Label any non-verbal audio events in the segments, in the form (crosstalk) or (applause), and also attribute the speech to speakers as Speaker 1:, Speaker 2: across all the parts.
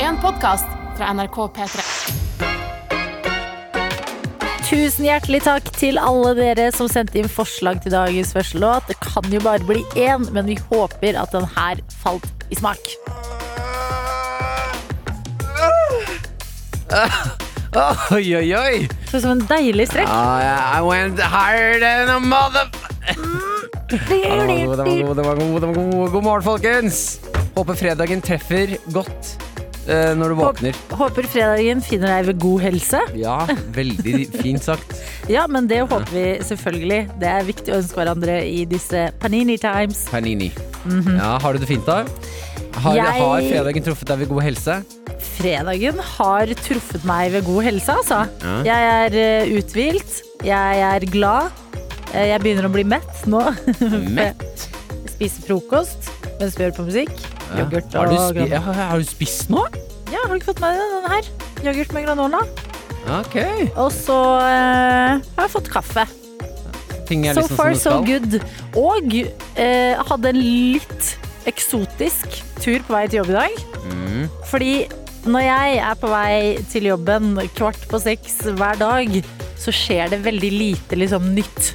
Speaker 1: en podkast fra NRK P3.
Speaker 2: Tusen hjertelig takk til alle dere som sendte inn forslag til dagens første låt. Det kan jo bare bli én, men vi håper at den her falt i smak.
Speaker 3: Oi, oi, oi!
Speaker 2: Sånn som en deilig strekk.
Speaker 3: Ah, I went higher than a mother... Ja, Den var god, den var god, den var god, den var god. God morgen, folkens! Håper fredagen treffer godt eh, når du våkner.
Speaker 2: Håper fredagen finner deg ved god helse.
Speaker 3: Ja, veldig fint sagt.
Speaker 2: Ja, men det håper vi selvfølgelig. Det er viktig å ønske hverandre i disse Panini times.
Speaker 3: Panini. Ja, har du det fint, da? Har,
Speaker 2: Mhm. Jeg-
Speaker 3: har fredagen truffet deg ved god helse?
Speaker 2: Fredagen har truffet meg ved god helse, altså. Jeg er eh, uthvilt. Jeg er glad. Eh, Jeg begynner å bli mett nå. (laughs)
Speaker 3: Mett?
Speaker 2: Spise frokost mens vi hører på musikk.
Speaker 3: Ja.
Speaker 2: Yoghurt
Speaker 3: Har
Speaker 2: og
Speaker 3: du, spi
Speaker 2: granola.
Speaker 3: ja, har du spist nå?
Speaker 2: Ja, har du ikke fått med deg den her? Yoghurt med granola.
Speaker 3: Ok.
Speaker 2: Og så eh, har jeg fått kaffe.
Speaker 3: Ting er
Speaker 2: So
Speaker 3: liksom
Speaker 2: far, so
Speaker 3: som det skal.
Speaker 2: good. Og eh, jeg hadde en litt eksotisk tur på vei til jobb i dag.
Speaker 3: Mm.
Speaker 2: Fordi når jeg er på vei til jobben kvart på seks hver dag, så skjer det veldig lite liksom, nytt.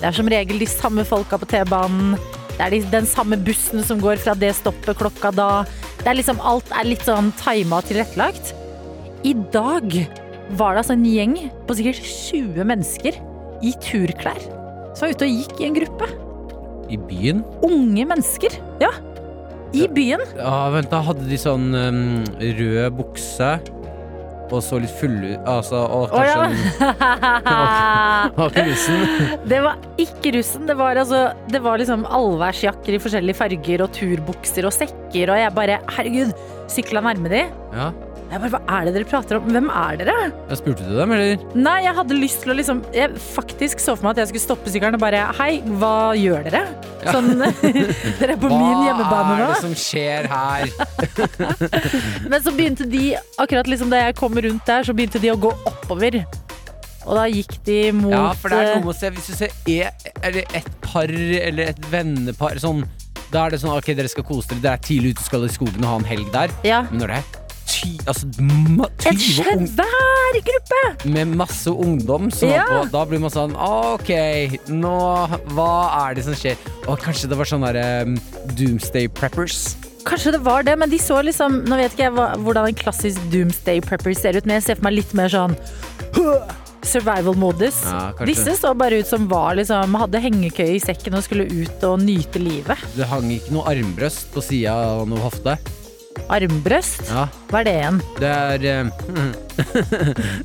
Speaker 2: Det er som regel de samme folka på T-banen. Det er de, den samme bussen som går fra det stoppet klokka da. Det er liksom, alt er litt sånn tima og tilrettelagt. I dag var det altså en gjeng på sikkert 20 mennesker i turklær som var ute og gikk i en gruppe.
Speaker 3: I byen?
Speaker 2: Unge mennesker. Ja. I byen.
Speaker 3: Ja, vent da, hadde de sånn um, rød bukse og så litt fulle altså, og
Speaker 2: Å
Speaker 3: kanskje
Speaker 2: ja.
Speaker 3: en- (laughs) og krusen.
Speaker 2: (laughs) Det var ikke russen. Det var, altså, det var liksom allværsjakker i forskjellige farger og turbukser og sekker, og jeg bare Herregud, sykla nærme de.
Speaker 3: Ja.
Speaker 2: Jeg bare, Hva er det dere prater om? Hvem er dere?
Speaker 3: Jeg spurte du dem, eller?
Speaker 2: Nei, jeg hadde lyst til å liksom Jeg faktisk så for meg at jeg skulle stoppe sykkelen og bare Hei, hva gjør dere? Sånn (laughs) Dere er på min hjemmebane nå.
Speaker 3: Hva er det som skjer her?
Speaker 2: Men så begynte de, akkurat liksom da jeg kom rundt der, så begynte de å gå oppover. Og da gikk de mot
Speaker 3: Ja, for det er
Speaker 2: eh.
Speaker 3: noe med å se Hvis du ser e, eller et par eller et vennepar sånn, Da er det sånn, ok, dere skal kose dere Dere er tidlig ute, skal i skogen og ha en helg der
Speaker 2: eh, ja.
Speaker 3: Men når det er ty, altså, ma-
Speaker 2: En
Speaker 3: 20 ung,
Speaker 2: svær gruppe!
Speaker 3: Med masse ungdom som
Speaker 2: Ja.
Speaker 3: var på, Da blir man sånn, ok Nå, hva er det som skjer? Og kanskje det var sånn der um, Doomsday Preppers
Speaker 2: Kanskje det var det, men de så liksom Nå vet ikke jeg hva, hvordan en klassisk Doomsday Prepper ser ut, men jeg ser for meg litt mer sånn survival-modus.
Speaker 3: Ja, kanskje.
Speaker 2: Disse så bare ut som var liksom hadde hengekøye i sekken og skulle ut og nyte livet.
Speaker 3: Det hang ikke noe armbrøst på siden av noe hofte
Speaker 2: Armbrøst.
Speaker 3: Ja
Speaker 2: Hva er det igjen?
Speaker 3: Det er eh, (laughs)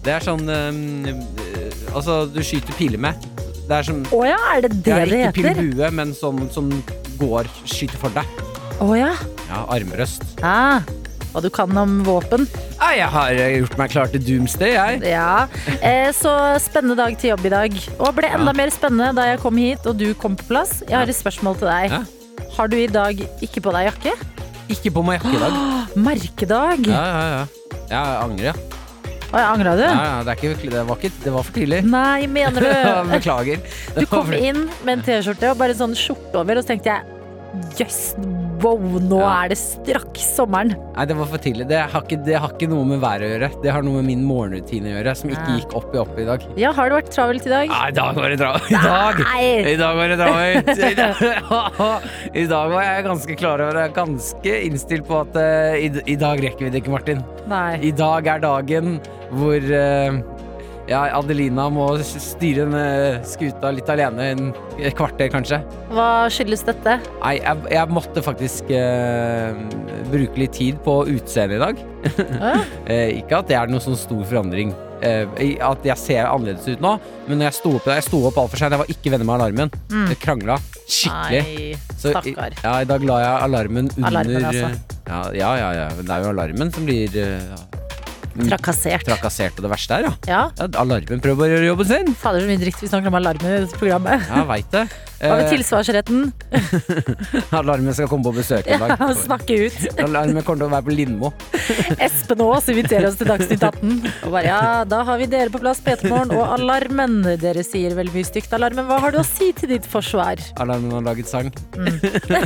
Speaker 3: Det er sånn eh, eh, Altså, du skyter piler med. Det er som
Speaker 2: Å ja, er det det
Speaker 3: ja,
Speaker 2: det
Speaker 3: Ikke pil
Speaker 2: heter?
Speaker 3: bue, men sånn som går skyter for deg.
Speaker 2: Å ja.
Speaker 3: Ja, armrøst.
Speaker 2: Ah, hva du kan om våpen.
Speaker 3: Ja, jeg har eh, gjort meg klar til doomsday, jeg.
Speaker 2: Ja, eh, så spennende dag til jobb i dag. Og ble enda
Speaker 3: Ja.
Speaker 2: mer spennende da jeg kom hit og du kom på plass. Jeg har et spørsmål til deg.
Speaker 3: Ja.
Speaker 2: Har du i dag ikke på deg jakke?
Speaker 3: Ikke på meg jakke i dag.
Speaker 2: Merkedag!
Speaker 3: Ja, ja, ja. Jeg angrer, ja.
Speaker 2: Oi, angra du?
Speaker 3: ja, ja det, er ikke, det, var ikke, det var for tidlig.
Speaker 2: Nei,
Speaker 3: (laughs)
Speaker 2: mener du?
Speaker 3: Beklager.
Speaker 2: Du
Speaker 3: Det var
Speaker 2: kom
Speaker 3: for-
Speaker 2: inn med en T-skjorte og bare sånn skjorte over, og så tenkte jeg jøss, wow, nå
Speaker 3: Ja.
Speaker 2: er det straks sommeren.
Speaker 3: Nei, det var for tidlig. Det har, ikke, det har ikke noe med været å gjøre. Det har noe med min morgenrutine å gjøre, som ikke
Speaker 2: Ja.
Speaker 3: gikk opp i opp i dag.
Speaker 2: Ja, har det vært travelt i dag?
Speaker 3: Nei, i dag var det dra I dag!
Speaker 2: Nei!
Speaker 3: I dag var det
Speaker 2: (laughs)
Speaker 3: dramait. (laughs) I dag var jeg ganske klar over Jeg er ganske innstilt på at eh, i, i dag rekker vi det ikke, Martin.
Speaker 2: Nei.
Speaker 3: I dag er dagen hvor eh, ja, Adelina må s- styre den eh, skuta litt alene en et kvarter, kanskje.
Speaker 2: Hva skyldes dette?
Speaker 3: Nei, jeg, jeg måtte faktisk eh, bruke litt tid på utseendet i dag.
Speaker 2: Hæ?
Speaker 3: Eh, ikke at det er noen sånn stor forandring. Eh, i- at jeg ser annerledes ut nå, men når jeg sto opp, jeg sto opp altfor seint. Jeg var ikke venner med alarmen.
Speaker 2: Mm.
Speaker 3: Jeg krangla skikkelig.
Speaker 2: Nei,
Speaker 3: Så i-
Speaker 2: stakkar.
Speaker 3: Ja, i dag la jeg alarmen under
Speaker 2: Alarmen, altså.
Speaker 3: ja, ja, ja, ja. men Det er jo alarmen som blir eh,
Speaker 2: Trakassert.
Speaker 3: trakassert, og det verste er, ja.
Speaker 2: Ja.
Speaker 3: ja alarmen prøver bare å gjøre jobben sin.
Speaker 2: Fader, så mye dritt vi snakker om alarmer i dette programmet. (laughs)
Speaker 3: Ja, veit det.
Speaker 2: Hva med
Speaker 3: Eh,
Speaker 2: tilsvarsretten?
Speaker 3: (laughs) Alarmen skal komme på besøk i
Speaker 2: (laughs)
Speaker 3: dag.
Speaker 2: Snakke ut.
Speaker 3: Alarmen kommer til å være på Lindmo.
Speaker 2: Espen Aas inviterer oss til Dagsnytt 18. Og bare, ja, da har vi dere på plass, PT-morgen og Alarmen. Dere sier vel mye stygt, Alarmen. Hva har du å si til ditt forsvar?
Speaker 3: Alarmen har laget sang.
Speaker 2: Mm.
Speaker 3: (laughs)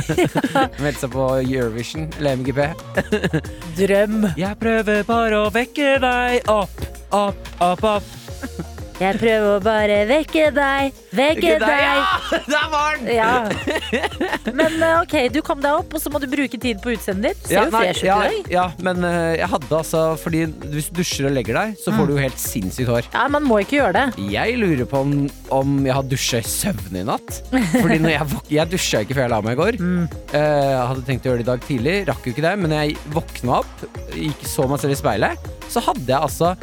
Speaker 3: Meldte seg på Eurovision eller MGP.
Speaker 2: Drøm.
Speaker 3: Jeg prøver bare å vekke deg opp, opp, opp, opp.
Speaker 2: Jeg prøver å bare vekke deg, vekke deg.
Speaker 3: Ja! Der var den!
Speaker 2: Ja. Men eh, OK, du kom deg opp, og så må du bruke tid på utseendet ditt. Ser
Speaker 3: Ja,
Speaker 2: jo
Speaker 3: nei,
Speaker 2: fresh ut
Speaker 3: ja,
Speaker 2: i dag.
Speaker 3: ja, men eh, jeg hadde altså Fordi hvis du dusjer og legger deg, så
Speaker 2: Mm.
Speaker 3: får du jo helt sinnssykt hår.
Speaker 2: Ja, man må ikke gjøre det.
Speaker 3: Jeg lurer på om, om jeg har dusja i søvne i natt. Fordi når jeg, våk- jeg dusja ikke før jeg la meg i går. Eh, Jeg hadde tenkt å gjøre det i dag tidlig, rakk jo ikke det. Men jeg våkna opp, gikk så meg selv i speilet, så hadde jeg altså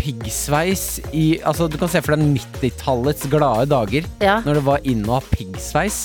Speaker 3: piggsveis i Altså, du kan se for deg 90-tallets glade dager.
Speaker 2: Ja.
Speaker 3: Når det var inn å ha piggsveis.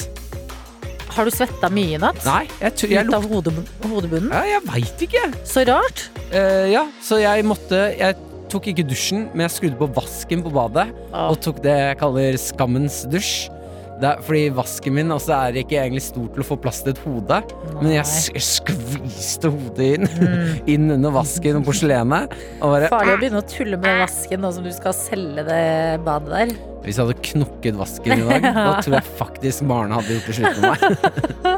Speaker 2: Har du svetta mye i natt?
Speaker 3: Nei, jeg, tror- jeg,
Speaker 2: Ut Altså,
Speaker 3: luk-
Speaker 2: av hode, hodebunnen?
Speaker 3: ja, jeg veit ikke.
Speaker 2: Så rart.
Speaker 3: Eh, ja, så jeg måtte Jeg tok ikke dusjen, men jeg skrudde på vasken på badet.
Speaker 2: Åh.
Speaker 3: Og tok det jeg kaller skammens dusj. Det er, fordi vasken min også er ikke egentlig stor til å få plass til et hode. Men
Speaker 2: Nei.
Speaker 3: jeg
Speaker 2: Mm.
Speaker 3: sk- skviste hodet inn (laughs) Inn under vasken og porselenet. Og bare,
Speaker 2: Farlig å begynne å tulle med den vasken nå som du skal selge det badet
Speaker 3: (laughs)
Speaker 2: der.
Speaker 3: hvis jeg hadde knokket
Speaker 2: (laughs)
Speaker 3: vasken i dag, da tror jeg faktisk Maren hadde gjort det slutt med meg.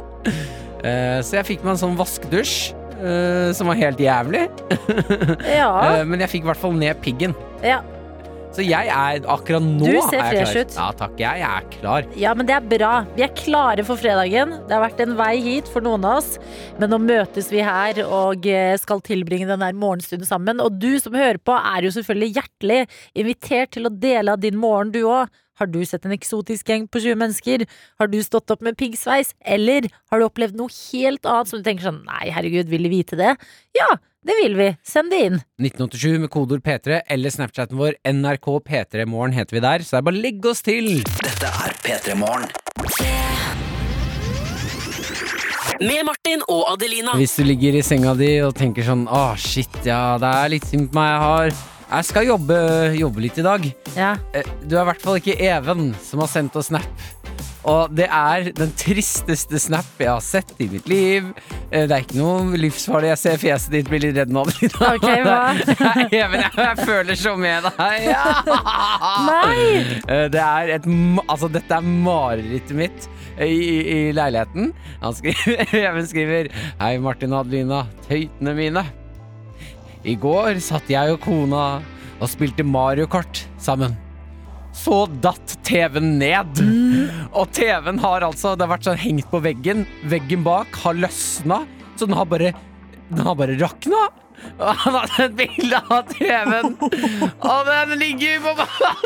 Speaker 2: (laughs)
Speaker 3: Eh, så jeg fikk meg en sånn vaskedusj, eh, som var helt jævlig.
Speaker 2: Ja.
Speaker 3: Eh, men jeg fikk i hvert fall ned piggen.
Speaker 2: ja.
Speaker 3: Så jeg er akkurat nå
Speaker 2: Du ser
Speaker 3: er jeg
Speaker 2: fresh
Speaker 3: klar.
Speaker 2: ut.
Speaker 3: Ja takk, jeg er klar.
Speaker 2: Ja, men det er bra. Vi er klare for fredagen. Det har vært en vei hit for noen av oss, men nå møtes vi her og eh, skal tilbringe den der morgenstunden sammen. Og du som hører på, er jo selvfølgelig hjertelig invitert til å dele av din morgen, du òg. Har du sett en eksotisk gjeng på 20 mennesker? Har du stått opp med piggsveis? Eller har du opplevd noe helt annet som du tenker sånn Nei, herregud, vil de vite det? Ja, det vil vi. Send det inn.
Speaker 3: 1987 med kodeord P3 eller Snapchaten vår NRK P3 Morgen heter vi der, så det er bare å legge oss til.
Speaker 4: Dette er P3 Morgen. Med Martin og Adelina.
Speaker 3: Hvis du ligger i senga di og tenker sånn Å, shit, ja, det er litt synd på meg jeg har Jeg skal jobbe, jobbe litt i dag.
Speaker 2: Ja.
Speaker 3: Eh, Du er i hvert fall ikke Even som har sendt oss snap. Og det er den tristeste snap jeg har sett i mitt liv. Eh, Det er ikke noe livsfarlig. Jeg ser fjeset ditt blir litt redd nå. (laughs) Adelina.
Speaker 2: Ok, hva?
Speaker 3: Det er Even, jeg, jeg føler så med deg.
Speaker 2: Nei!
Speaker 3: (laughs) Eh, Det er et, ma- altså, dette er marerittet mitt eh, i, i, i leiligheten. Han skriver, (laughs) Even skriver Hei, Martin og Adelina, tøytene mine. I går satt jeg og kona og spilte Mario Kart sammen. Så datt TV-en ned. Og TV-en har altså Det har vært sånn hengt på veggen. Veggen bak har løsna, så den har bare Den har bare rakna. Og han hadde et bilde av TV-en, og den ligger på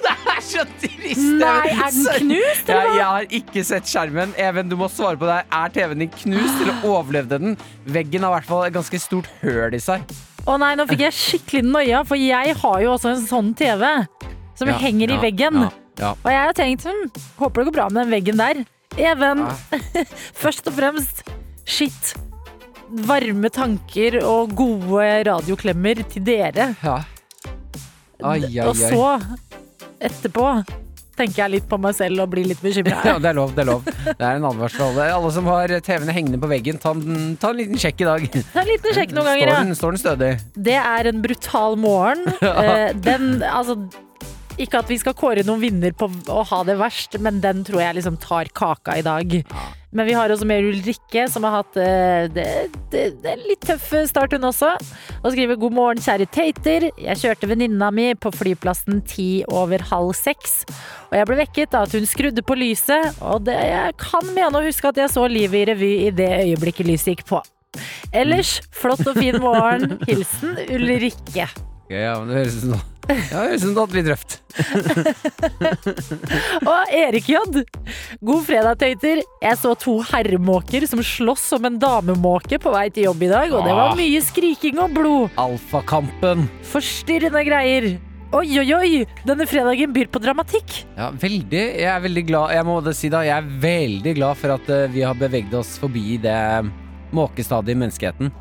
Speaker 3: Det er så trist!
Speaker 2: Nei,
Speaker 3: Even.
Speaker 2: er den
Speaker 3: Så-
Speaker 2: knust, eller
Speaker 3: Jeg,
Speaker 2: hva?
Speaker 3: jeg har ikke sett skjermen. Even, du må svare på det. her. Er TV-en din knust, eller overlevde den? Veggen har i hvert fall et ganske stort høl i seg.
Speaker 2: Å nei, nå fikk jeg skikkelig noia, for jeg har jo også en sånn TV som
Speaker 3: Ja,
Speaker 2: henger i
Speaker 3: ja,
Speaker 2: veggen.
Speaker 3: ja, ja.
Speaker 2: Og jeg har tenkt hm, håper det går bra med den veggen der. Even, (laughs) først og fremst, shit. Varme tanker og gode radioklemmer til dere.
Speaker 3: Ja. Ai, ai,
Speaker 2: Og
Speaker 3: ai.
Speaker 2: så, etterpå, tenker jeg litt på meg selv og blir litt bekymra.
Speaker 3: (laughs)
Speaker 2: (laughs)
Speaker 3: Ja, det er lov, det er lov. Det er en advarsel til alle. Alle som har TV-ene hengende på veggen, ta en, ta en liten sjekk i dag.
Speaker 2: Ta en liten sjekk noen
Speaker 3: Står
Speaker 2: ganger, ja.
Speaker 3: den, står den stødig?
Speaker 2: Det er en brutal morgen. Eh, Den, altså ikke at vi skal kåre noen vinner på å ha det verst, men den tror jeg liksom tar kaka i dag. Men vi har også med Ulrikke, som har hatt eh, det, det, det er en litt tøff start, hun også. Og skriver 'God morgen, kjære Tater'. Jeg kjørte venninna mi på flyplassen ti over halv seks. Og jeg ble vekket av at hun skrudde på lyset, og det, jeg kan mene å huske at jeg så livet i revy i det øyeblikket lyset gikk på. Ellers, flott og fin (laughs) morgen. Hilsen Ulrikke.
Speaker 3: Ok, ja, men det høres ut som ja, det høres ut som du hadde litt røft.
Speaker 2: Og Erik J. God fredag, tøyter. Jeg så to herremåker som slåss som en damemåke på vei til jobb i dag, og det var mye skriking og blod.
Speaker 3: Alfakampen.
Speaker 2: Forstyrrende greier. Oi, oi, oi! Denne fredagen byr på dramatikk.
Speaker 3: Ja, veldig. Jeg er veldig glad Jeg må det si da, jeg er veldig glad for at eh, vi har beveget oss eh, forbi det måkestadiet i menneskeheten.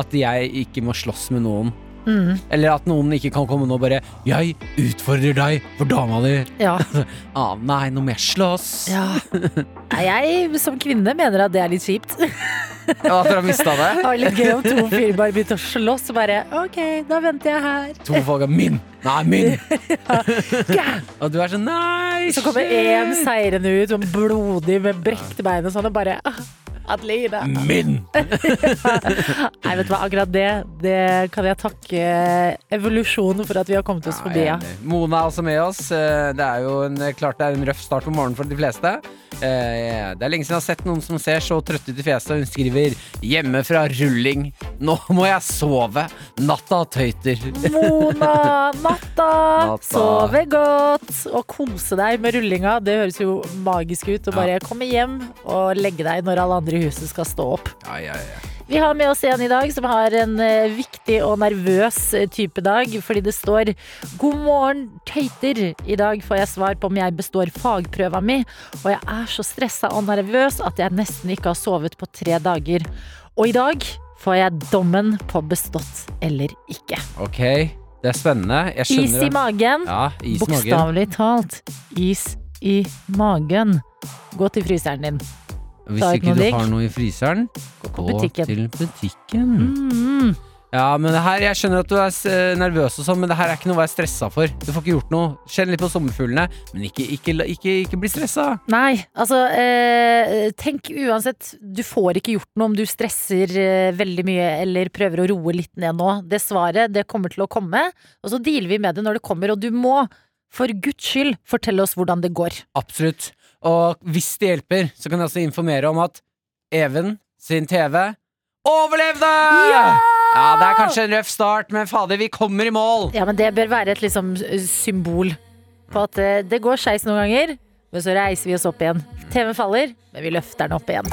Speaker 3: At jeg ikke må slåss med noen
Speaker 2: Mm,
Speaker 3: Eller at noen ikke kan komme nå og bare 'Jeg utfordrer deg for dama di'. (laughs)
Speaker 2: ja.
Speaker 3: Ah, nei, nå må jeg slåss.
Speaker 2: (laughs) ja. Nei, Jeg som kvinne mener at det er litt kjipt. Det
Speaker 3: Ja, Dere har mista det?
Speaker 2: var litt gøy om (laughs) to fyrer bare begynte å slåss og bare OK, da venter jeg her.
Speaker 3: To folk er min! Nei, min!
Speaker 2: (laughs) Ja.
Speaker 3: Og du er sånn Nei!
Speaker 2: Så kommer én
Speaker 3: shit,
Speaker 2: seirende ut, sånn blodig med brekte bein og sånn, og bare ah, Adelina.
Speaker 3: Mm. Min!
Speaker 2: Nei, vet du hva, akkurat det, det kan jeg takke evolusjonen for at vi har kommet oss forbi.
Speaker 3: Ja,
Speaker 2: Ja.
Speaker 3: jeg er enig. Mona er også med oss. Eh, Det er jo en, klart det er en røff start på morgenen for de fleste. Eh, Det er lenge siden jeg har sett noen som ser så trøtt ut i fjeset, og hun skriver 'Hjemme fra rulling'. Nå må jeg sove. Natta tøyter.
Speaker 2: Mm. Mona, natta,
Speaker 3: Natta.
Speaker 2: sove godt og kose deg med rullinga. Det høres jo magisk ut å bare komme hjem og legge deg når alle andre i huset skal stå opp.
Speaker 3: Ja, ja, ja.
Speaker 2: Vi har med oss en i dag som har en eh, viktig og nervøs eh, type dag, fordi det står 'God morgen, tøyter'. I dag får jeg svar på om jeg består fagprøva mi, og jeg er så stressa og nervøs at jeg nesten ikke har sovet på tre dager. Og i dag får jeg dommen på bestått eller ikke.
Speaker 3: Ok, det er spennende.
Speaker 2: Is
Speaker 3: Jeg skjønner
Speaker 2: i
Speaker 3: det.
Speaker 2: magen.
Speaker 3: Ja, is i magen.
Speaker 2: Bokstavelig talt. Is i magen. Gå til fryseren din.
Speaker 3: Hvis
Speaker 2: Ta ut
Speaker 3: ikke
Speaker 2: noe
Speaker 3: du
Speaker 2: digg.
Speaker 3: har noe i fryseren,
Speaker 2: på
Speaker 3: gå
Speaker 2: butikken.
Speaker 3: til butikken.
Speaker 2: Mm.
Speaker 3: Ja, men det her, Jeg skjønner at du er eh, nervøs, og sånn, men det her er ikke noe å være stressa for. Du får ikke gjort noe. Kjenn litt på sommerfuglene, men ikke, ikke, la- ikke, ikke bli stressa.
Speaker 2: Nei, altså eh, Tenk uansett, du får ikke gjort noe om du stresser eh, veldig mye eller prøver å roe litt ned nå. Det svaret, det kommer til å komme, og så dealer vi med det når det kommer. Og du må, for guds skyld, fortelle oss hvordan det går.
Speaker 3: Absolutt. Og hvis det hjelper, så kan jeg også informere om at Even sin TV overlevde!
Speaker 2: Ja!
Speaker 3: Ja, Det er kanskje en røff start, men fader, vi kommer i mål!
Speaker 2: Ja, men det bør være et liksom symbol på at eh, det går skeis noen ganger, men så reiser vi oss opp igjen. TV-en faller, men vi løfter den opp igjen.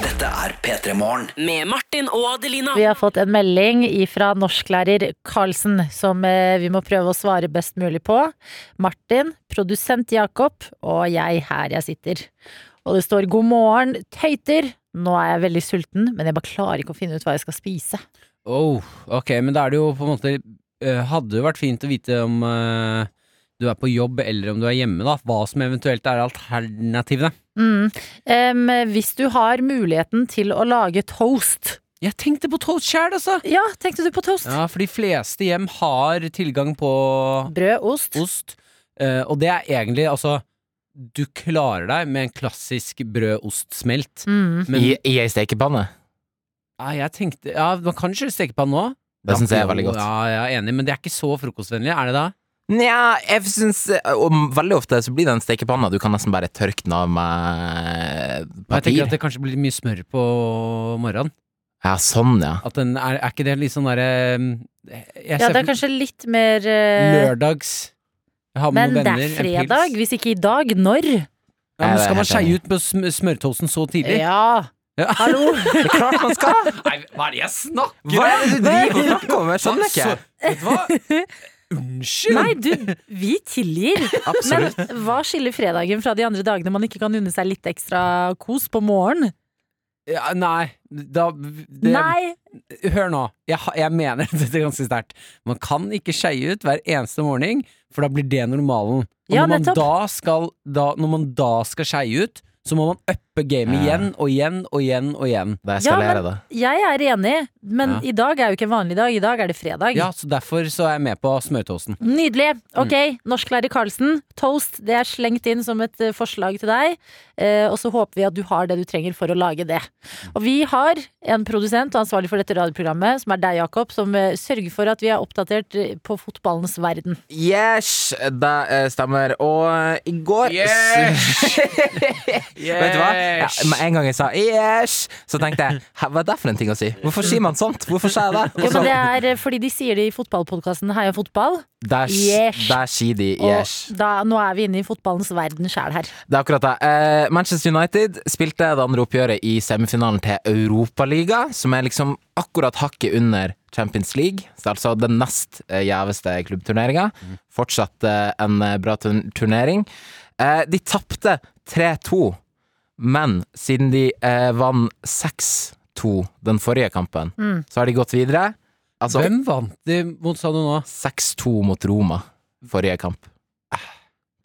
Speaker 4: Dette er P3 Morgen. Med Martin og Adelina.
Speaker 2: Vi har fått en melding fra norsklærer Karlsen som eh, vi må prøve å svare best mulig på. Martin, produsent Jakob og jeg her jeg sitter. Og det står 'God morgen, tøyter'. Nå er jeg veldig sulten, men jeg bare klarer ikke å finne ut hva jeg skal spise.
Speaker 3: Oh, ok, men da er det jo på en måte eh, Hadde jo vært fint å vite om eh, du er på jobb eller om du er hjemme, da. Hva som eventuelt er alternativene.
Speaker 2: Mm. Em, hvis du har muligheten til å lage toast
Speaker 3: Jeg tenkte på toast sjæl, altså!
Speaker 2: Ja, tenkte du på toast?
Speaker 3: Ja, for de fleste hjem har tilgang på
Speaker 2: Brød, ost.
Speaker 3: ost, eh, og det er egentlig altså Du klarer deg med en klassisk brød-ost-smelt,
Speaker 2: Mm.
Speaker 3: men
Speaker 5: I, I ei stekepanne.
Speaker 3: ja, jeg tenkte Ja, man kan kjøre stekepanne nå.
Speaker 5: Det syns jeg er veldig godt.
Speaker 3: Ja, jeg er enig, men det er ikke så frokostvennlig, er det da?
Speaker 5: Nja, jeg syns Og veldig ofte så blir den stekepanna Du kan nesten bare tørke den av
Speaker 3: Jeg
Speaker 5: med
Speaker 3: tenker
Speaker 5: papir.
Speaker 3: at det kanskje blir mye smør på morgenen.
Speaker 5: Ja, sånn, ja.
Speaker 3: At den er, er ikke det litt sånn derre eh,
Speaker 2: Ja,
Speaker 3: Jeg ser
Speaker 2: det er
Speaker 3: for
Speaker 2: kanskje litt mer eh,
Speaker 3: lørdags jeg har med
Speaker 2: Men
Speaker 3: noen
Speaker 2: det
Speaker 3: venner,
Speaker 2: er
Speaker 3: en pils.
Speaker 2: fredag. Hvis ikke i dag, når?
Speaker 3: Ja, men
Speaker 5: Jeg er
Speaker 3: skal man
Speaker 5: helt
Speaker 3: skeie ut på sm smørtoasten så tidlig?
Speaker 2: Ja.
Speaker 3: Ja.
Speaker 2: Hallo!
Speaker 5: Det er klart man (laughs) skal!
Speaker 3: Nei, hva er det jeg snakker
Speaker 5: Hva er det du driver og snakker om? Jeg skjønner ikke.
Speaker 3: Vet du hva? (laughs) Unnskyld!
Speaker 2: Nei, du, vi
Speaker 3: (laughs)
Speaker 2: tilgir.
Speaker 5: Absolutt.
Speaker 2: Men hva skiller fredagen fra de andre dagene man ikke kan unne seg litt ekstra kos på morgenen?
Speaker 3: Ja, nei, da det,
Speaker 2: Nei!
Speaker 3: Hør nå. Jeg, ha- jeg mener (laughs) dette ganske sterkt. Man kan ikke skeie ut hver eneste morgen, for da blir det normalen. Og
Speaker 2: Ja,
Speaker 3: når, man
Speaker 2: nettopp.
Speaker 3: da skal, da, når man da skal skeie ut, så må man uppe gamet
Speaker 5: Ja.
Speaker 3: igjen og igjen og igjen og igjen.
Speaker 2: Ja,
Speaker 5: Det eskalerer, det.
Speaker 2: Jeg er enig, men
Speaker 3: Ja.
Speaker 2: i dag er jo ikke en vanlig dag. I dag er det fredag.
Speaker 3: Ja, Mm. så derfor så er jeg med på smørtoasten.
Speaker 2: Nydelig. Ok, norsklærer Karlsen. Toast det er slengt inn som et eh, forslag til deg. Eh, og så håper vi at du har det du trenger for å lage det. Og vi har en produsent og ansvarlig for dette radioprogrammet, som er deg, Jakob, som eh, sørger for at vi er oppdatert eh, på fotballens verden.
Speaker 5: Yes, det eh, stemmer. Og eh, i går (laughs) Vet du hva? Ja, med en gang jeg sa yes, så tenkte jeg "Hæ, hva er det for en ting å si? Hvorfor sier man sånt? Hvorfor sier jeg det?
Speaker 2: Ja,
Speaker 5: Og
Speaker 2: men
Speaker 5: så-
Speaker 2: det er eh, fordi de sier det i fotballpodkasten Heia fotball.
Speaker 5: Der
Speaker 2: Yes.
Speaker 5: der sier de
Speaker 2: Og
Speaker 5: yes.
Speaker 2: da, nå er vi inne i fotballens verden sjæl her.
Speaker 5: Det er akkurat det. Eh, Manchester United spilte det andre oppgjøret i semifinalen til Europaliga, som er liksom akkurat hakket under Champions League. Så altså den nest eh, gjeveste klubbturneringa. Fortsatt eh, en eh, bra turn turnering. Eh, de tapte 3-2, men
Speaker 2: Mm.
Speaker 5: siden de eh, vant 6-2 den forrige kampen, så har de gått videre. Altså
Speaker 3: Hvem vant de mot, sa du nå?
Speaker 5: 6-2 mot Roma forrige kamp.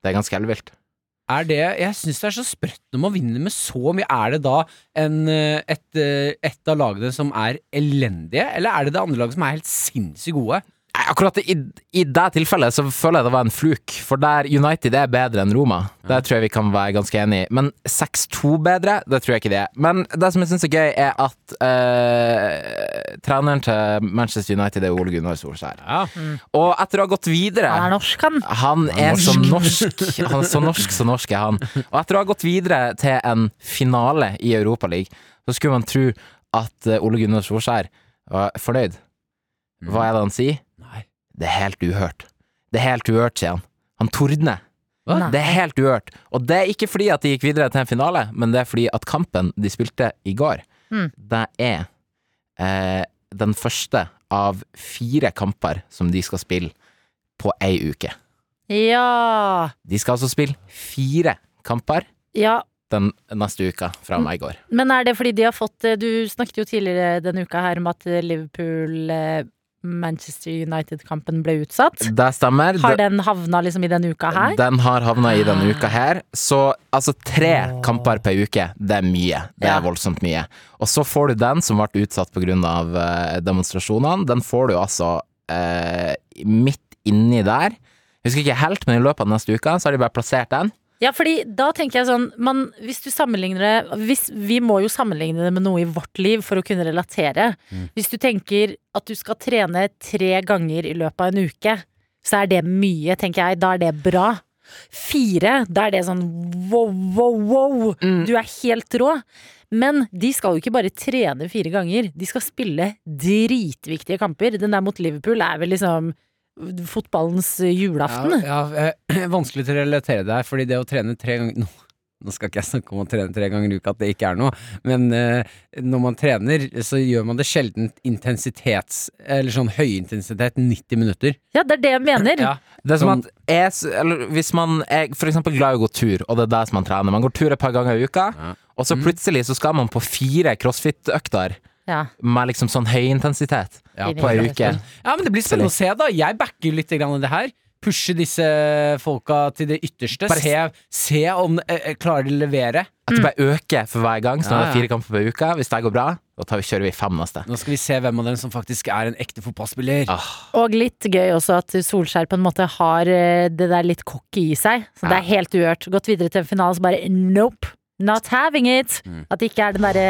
Speaker 5: Det er ganske ellevilt.
Speaker 3: Er det, jeg syns det er så sprøtt når man vinner med så mye. Er det da en, eh, et, eh, et av lagene som er elendige, eller er det det andre laget som er helt sinnssykt gode?
Speaker 5: Nei, Eh, Akkurat i, i det tilfellet så føler jeg det var en fluk, for der United er bedre enn Roma. Der tror jeg vi kan være ganske enige. Men 6-2 bedre, det tror jeg ikke det er. Men det som jeg syns er gøy, er at eh, treneren til Manchester United er Ole Gunnar Solskjær.
Speaker 3: Ja.
Speaker 5: Og etter å ha gått videre
Speaker 2: Han er norsk, han.
Speaker 5: Han er så norsk. Han er så norsk, så norsk er han. Og etter å ha gått videre til en finale i Europaligaen, så skulle man tro at eh, Ole Gunnar Solskjær var fornøyd. Hva er det han sier?
Speaker 3: Nei.
Speaker 5: Det er helt uhørt. Det er helt uhørt, sier han. Han tordner.
Speaker 2: Hva?
Speaker 5: Det er helt uhørt. Og det er ikke fordi at de gikk videre til en finale, men det er fordi at kampen de spilte i går,
Speaker 2: Mm.
Speaker 5: det er eh, den første av fire kamper som de skal spille på ei uke.
Speaker 2: Ja.
Speaker 5: De skal altså spille fire kamper
Speaker 2: ja.
Speaker 5: den neste uka fra meg i går.
Speaker 2: Men er det fordi de har fått eh, Du snakket jo tidligere denne uka her om at Liverpool-Manchester United-kampen ble utsatt.
Speaker 5: Det stemmer.
Speaker 2: Har den havna liksom i denne uka her?
Speaker 5: Den har havna i denne uka her. Så altså tre kamper per uke, det er mye. Det er
Speaker 2: Ja.
Speaker 5: voldsomt mye. Og så får du den som ble utsatt pga. eh, demonstrasjonene. Den får du altså eh, midt inni der. Jeg husker ikke helt, men i løpet av neste uke så har de bare plassert den.
Speaker 2: Ja, fordi da tenker jeg sånn man, Hvis du sammenligner det hvis, Vi må jo sammenligne det med noe i vårt liv for å kunne relatere.
Speaker 3: Mm.
Speaker 2: Hvis du tenker at du skal trene tre ganger i løpet av en uke, så er det mye, tenker jeg. Da er det bra. Fire, da er det sånn wow, wow, wow.
Speaker 3: Mm.
Speaker 2: Du er helt rå. Men de skal jo ikke bare trene fire ganger. De skal spille dritviktige kamper. Den der mot Liverpool er vel liksom fotballens julaften.
Speaker 3: Ja, ja, eh, (clears throat) vanskelig til å relatere deg, fordi det å trene tre ganger nå, nå skal ikke jeg snakke om å trene tre ganger i uka, at det ikke er noe, men eh, når man trener, så gjør man det sjelden intensitets... Eller sånn høyintensitet 90 minutter.
Speaker 2: Ja, det er det jeg mener.
Speaker 3: Ja.
Speaker 5: Det er som
Speaker 3: Sånn-
Speaker 5: at jeg, s- eller hvis man er for eksempel glad i å gå tur, og det er det som man trener Man går tur et par ganger i uka,
Speaker 3: Ja. Mm.
Speaker 5: og så plutselig så skal man på fire crossfit-økter
Speaker 2: Ja.
Speaker 5: med liksom sånn høyintensitet
Speaker 3: Ja,
Speaker 5: på ei uke.
Speaker 3: Ja, men det blir spennende å se, da. Jeg backer litt grann det her. Pushe disse folka til det ytterste.
Speaker 5: Bare-
Speaker 3: Se, se om eh, eh, klarer de å levere.
Speaker 5: At det bare øker for hver gang, så nå er
Speaker 3: Ja, ja.
Speaker 5: det fire kamper per uke. Hvis det går bra, da tar vi, kjører vi fem neste.
Speaker 3: Nå skal vi se hvem av dem som faktisk er en ekte fotballspiller.
Speaker 5: Ah,
Speaker 2: Og litt gøy også at Solskjær på en måte har eh, det der litt cocky i seg. Så det er helt uhørt. Gått videre til en finale, så bare nope. Not having it.
Speaker 3: Mm.
Speaker 2: At det ikke er den derre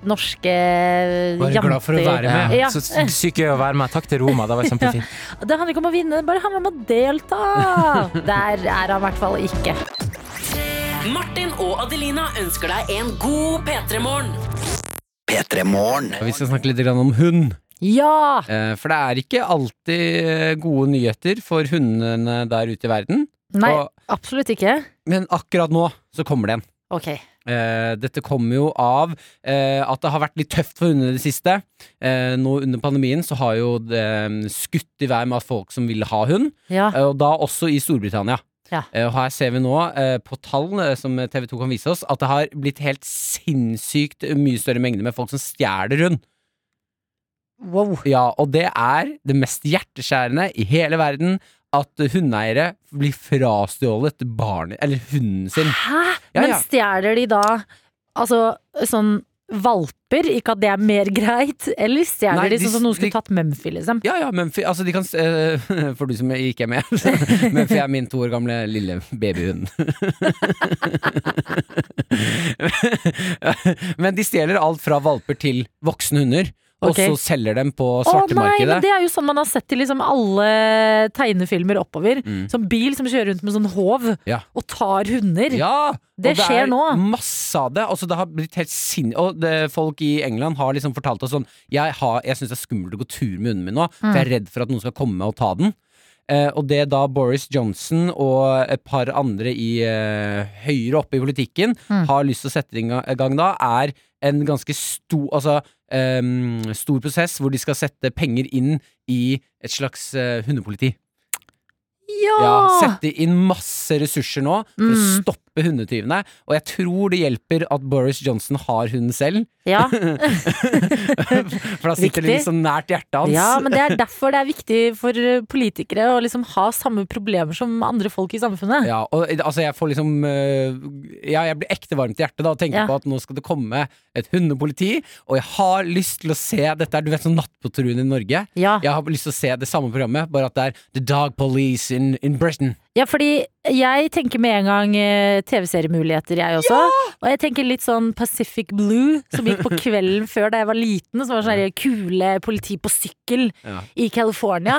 Speaker 2: norske eh,
Speaker 3: Bare
Speaker 2: jante-
Speaker 3: glad for å være med.
Speaker 2: Ja.
Speaker 5: Så sy- sykt gøy å være med. Takk til Roma, det var kjempefint.
Speaker 2: Det handler ikke om å vinne, det bare handler om å delta.
Speaker 3: (laughs)
Speaker 2: Der er han i hvert fall ikke.
Speaker 4: Martin og Adelina ønsker deg en god P3-morgen.
Speaker 3: Vi skal snakke litt grann om hund.
Speaker 2: Ja!
Speaker 3: Eh, For det er ikke alltid eh, gode nyheter for hundene der ute i verden.
Speaker 2: Nei,
Speaker 3: Og,
Speaker 2: absolutt ikke.
Speaker 3: men akkurat nå så kommer det en.
Speaker 2: Ok.
Speaker 3: Eh, dette kommer jo av eh, at det har vært litt tøft for hundene i det siste. Eh, nå under pandemien så har jo det eh, skutt i vær med at folk som vil ha hund,
Speaker 2: Ja.
Speaker 3: eh, og da også i Storbritannia.
Speaker 2: Ja.
Speaker 3: Eh, og her ser vi nå eh, på tall eh, som TV 2 kan vise oss, at det har blitt helt sinnssykt mye større mengde med folk som stjeler hund.
Speaker 2: Wow.
Speaker 3: Ja, og det er det mest hjerteskjærende i hele verden at hundeeiere blir frastjålet barnet, eller hunden sin.
Speaker 2: Hæ?
Speaker 3: Eh, Ja,
Speaker 2: Men
Speaker 3: ja.
Speaker 2: stjeler de da altså sånn valper, ikke at det er mer greit? Eller stjeler
Speaker 3: Nei,
Speaker 2: de
Speaker 3: de
Speaker 2: sånn som noen skulle
Speaker 3: de-
Speaker 2: tatt Mumphy, liksom?
Speaker 3: Ja, ja, Mumphy altså de kan, s- eh, (laughs) For du som ikke er med (laughs) Mumphy er min to år gamle lille babyhund (laughs) Men de stjeler alt fra valper til voksne hunder Og
Speaker 2: Ok.
Speaker 3: så selger dem på
Speaker 2: Å nei,
Speaker 3: svartemarkedet
Speaker 2: men det er jo sånn man har sett i liksom alle tegnefilmer oppover.
Speaker 3: Mm.
Speaker 2: Sånn bil som kjører rundt med sånn håv
Speaker 3: Ja.
Speaker 2: og tar hunder.
Speaker 3: Ja!
Speaker 2: Det
Speaker 3: og
Speaker 2: skjer
Speaker 3: er
Speaker 2: nå.
Speaker 3: Masse av det. Altså, det har blitt helt sinn... Og det, folk i England har liksom fortalt oss sånn Jeg, har- jeg syns det er skummelt å gå tur med hunden min nå, for
Speaker 2: Mm.
Speaker 3: jeg er redd for at noen skal komme og ta den. Eh, og det da Boris Johnson og et par andre i eh, høyre oppe i politikken
Speaker 2: Mm.
Speaker 3: har lyst til å sette i ga- i gang da, er en ganske stor Altså em, stor prosess hvor de skal sette penger inn i et slags eh, hundepoliti.
Speaker 2: Ja!
Speaker 3: Ja, sette inn masse ressurser nå for
Speaker 2: Ah!
Speaker 3: å
Speaker 2: Mm.
Speaker 3: stoppe hjelpe hundetyvene. Og jeg tror det hjelper at Boris Johnson har hunden selv, (laughs)
Speaker 2: Ja.
Speaker 3: for da sitter det
Speaker 2: Viktig.
Speaker 3: liksom nært hjertet hans.
Speaker 2: ja, men det er derfor det er viktig for eh, politikere å liksom ha samme problemer som andre folk i samfunnet.
Speaker 3: Ja, og altså jeg får liksom øh, Ja, jeg blir ekte varmt i hjertet da og tenker
Speaker 2: Ja.
Speaker 3: på at nå skal det komme et hundepoliti, og jeg har lyst til å se dette er, du vet sånn Nattpatruljen i Norge.
Speaker 2: Ja,
Speaker 3: Jeg har lyst til å se det samme programmet, bare at det er The Dog Police in, in Britain.
Speaker 2: ja fordi jeg tenker med en gang eh, TV-seriemuligheter, jeg også. Og jeg tenker litt sånn Pacific Blue, som gikk
Speaker 3: (laughs)
Speaker 2: på kvelden før da jeg var liten. Som var sånn her kule politi på sykkel
Speaker 3: Ja.
Speaker 2: i California.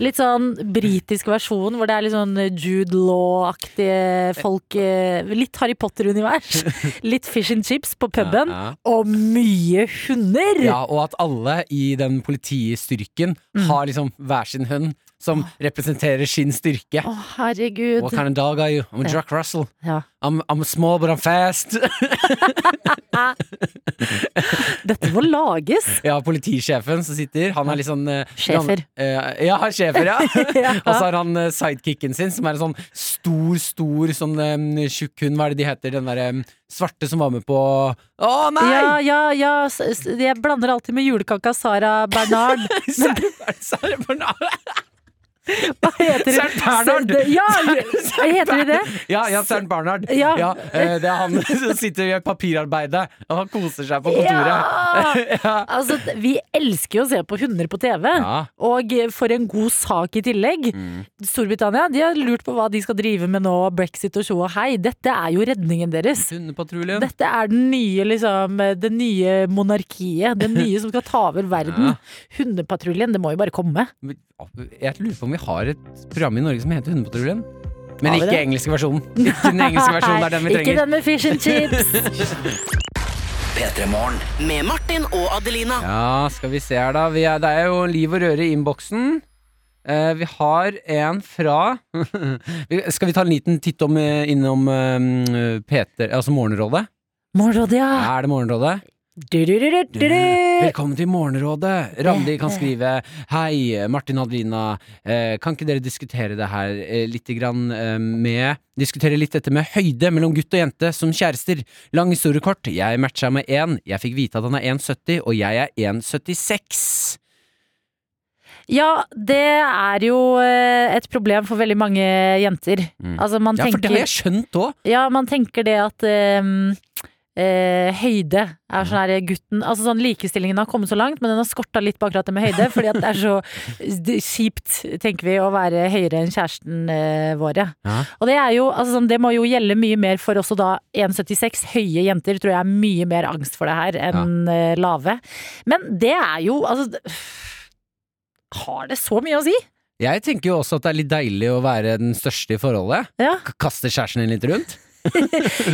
Speaker 2: Litt sånn britisk versjon hvor det er litt sånn Jude Law-aktige folk. eh, Litt Harry
Speaker 3: (laughs)
Speaker 2: Potter-univers. Litt fish and chips på puben.
Speaker 3: Ja,
Speaker 2: Og mye hunder!
Speaker 3: ja, og at alle i den politistyrken
Speaker 2: Mm.
Speaker 3: har liksom hver sin hund som representerer sin styrke.
Speaker 2: Å,
Speaker 3: What
Speaker 2: herregud.
Speaker 3: kind of dog are you? I'm a Jack Russell.
Speaker 2: Ja.
Speaker 3: I'm, I'm small, but I'm fast. (laughs)
Speaker 2: Dette må lages!
Speaker 3: Ja, politisjefen som sitter, han er litt sånn eh,
Speaker 2: Sjefer.
Speaker 3: gammel- eh, ja, sjefer, ja.
Speaker 2: (laughs)
Speaker 3: (laughs)
Speaker 2: Ja.
Speaker 3: Og så har han eh, sidekicken sin, som er en sånn stor, stor sånn eh, tjukk hund, hva er det de heter, den derre svarte som var med på Å nei!
Speaker 2: Ja, ja, ja. s- s- Jeg blander alltid med julekaka Sara
Speaker 3: (laughs)
Speaker 2: Bernard.
Speaker 3: Serr- Serr Bernard!
Speaker 2: Hva heter
Speaker 3: Søren Bernhard!
Speaker 2: S- Ja, heter de det?
Speaker 3: Ja, ja, Søren Bernhard.
Speaker 2: Ja.
Speaker 3: eh, det er han (laughs) som sitter og gjør papirarbeidet, og han koser seg på kontoret. (laughs)
Speaker 2: Ja! Altså, vi elsker jo å se på hunder på TV.
Speaker 3: Ja. Mm.
Speaker 2: Og for en god sak i tillegg. Storbritannia de har lurt på hva de skal drive med nå, brexit og tjo og hei. Dette er jo redningen deres.
Speaker 3: Hundepatruljen.
Speaker 2: Dette er den nye, liksom, det nye monarkiet. Det nye som skal ta over verden.
Speaker 3: Ja.
Speaker 2: Hundepatruljen, det må jo bare komme.
Speaker 3: Jeg lurer på om vi har et program i Norge som heter Hundepatruljen. Men
Speaker 2: Har vi
Speaker 3: ikke
Speaker 2: det?
Speaker 3: engelske versjonen.
Speaker 2: (laughs)
Speaker 3: Ikke den engelske versjonen, det er den vi
Speaker 2: Ikke
Speaker 3: trenger.
Speaker 2: den med fish and chips.
Speaker 4: Med Martin og Adelina.
Speaker 3: Ja, skal vi se her, da. Vi er, det er jo liv og røre i innboksen. Eh, vi har en fra (laughs) Vi- Skal vi ta en liten titt om, eh, innom eh, Peter, altså Morgenrådet?
Speaker 2: Morgenrådet, ja.
Speaker 3: Er det Morgenrådet?
Speaker 2: Du-du-du-du-du-du.
Speaker 3: Velkommen til Morgenrådet. Randi kan skrive Hei, Martin og Adelina. Eh, kan ikke dere diskutere det her eh, litt grann, eh, med Diskutere litt dette med høyde mellom gutt og jente som kjærester. Lang historie kort. Jeg matcha med én. Jeg fikk vite at han er 1,70, og jeg er 1,76.
Speaker 2: Ja, det er jo eh, et problem for veldig mange jenter.
Speaker 3: Mm.
Speaker 2: Altså, man
Speaker 3: Ja, for det har
Speaker 2: tenker
Speaker 3: jeg skjønt òg.
Speaker 2: Ja, man tenker det at ehm, eh, høyde er sånn her gutten Altså sånn likestillingen har kommet så langt, men den har skorta litt på akkurat det med høyde. Fordi at det er så
Speaker 3: (laughs)
Speaker 2: d- kjipt, tenker vi, å være høyere enn kjæresten eh, våre.
Speaker 3: Ja.
Speaker 2: Og det er jo altså sånn, det må jo gjelde mye mer for også da 1,76. Høye jenter tror jeg er mye mer angst for det her enn eh, lave. Men det er jo altså d- Har det så mye å si?
Speaker 3: Jeg tenker jo også at det er litt deilig å være den største i forholdet.
Speaker 2: Ja.
Speaker 3: K- Kaste kjæresten din litt rundt.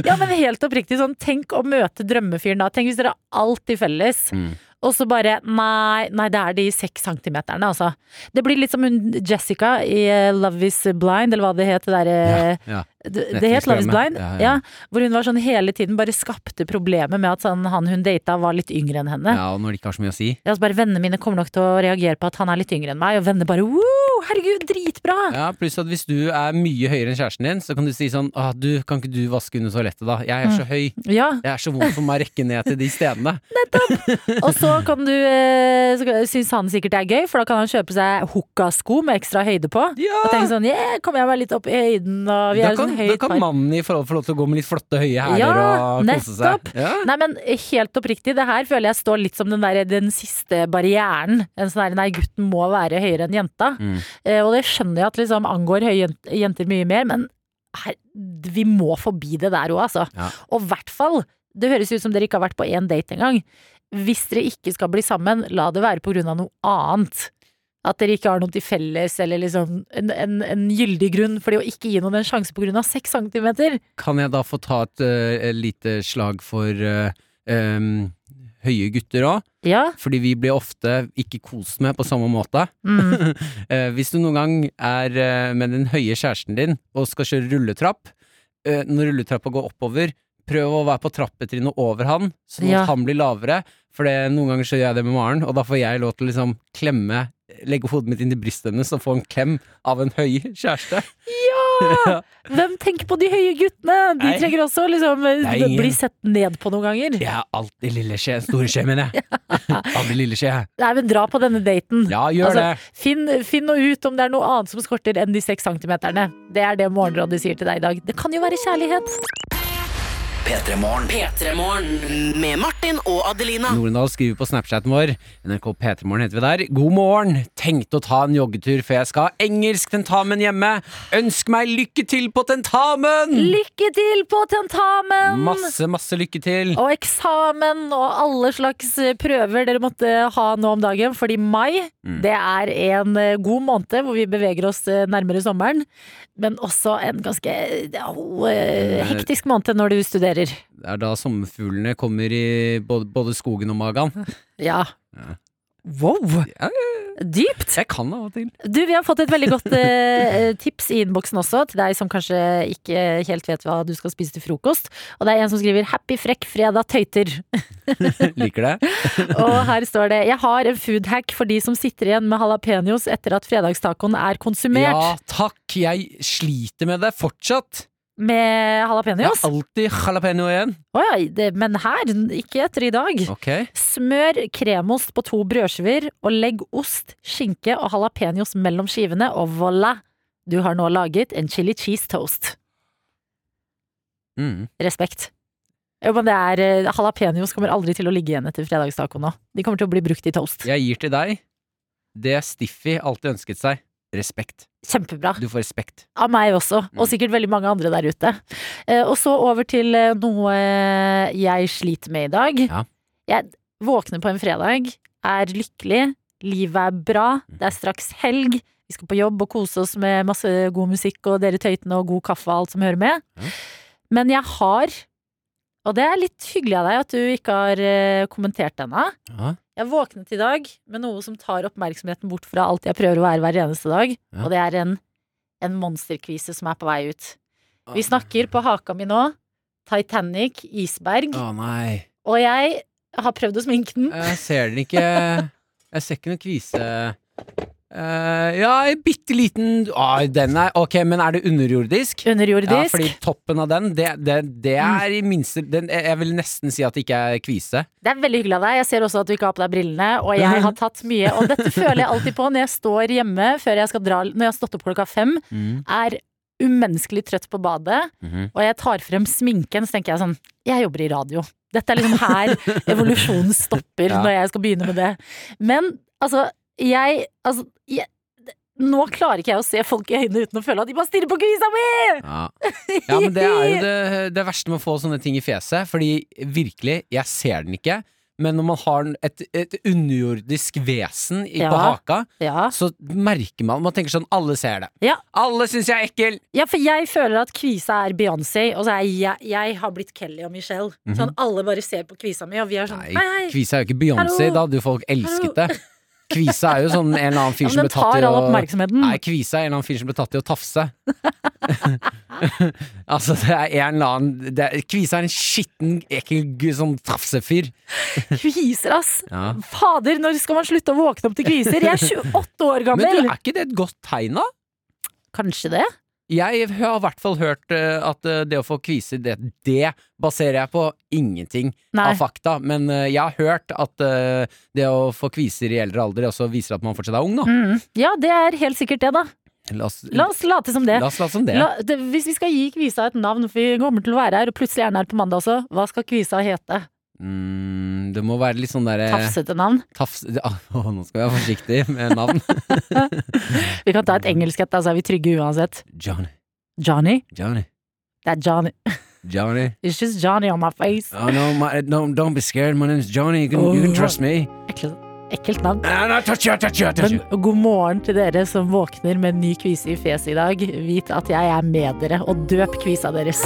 Speaker 2: Ja, men helt oppriktig sånn, tenk å møte drømmefyren da. Tenk hvis dere har alt i felles.
Speaker 3: Mm.
Speaker 2: Og så bare nei, nei, det er de seks centimeterne, altså. Det blir litt som hun Jessica i eh, Love Is Blind, eller hva det het. Det, der,
Speaker 3: Ja.
Speaker 2: eh, det, det het Love Is Blind, ja,
Speaker 3: Ja, ja.
Speaker 2: Hvor hun var sånn hele tiden bare skapte problemet med at sånn, han hun data var litt yngre enn henne. Ja.
Speaker 3: ja, og når de ikke har så mye å si.
Speaker 2: så bare Vennene mine kommer nok til å reagere på at han er litt yngre enn meg, og venner bare wow, herregud, dritbra!
Speaker 3: Ja, Pluss at hvis du er mye høyere enn kjæresten din, så kan du si sånn Åh, du, kan ikke du vaske under toalettet, da? Jeg er
Speaker 2: Mm.
Speaker 3: så høy.
Speaker 2: Ja,
Speaker 3: Det er så vondt for meg å rekke ned til de stedene.
Speaker 2: Og så kan du eh, så syns han sikkert det er gøy, for da kan han kjøpe seg hukkasko med ekstra høyde på.
Speaker 3: Ja!
Speaker 2: Og tenke sånn yeah, kommer jeg meg litt opp i høyden, og vi
Speaker 3: Da
Speaker 2: er jo
Speaker 3: kan,
Speaker 2: sånn
Speaker 3: da
Speaker 2: høyt
Speaker 3: kan
Speaker 2: par.
Speaker 3: mannen i forhold få lov til å gå med litt flotte, høye hæler
Speaker 2: Ja,
Speaker 3: og kose seg.
Speaker 2: nettopp.
Speaker 3: Ja,
Speaker 2: (laughs) Nei, men helt oppriktig, det her føler jeg står litt som den, der, den siste barrieren. En sånn der, nei, gutten må være høyere enn jenta.
Speaker 3: Mm.
Speaker 2: Eh, og det skjønner jeg at liksom angår høye jen- jenter mye mer, men her, vi må forbi det der òg, altså.
Speaker 3: Ja.
Speaker 2: Og i hvert fall, det høres ut som dere ikke har vært på én date engang. Hvis dere ikke skal bli sammen, la det være på grunn av noe annet. At dere ikke har noe til felles, eller liksom en, en, en gyldig grunn. Fordi å ikke gi noen en sjanse på grunn av seks centimeter
Speaker 3: Kan jeg da få ta et eh, lite slag for eh, em, høye gutter òg?
Speaker 2: Ja.
Speaker 3: Fordi vi blir ofte ikke kost med på samme måte.
Speaker 2: Mm.
Speaker 3: Eh, hvis du noen gang er eh, med den høye kjæresten din og skal kjøre rulletrapp, eh, når rulletrappa går oppover, prøv å være på trappetrinnet over han, sånn
Speaker 2: Ja.
Speaker 3: at han blir lavere. For det, noen ganger så gjør jeg det med Maren, og da får jeg lov til å liksom klemme Legge hodet mitt inn i brystet hennes og få en klem av en høy kjæreste.
Speaker 2: Ja! (laughs) Hvem tenker på de høye guttene? De
Speaker 3: Nei.
Speaker 2: trenger også liksom
Speaker 3: er ingen-
Speaker 2: bli sett ned på noen ganger.
Speaker 3: Jeg har alltid lille skje. Store skje, mener
Speaker 2: (laughs)
Speaker 3: jeg. Aldri lille skje.
Speaker 2: Nei, men dra på denne daten.
Speaker 3: Ja, gjør
Speaker 2: Altså, Finn, finn nå ut om det er noe annet som skorter enn de seks centimeterne. Det er det Morgenrådet sier til deg i dag. Det kan jo være kjærlighet.
Speaker 4: P3-morgen med Martin og Adelina.
Speaker 3: det.
Speaker 2: Ah.
Speaker 3: Norendal skriver på Snapchaten vår. NRK P3morgen heter vi der. God morgen. Tenkte å ta en joggetur før jeg skal ha engelsk tentamen hjemme. Ønsk meg lykke til på tentamen!
Speaker 2: Lykke til på tentamen!
Speaker 3: Masse, masse lykke til.
Speaker 2: Og eksamen og alle slags eh, prøver dere måtte ha nå om dagen. Fordi mai
Speaker 3: Mm.
Speaker 2: det er en eh, god måned hvor vi beveger oss eh, nærmere sommeren. Men også en ganske ja, ho- eh, hektisk måned når du studerer.
Speaker 3: Det er da sommerfuglene kommer i både, både skogen og
Speaker 2: (laughs)
Speaker 3: magen.
Speaker 2: Ja. Wow!
Speaker 3: Ja,
Speaker 2: Dypt!
Speaker 3: Jeg kan av og til.
Speaker 2: Du, vi har fått et veldig godt eh, tips i innboksen også, til deg som kanskje ikke helt vet hva du skal spise til frokost. Og det er en som skriver 'Happy frekk fredag tøyter'.
Speaker 3: Liker
Speaker 2: (laughs)
Speaker 3: det.
Speaker 2: Og her står det 'Jeg har en foodhack for de som sitter igjen med jalapeños etter at fredagstacoen er
Speaker 3: Ja,
Speaker 2: konsumert'.
Speaker 3: takk. Jeg sliter med det fortsatt.
Speaker 2: Med
Speaker 3: Jeg har
Speaker 2: jalapeños? Å
Speaker 3: alltid jalapeño igjen.
Speaker 2: ja, det, men her, ikke etter i dag.
Speaker 3: Ok.
Speaker 2: Smør kremost på to brødskiver, og legg ost, skinke og jalapeños mellom skivene, og voilà! Du har nå laget en chili cheese toast.
Speaker 3: Mm.
Speaker 2: Respekt. Jo, men det er eh, Jalapeños kommer aldri til å ligge igjen etter fredagstaco nå. De kommer til å bli brukt i toast.
Speaker 3: Jeg gir til deg det Stiffy alltid ønsket seg. Respekt.
Speaker 2: Kjempebra.
Speaker 3: Du får respekt.
Speaker 2: Av meg også,
Speaker 3: Mm.
Speaker 2: og sikkert veldig mange andre der ute. Eh, Og så over til eh, noe eh, jeg sliter med i dag.
Speaker 3: Ja.
Speaker 2: Jeg våkner på en fredag, er lykkelig, livet er bra,
Speaker 3: Mm.
Speaker 2: det er straks helg. Vi skal på jobb og kose oss med masse god musikk og dere tøytene og god kaffe og alt som hører med.
Speaker 3: Ja.
Speaker 2: Men jeg har, og det er litt hyggelig av deg at du ikke har eh, kommentert denne,
Speaker 3: Ja.
Speaker 2: jeg våknet i dag med noe som tar oppmerksomheten bort fra alt jeg prøver å være hver eneste dag,
Speaker 3: Ja.
Speaker 2: og det er en, en monsterkvise som er på vei ut. Vi
Speaker 3: Ah.
Speaker 2: snakker på haka mi nå. Titanic, isberg,
Speaker 3: Å nei.
Speaker 2: og jeg har prøvd å sminke den.
Speaker 3: Jeg ser den ikke Jeg ser ikke noen kvise. Eh, ja, en bitte liten ah, Den er Ok, men er det underjordisk? Ja,
Speaker 2: Underjordisk.
Speaker 3: fordi toppen av den, det, det, det er i minste den, Jeg jeg vil nesten si at det ikke er kvise.
Speaker 2: Det er veldig hyggelig av deg. Jeg ser også at du ikke har på deg brillene, og jeg
Speaker 3: (laughs)
Speaker 2: har tatt mye. Og dette føler jeg alltid på når jeg står hjemme før jeg skal dra, når jeg har stått opp klokka fem, er umenneskelig trøtt på badet,
Speaker 3: Mhm.
Speaker 2: og jeg tar frem sminken, så tenker jeg sånn Jeg jobber i radio. Dette er liksom
Speaker 3: (laughs)
Speaker 2: her evolusjonen stopper,
Speaker 3: Ja.
Speaker 2: når jeg skal begynne med det. Men altså, jeg Altså, jeg nå klarer ikke jeg å se folk i øynene uten å føle at de bare stirrer på kvisa mi!
Speaker 3: Ja. ja, men det er jo det, det verste med å få sånne ting i fjeset. Fordi virkelig, jeg ser den ikke. Men når man har en- et, et underjordisk vesen i, på
Speaker 2: Ja.
Speaker 3: haka,
Speaker 2: (laughs) Ja.
Speaker 3: så merker man Man tenker sånn Alle ser det.
Speaker 2: Ja.
Speaker 3: Alle syns jeg er ekkel!
Speaker 2: Ja, for jeg føler at kvisa er Beyoncé, og så er jeg, jeg har blitt Kelly og Michelle. Sånn alle bare ser på kvisa mi, og vi er sånn
Speaker 3: Mhm. Nei,
Speaker 2: hei, hei.
Speaker 3: Kvise er jo ikke Beyoncé.
Speaker 2: Hallo.
Speaker 3: Da hadde jo folk elsket det. Kvise er jo sånn en eller annen fyr
Speaker 2: Ja,
Speaker 3: som
Speaker 2: men
Speaker 3: ble
Speaker 2: den
Speaker 3: tatt
Speaker 2: tar
Speaker 3: i
Speaker 2: all
Speaker 3: å
Speaker 2: oppmerksomheten.
Speaker 3: Nei, kvise er en eller annen fyr som ble tatt i å tafse. (laughs) altså, det er en eller annen det er, Kvise er en skitten, ekkel gu- sånn tafsefyr.
Speaker 2: Kviser, ass!
Speaker 3: Ja.
Speaker 2: Fader, når skal man slutte å våkne opp til kviser? (laughs) Jeg er 28 år
Speaker 3: Men du,
Speaker 2: gammel!
Speaker 3: er ikke det et godt tegn, da?
Speaker 2: Kanskje det?
Speaker 3: Jeg har i hvert fall hørt eh, at eh, det å få kviser, det, det baserer jeg på ingenting
Speaker 2: Nei.
Speaker 3: av fakta. Men eh, jeg har hørt at eh, det å få kviser i eldre alder også viser at man fortsatt er ung, da.
Speaker 2: Mm. Ja, det er helt sikkert det, da.
Speaker 3: La oss
Speaker 2: La oss late som det.
Speaker 3: la oss late som det.
Speaker 2: La, det hvis vi skal gi kvisa et navn, for vi kommer til å være her, og plutselig er den her på mandag også, hva skal kvisa hete?
Speaker 3: Mm, det må være litt sånn derre
Speaker 2: Tafsete navn.
Speaker 3: Tafs... (laughs) Ah, Å, nå skal vi være forsiktig med
Speaker 2: (laughs)
Speaker 3: navn.
Speaker 2: Vi kan ta et engelsk et, da, så er vi trygge uansett.
Speaker 3: Johnny,
Speaker 2: Johnny?
Speaker 3: Johnny,
Speaker 2: Det er Johnny.
Speaker 3: Johnny.
Speaker 2: It's just Johnny on my face.
Speaker 3: Oh, no, my, no, don't be scared. My name's Johnny. You can, you can trust me.
Speaker 2: Ekkelt, ekkelt navn.
Speaker 3: Ah, no, touch you, touch you, touch
Speaker 2: Men
Speaker 3: you.
Speaker 2: god morgen til dere som våkner med en ny kvise i fjeset i dag. Vit at jeg er med dere, og døp kvisa deres.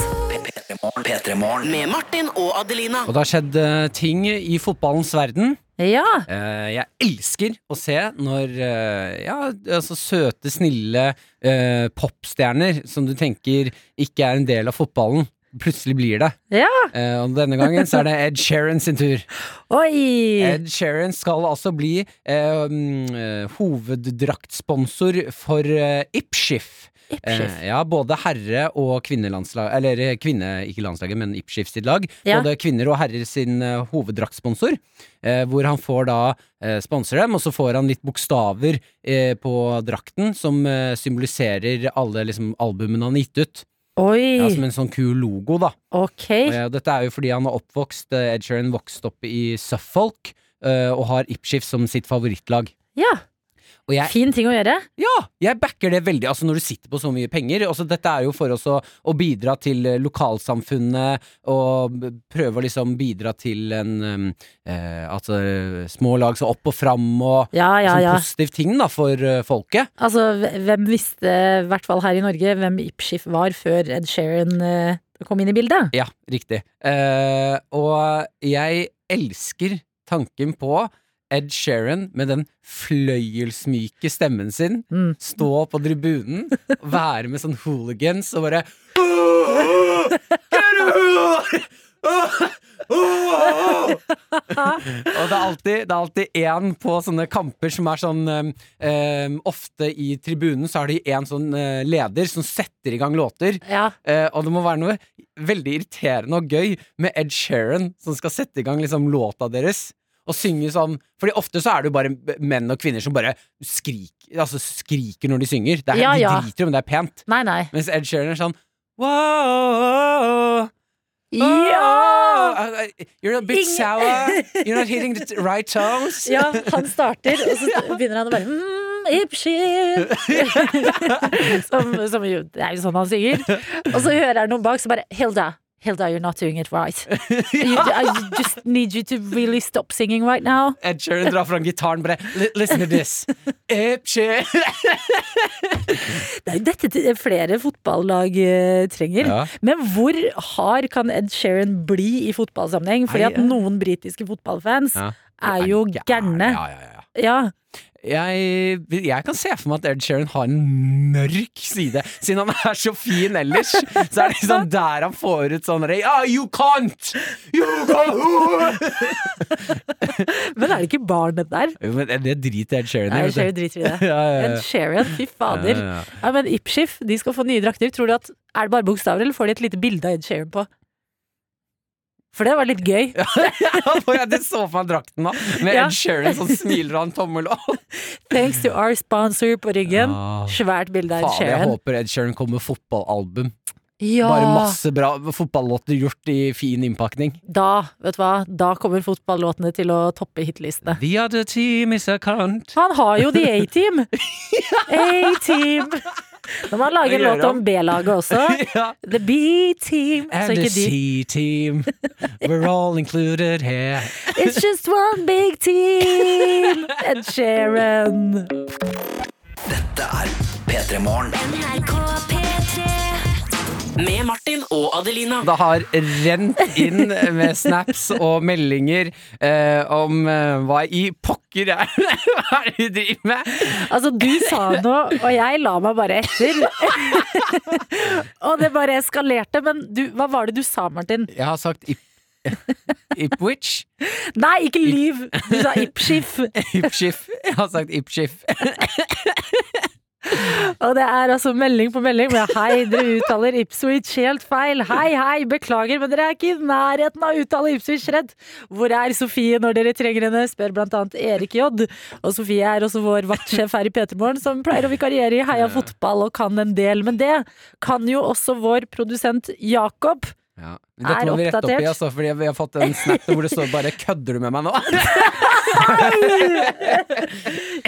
Speaker 4: Med Martin og Adelina.
Speaker 3: Og det har skjedd eh, ting i fotballens verden.
Speaker 2: Ja,
Speaker 3: Eh, jeg elsker å se når eh, ja, altså søte, snille eh, popstjerner som du tenker ikke er en del av fotballen, plutselig blir det.
Speaker 2: ja.
Speaker 3: Eh, og denne gangen så er det Ed Sheeran sin tur.
Speaker 2: Oi!
Speaker 3: Ed Sheeran skal altså bli eh, mm, eh, hoveddraktsponsor for eh, Ipshif.
Speaker 2: Ipschiff.
Speaker 3: Eh, ja, både herre- og kvinnelandslag Eller eh, kvinne, ikke landslaget, men Ipschiff sitt lag.
Speaker 2: Ja.
Speaker 3: Både kvinner og herrer sin eh, hoveddraktsponsor. Eh, hvor han får da eh, sponse dem, og så får han litt bokstaver eh, på drakten som eh, symboliserer alle liksom, albumene han har gitt ut. Ja,
Speaker 2: Oi,
Speaker 3: som en sånn kul logo, da. Og,
Speaker 2: ok.
Speaker 3: eh, dette er jo fordi han har oppvokst eh, Ed Sheeran vokste opp i Suffolk, eh, og har Ipschiff som sitt favorittlag.
Speaker 2: Ja,
Speaker 3: Og jeg
Speaker 2: fin ting å gjøre.
Speaker 3: ja, jeg backer det veldig. Altså Når du sitter på så mye penger. Altså Dette er jo for oss å, å bidra til eh, lokalsamfunnet og b- prøve å liksom bidra til en em, eh, At eh, små lag skal opp og fram og
Speaker 2: Ja, ja,
Speaker 3: sånn
Speaker 2: ja.
Speaker 3: positiv ting da for eh, folket.
Speaker 2: Altså, hve- hvem visste, i hvert fall her i Norge, hvem Ipschiff var før Ed Sheeran eh, kom inn i bildet?
Speaker 3: Ja, riktig. Eh, og jeg elsker tanken på Ed Sheeran med den fløyelsmyke stemmen sin
Speaker 2: Mm.
Speaker 3: stå på tribunen, være med sånn hooligans og bare Og det er alltid Det er alltid én på sånne kamper som er sånn um, um, Ofte i tribunen så har de én sånn eh, leder som setter i gang låter.
Speaker 2: Ja,
Speaker 3: Eh, og det må være noe veldig irriterende og gøy med Ed Sheeran som skal sette i gang liksom, låta deres. Og synge sånn Fordi ofte så er det jo bare menn og kvinner som bare skriker, altså, skriker når de synger. Det er,
Speaker 2: Ja, ja.
Speaker 3: De driter i om det er pent.
Speaker 2: nei, nei.
Speaker 3: Mens Ed Sheeran er sånn Wow,
Speaker 2: Ja!
Speaker 3: oh, You're a bit
Speaker 2: Ingen- (laughs)
Speaker 3: sour. You're not hitting the right tones.
Speaker 2: Ja, han starter, og så begynner han å bare mm,
Speaker 3: (laughs)
Speaker 2: Ipschiff som, som jo, det er jo sånn han synger. Og så hører han noen bak som bare Hilda, Hilda, you're not doing it
Speaker 3: (laughs)
Speaker 2: right. You, I just need you to really stop singing right now.
Speaker 3: (laughs) Ed Sheeran drar fram gitaren bare "Li- Listen to
Speaker 2: (laughs)
Speaker 3: this. Ed Sheeran.
Speaker 2: Det er jo dette til- flere fotballag eh, trenger.
Speaker 3: Ja.
Speaker 2: Men hvor hard kan Ed Sheeran bli i fotballsammenheng? Fordi
Speaker 3: Nei,
Speaker 2: at
Speaker 3: ja.
Speaker 2: noen britiske fotballfans
Speaker 3: Ja.
Speaker 2: er jo gærne.
Speaker 3: Ja, ja, ja.
Speaker 2: Ja.
Speaker 3: jeg, jeg kan se for meg at Ed Sheeran har en mørk side. Siden han er så fin ellers, så er det liksom der han får ut sånn derre, Ja, you can't! You can't!
Speaker 2: Men er det ikke barnet der?
Speaker 3: Jo, Men det driter Ed Sheeran
Speaker 2: Nei,
Speaker 3: i.
Speaker 2: Ed Sheeran
Speaker 3: vet du.
Speaker 2: driter i det.
Speaker 3: (laughs) Ja, ja,
Speaker 2: Ed
Speaker 3: ja.
Speaker 2: Sheeran, fy fader.
Speaker 3: Ja, (laughs) ja, ja.
Speaker 2: Ja, men Ipschiff, de skal få nye drakter. Tror du at Er det bare bokstaver, eller får de et lite bilde av Ed Sheeran på? For det var litt gøy.
Speaker 3: Ja, for jeg- Det så for meg drakten da, med
Speaker 2: Ja.
Speaker 3: Ed Sheeran som smiler og en tommel opp.
Speaker 2: (laughs) Thanks to our sponsor på ryggen.
Speaker 3: Ja.
Speaker 2: Svært bilde av Ed
Speaker 3: Faen, jeg
Speaker 2: Sheeran.
Speaker 3: håper Ed Sheeran kommer med fotballalbum.
Speaker 2: Ja.
Speaker 3: Bare masse bra fotballåter gjort i fin innpakning.
Speaker 2: Da, vet du hva, da kommer fotballåtene til å toppe hitlistene.
Speaker 3: The other team is a cunt.
Speaker 2: Han har jo The
Speaker 3: (laughs)
Speaker 2: A-Team! A-Team! Når man lager
Speaker 3: Det
Speaker 2: en
Speaker 3: gjør
Speaker 2: låt om
Speaker 3: han.
Speaker 2: B-laget
Speaker 3: (laughs)
Speaker 2: også.
Speaker 3: (laughs) Ja.
Speaker 2: The B-Team. Så
Speaker 3: And the
Speaker 2: ikke de.
Speaker 3: C-team, we're all included here.
Speaker 2: It's just one big team! Ed Sheeran.
Speaker 4: NRK P3 Med Martin og Adelina
Speaker 3: Det har rent inn med snaps og meldinger eh, om eh, hva i pokker er Hva er det (laughs) du driver med?
Speaker 2: Altså, du sa noe, og jeg la meg bare etter. (laughs) og det bare eskalerte. Men du, hva var det du sa, Martin?
Speaker 3: Jeg har sagt ip Ipwich.
Speaker 2: Nei, ikke lyv! Du sa Ipschiff.
Speaker 3: Ipschiff. Jeg har sagt Ipschiff.
Speaker 2: Og det er altså melding på melding med hei, dere uttaler Ipswich helt feil. Hei, hei, beklager, men dere er ikke i nærheten av å uttale Ipswich redd. Hvor er Sofie når dere trenger henne, spør blant annet Erik J. Og Sofie er også vår vaktsjef her i Petermorgen, som pleier å vikariere i Heia fotball og kan en del. Men det kan jo også vår produsent Jakob.
Speaker 3: Ja. men Dette må
Speaker 2: Er
Speaker 3: vi rette opp i,
Speaker 2: oppdatert.
Speaker 3: altså, fordi vi har fått en snap hvor det står bare 'kødder du med meg nå?' (laughs)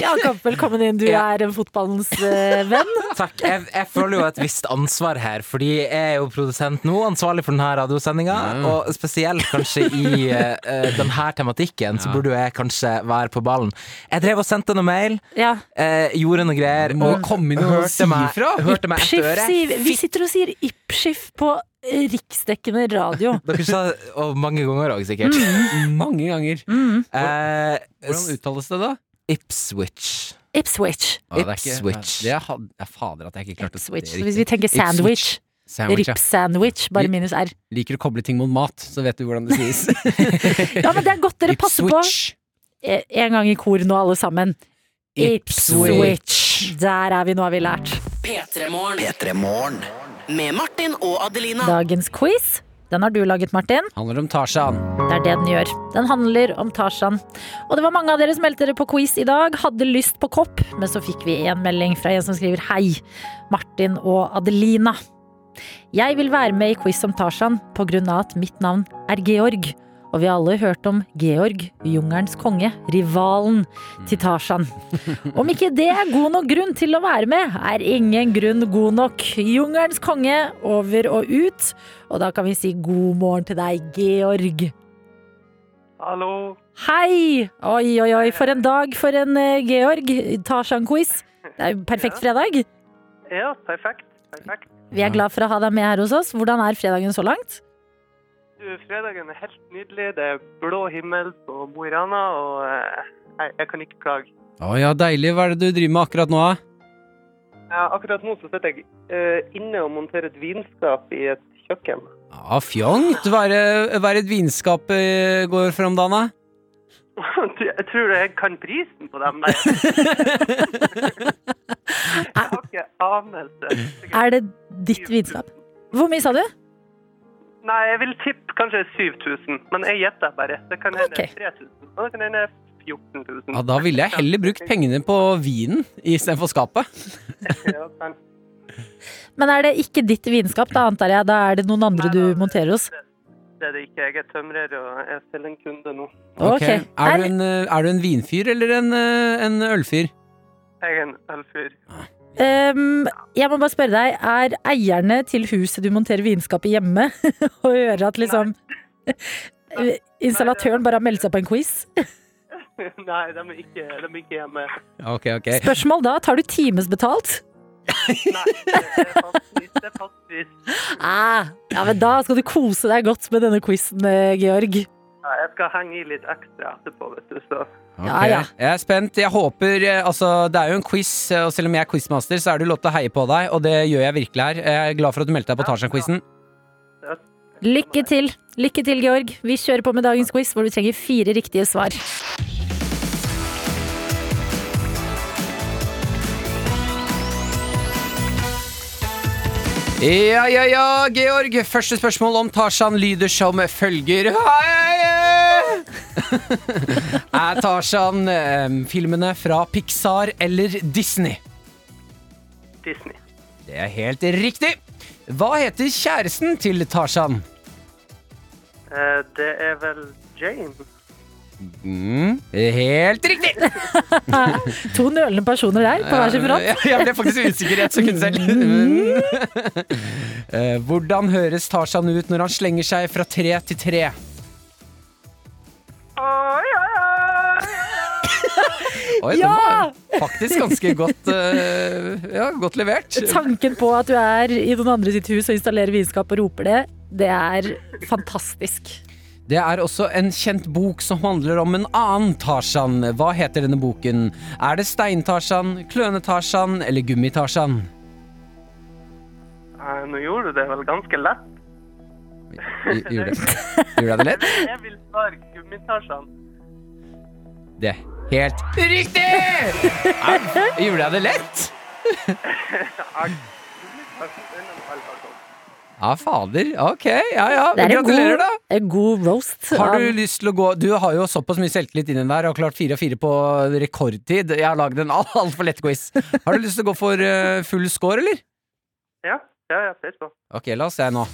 Speaker 2: Jakob, velkommen inn. Du
Speaker 5: Ja.
Speaker 2: er en fotballens eh, venn.
Speaker 5: Takk. Jeg, jeg føler jo et visst ansvar her, fordi jeg er jo produsent nå, ansvarlig for denne radiosendinga. Og spesielt kanskje i eh, denne tematikken, så burde jo jeg kanskje være på ballen. Jeg drev og sendte noe mail,
Speaker 2: Ja.
Speaker 5: eh, gjorde noe greier,
Speaker 3: Må
Speaker 5: og
Speaker 3: komme inn og si
Speaker 5: meg,
Speaker 3: ifra.
Speaker 5: hørte meg
Speaker 2: Skiff,
Speaker 5: etter øret.
Speaker 2: sier, vi sitter og sier Ipschiff på eh, riksdekkende radio.
Speaker 5: Dere sa det og mange ganger òg, sikkert.
Speaker 6: Mm.
Speaker 3: Mange ganger.
Speaker 2: Mm.
Speaker 5: Eh,
Speaker 3: Hvordan uttales det, da?
Speaker 5: Ipswich.
Speaker 2: Ipswich.
Speaker 3: Ja, Ah, det er ikke-
Speaker 5: Ipswich.
Speaker 3: Det er, had- ja, fader at jeg ikke klarte å si det
Speaker 2: Switch. Så
Speaker 3: riktig.
Speaker 2: hvis vi tenker sandwich,
Speaker 3: Sandwich, ja.
Speaker 2: rip-sandwich, bare minus R.
Speaker 3: Liker å koble ting mot mat, så vet du hvordan det sies.
Speaker 2: Ja, men det er
Speaker 3: (laughs)
Speaker 2: godt dere passer på. Eh, En gang i kor nå, alle sammen. Ipswich. Der er vi, nå har vi lært.
Speaker 4: P3morgen. Med Martin og Adelina.
Speaker 2: Dagens quiz, den har du laget, Martin.
Speaker 3: Handler om Tarzan.
Speaker 2: Det er det den gjør. Den handler om Tarzan. Og det var mange av dere som meldte dere på quiz i dag. Hadde lyst på kopp, men så fikk vi en melding fra en som skriver Hei, Martin og Adelina. Jeg vil være med i quiz om Tarzan på grunn av at mitt navn er Georg. Og vi har alle hørt om Georg, jungelens konge, rivalen til Tarzan. Om ikke det er god nok grunn til å være med, er ingen grunn god nok. Jungelens konge, over og ut. Og da kan vi si god morgen til deg, Georg.
Speaker 7: Hallo.
Speaker 2: Hei! Oi, oi, oi, for en dag for en eh, Georg. Tarzan-quiz. Det er jo perfekt fredag.
Speaker 7: Ja, perfekt. perfekt.
Speaker 2: Vi er glad for å ha deg med her hos oss. Hvordan er fredagen så langt?
Speaker 7: Du, fredagen er helt nydelig. Det er blå himmel på Mo i Rana, og eh, nei, jeg kan ikke klage.
Speaker 3: Å ja, deilig. Hva er det du driver med akkurat nå, da?
Speaker 7: Ja, akkurat nå så sitter jeg eh, inne og monterer et vinskap i et kjøkken. (laughs)
Speaker 3: Ja, fjongt. Hva er det- hva er det et vinskap eh, går for om dagen, da?
Speaker 7: Du, jeg tror jeg kan prisen på
Speaker 2: (laughs)
Speaker 7: dem der. jeg har ikke anelse. Sikkert.
Speaker 2: Er det ditt vitenskap? Hvor mye sa du?
Speaker 7: Nei, jeg vil tippe kanskje 7000, men jeg gjetter bare. Det kan hende
Speaker 2: Ok.
Speaker 7: 3000, og det kan hende 14 000.
Speaker 3: Ja, da ville jeg heller brukt pengene på vinen istedenfor skapet.
Speaker 7: Ja, sant.
Speaker 2: Men er det ikke ditt vitenskap, da antar jeg? Da er det noen andre du monterer hos?
Speaker 7: Det er det ikke. Jeg er tømrer, og jeg er selv en kunde nå.
Speaker 2: Ok.
Speaker 3: Er, du en, eh, er du en vinfyr eller en, eh, en ølfyr?
Speaker 7: Jeg er en ølfyr. (laughs)
Speaker 2: Ehm, jeg må bare spørre deg, er eierne til huset du monterer vinskapet i hjemme, (laughs) og hører at liksom (laughs) installatøren bare har meldt seg på en quiz?
Speaker 7: Nei, de er ikke, de er ikke hjemme.
Speaker 3: Ok, ok.
Speaker 2: Spørsmål da, tar du timesbetalt?
Speaker 7: Nei, det er fastpris. Det er fastpris.
Speaker 2: Ah, ja, men da skal du kose deg godt med denne quizen, eh, Georg.
Speaker 7: Ja, jeg skal henge i litt ekstra etterpå, vet du. Så
Speaker 3: Ok.
Speaker 2: Ja, ja.
Speaker 3: Jeg er spent. Jeg håper eh, Altså, det er jo en quiz, eh, og selv om jeg er quizmaster, så er det jo lov til å heie på deg, og det gjør jeg virkelig her. Jeg er glad for at du meldte deg på Tarzan-quizen.
Speaker 2: Lykke til. Lykke til, Georg. Vi kjører på med dagens quiz, hvor du trenger fire riktige svar.
Speaker 3: Ja, ja, ja, Georg. Første spørsmål om Tarzan lyder som følger. Er Tarzan eh, filmene fra Pixar eller Disney?
Speaker 7: Disney.
Speaker 3: Det er helt riktig. Hva heter kjæresten til Tarzan?
Speaker 7: Eh, Det er vel Jane.
Speaker 3: Mm, helt riktig!
Speaker 2: To nølende personer der, på hver sin front.
Speaker 3: Jeg, jeg ble faktisk usikker i et sekund selv. Eh, Hvordan høres Tarzan ut når han slenger seg fra tre til tre?
Speaker 7: Oi, oi, oi!
Speaker 3: Oi, det
Speaker 2: Ja!
Speaker 3: var faktisk ganske godt, eh, ja, godt levert.
Speaker 2: Tanken på at du er i noen andre sitt hus og installerer vinskap og roper det, det er fantastisk.
Speaker 3: Det er også en kjent bok som handler om en annen Tarzan. Hva heter denne boken? Er det Stein-Tarzan, Kløne-Tarzan eller Gummi-Tarzan?
Speaker 7: Eh, Nå gjorde du det vel ganske lett.
Speaker 3: Gjorde gjorde jeg det lett?
Speaker 7: Jeg vil svare Gummitasjen.
Speaker 3: Det er helt
Speaker 2: (laughs)
Speaker 3: riktig! Au, Gjorde jeg det lett? Ja, fader. Ok, ja ja.
Speaker 2: Det er en
Speaker 3: Gratulerer,
Speaker 2: god,
Speaker 3: da.
Speaker 2: en Eh, god roast.
Speaker 3: Har du
Speaker 2: av-
Speaker 3: lyst til å gå Du har jo såpass mye selvtillit inni der og har klart fire av fire på rekordtid. Jeg har lagd en al- altfor lett quiz. Har du lyst til å gå for eh, full score, eller?
Speaker 7: Ja, ja, ja, pes på.
Speaker 3: Ok, la oss se nå.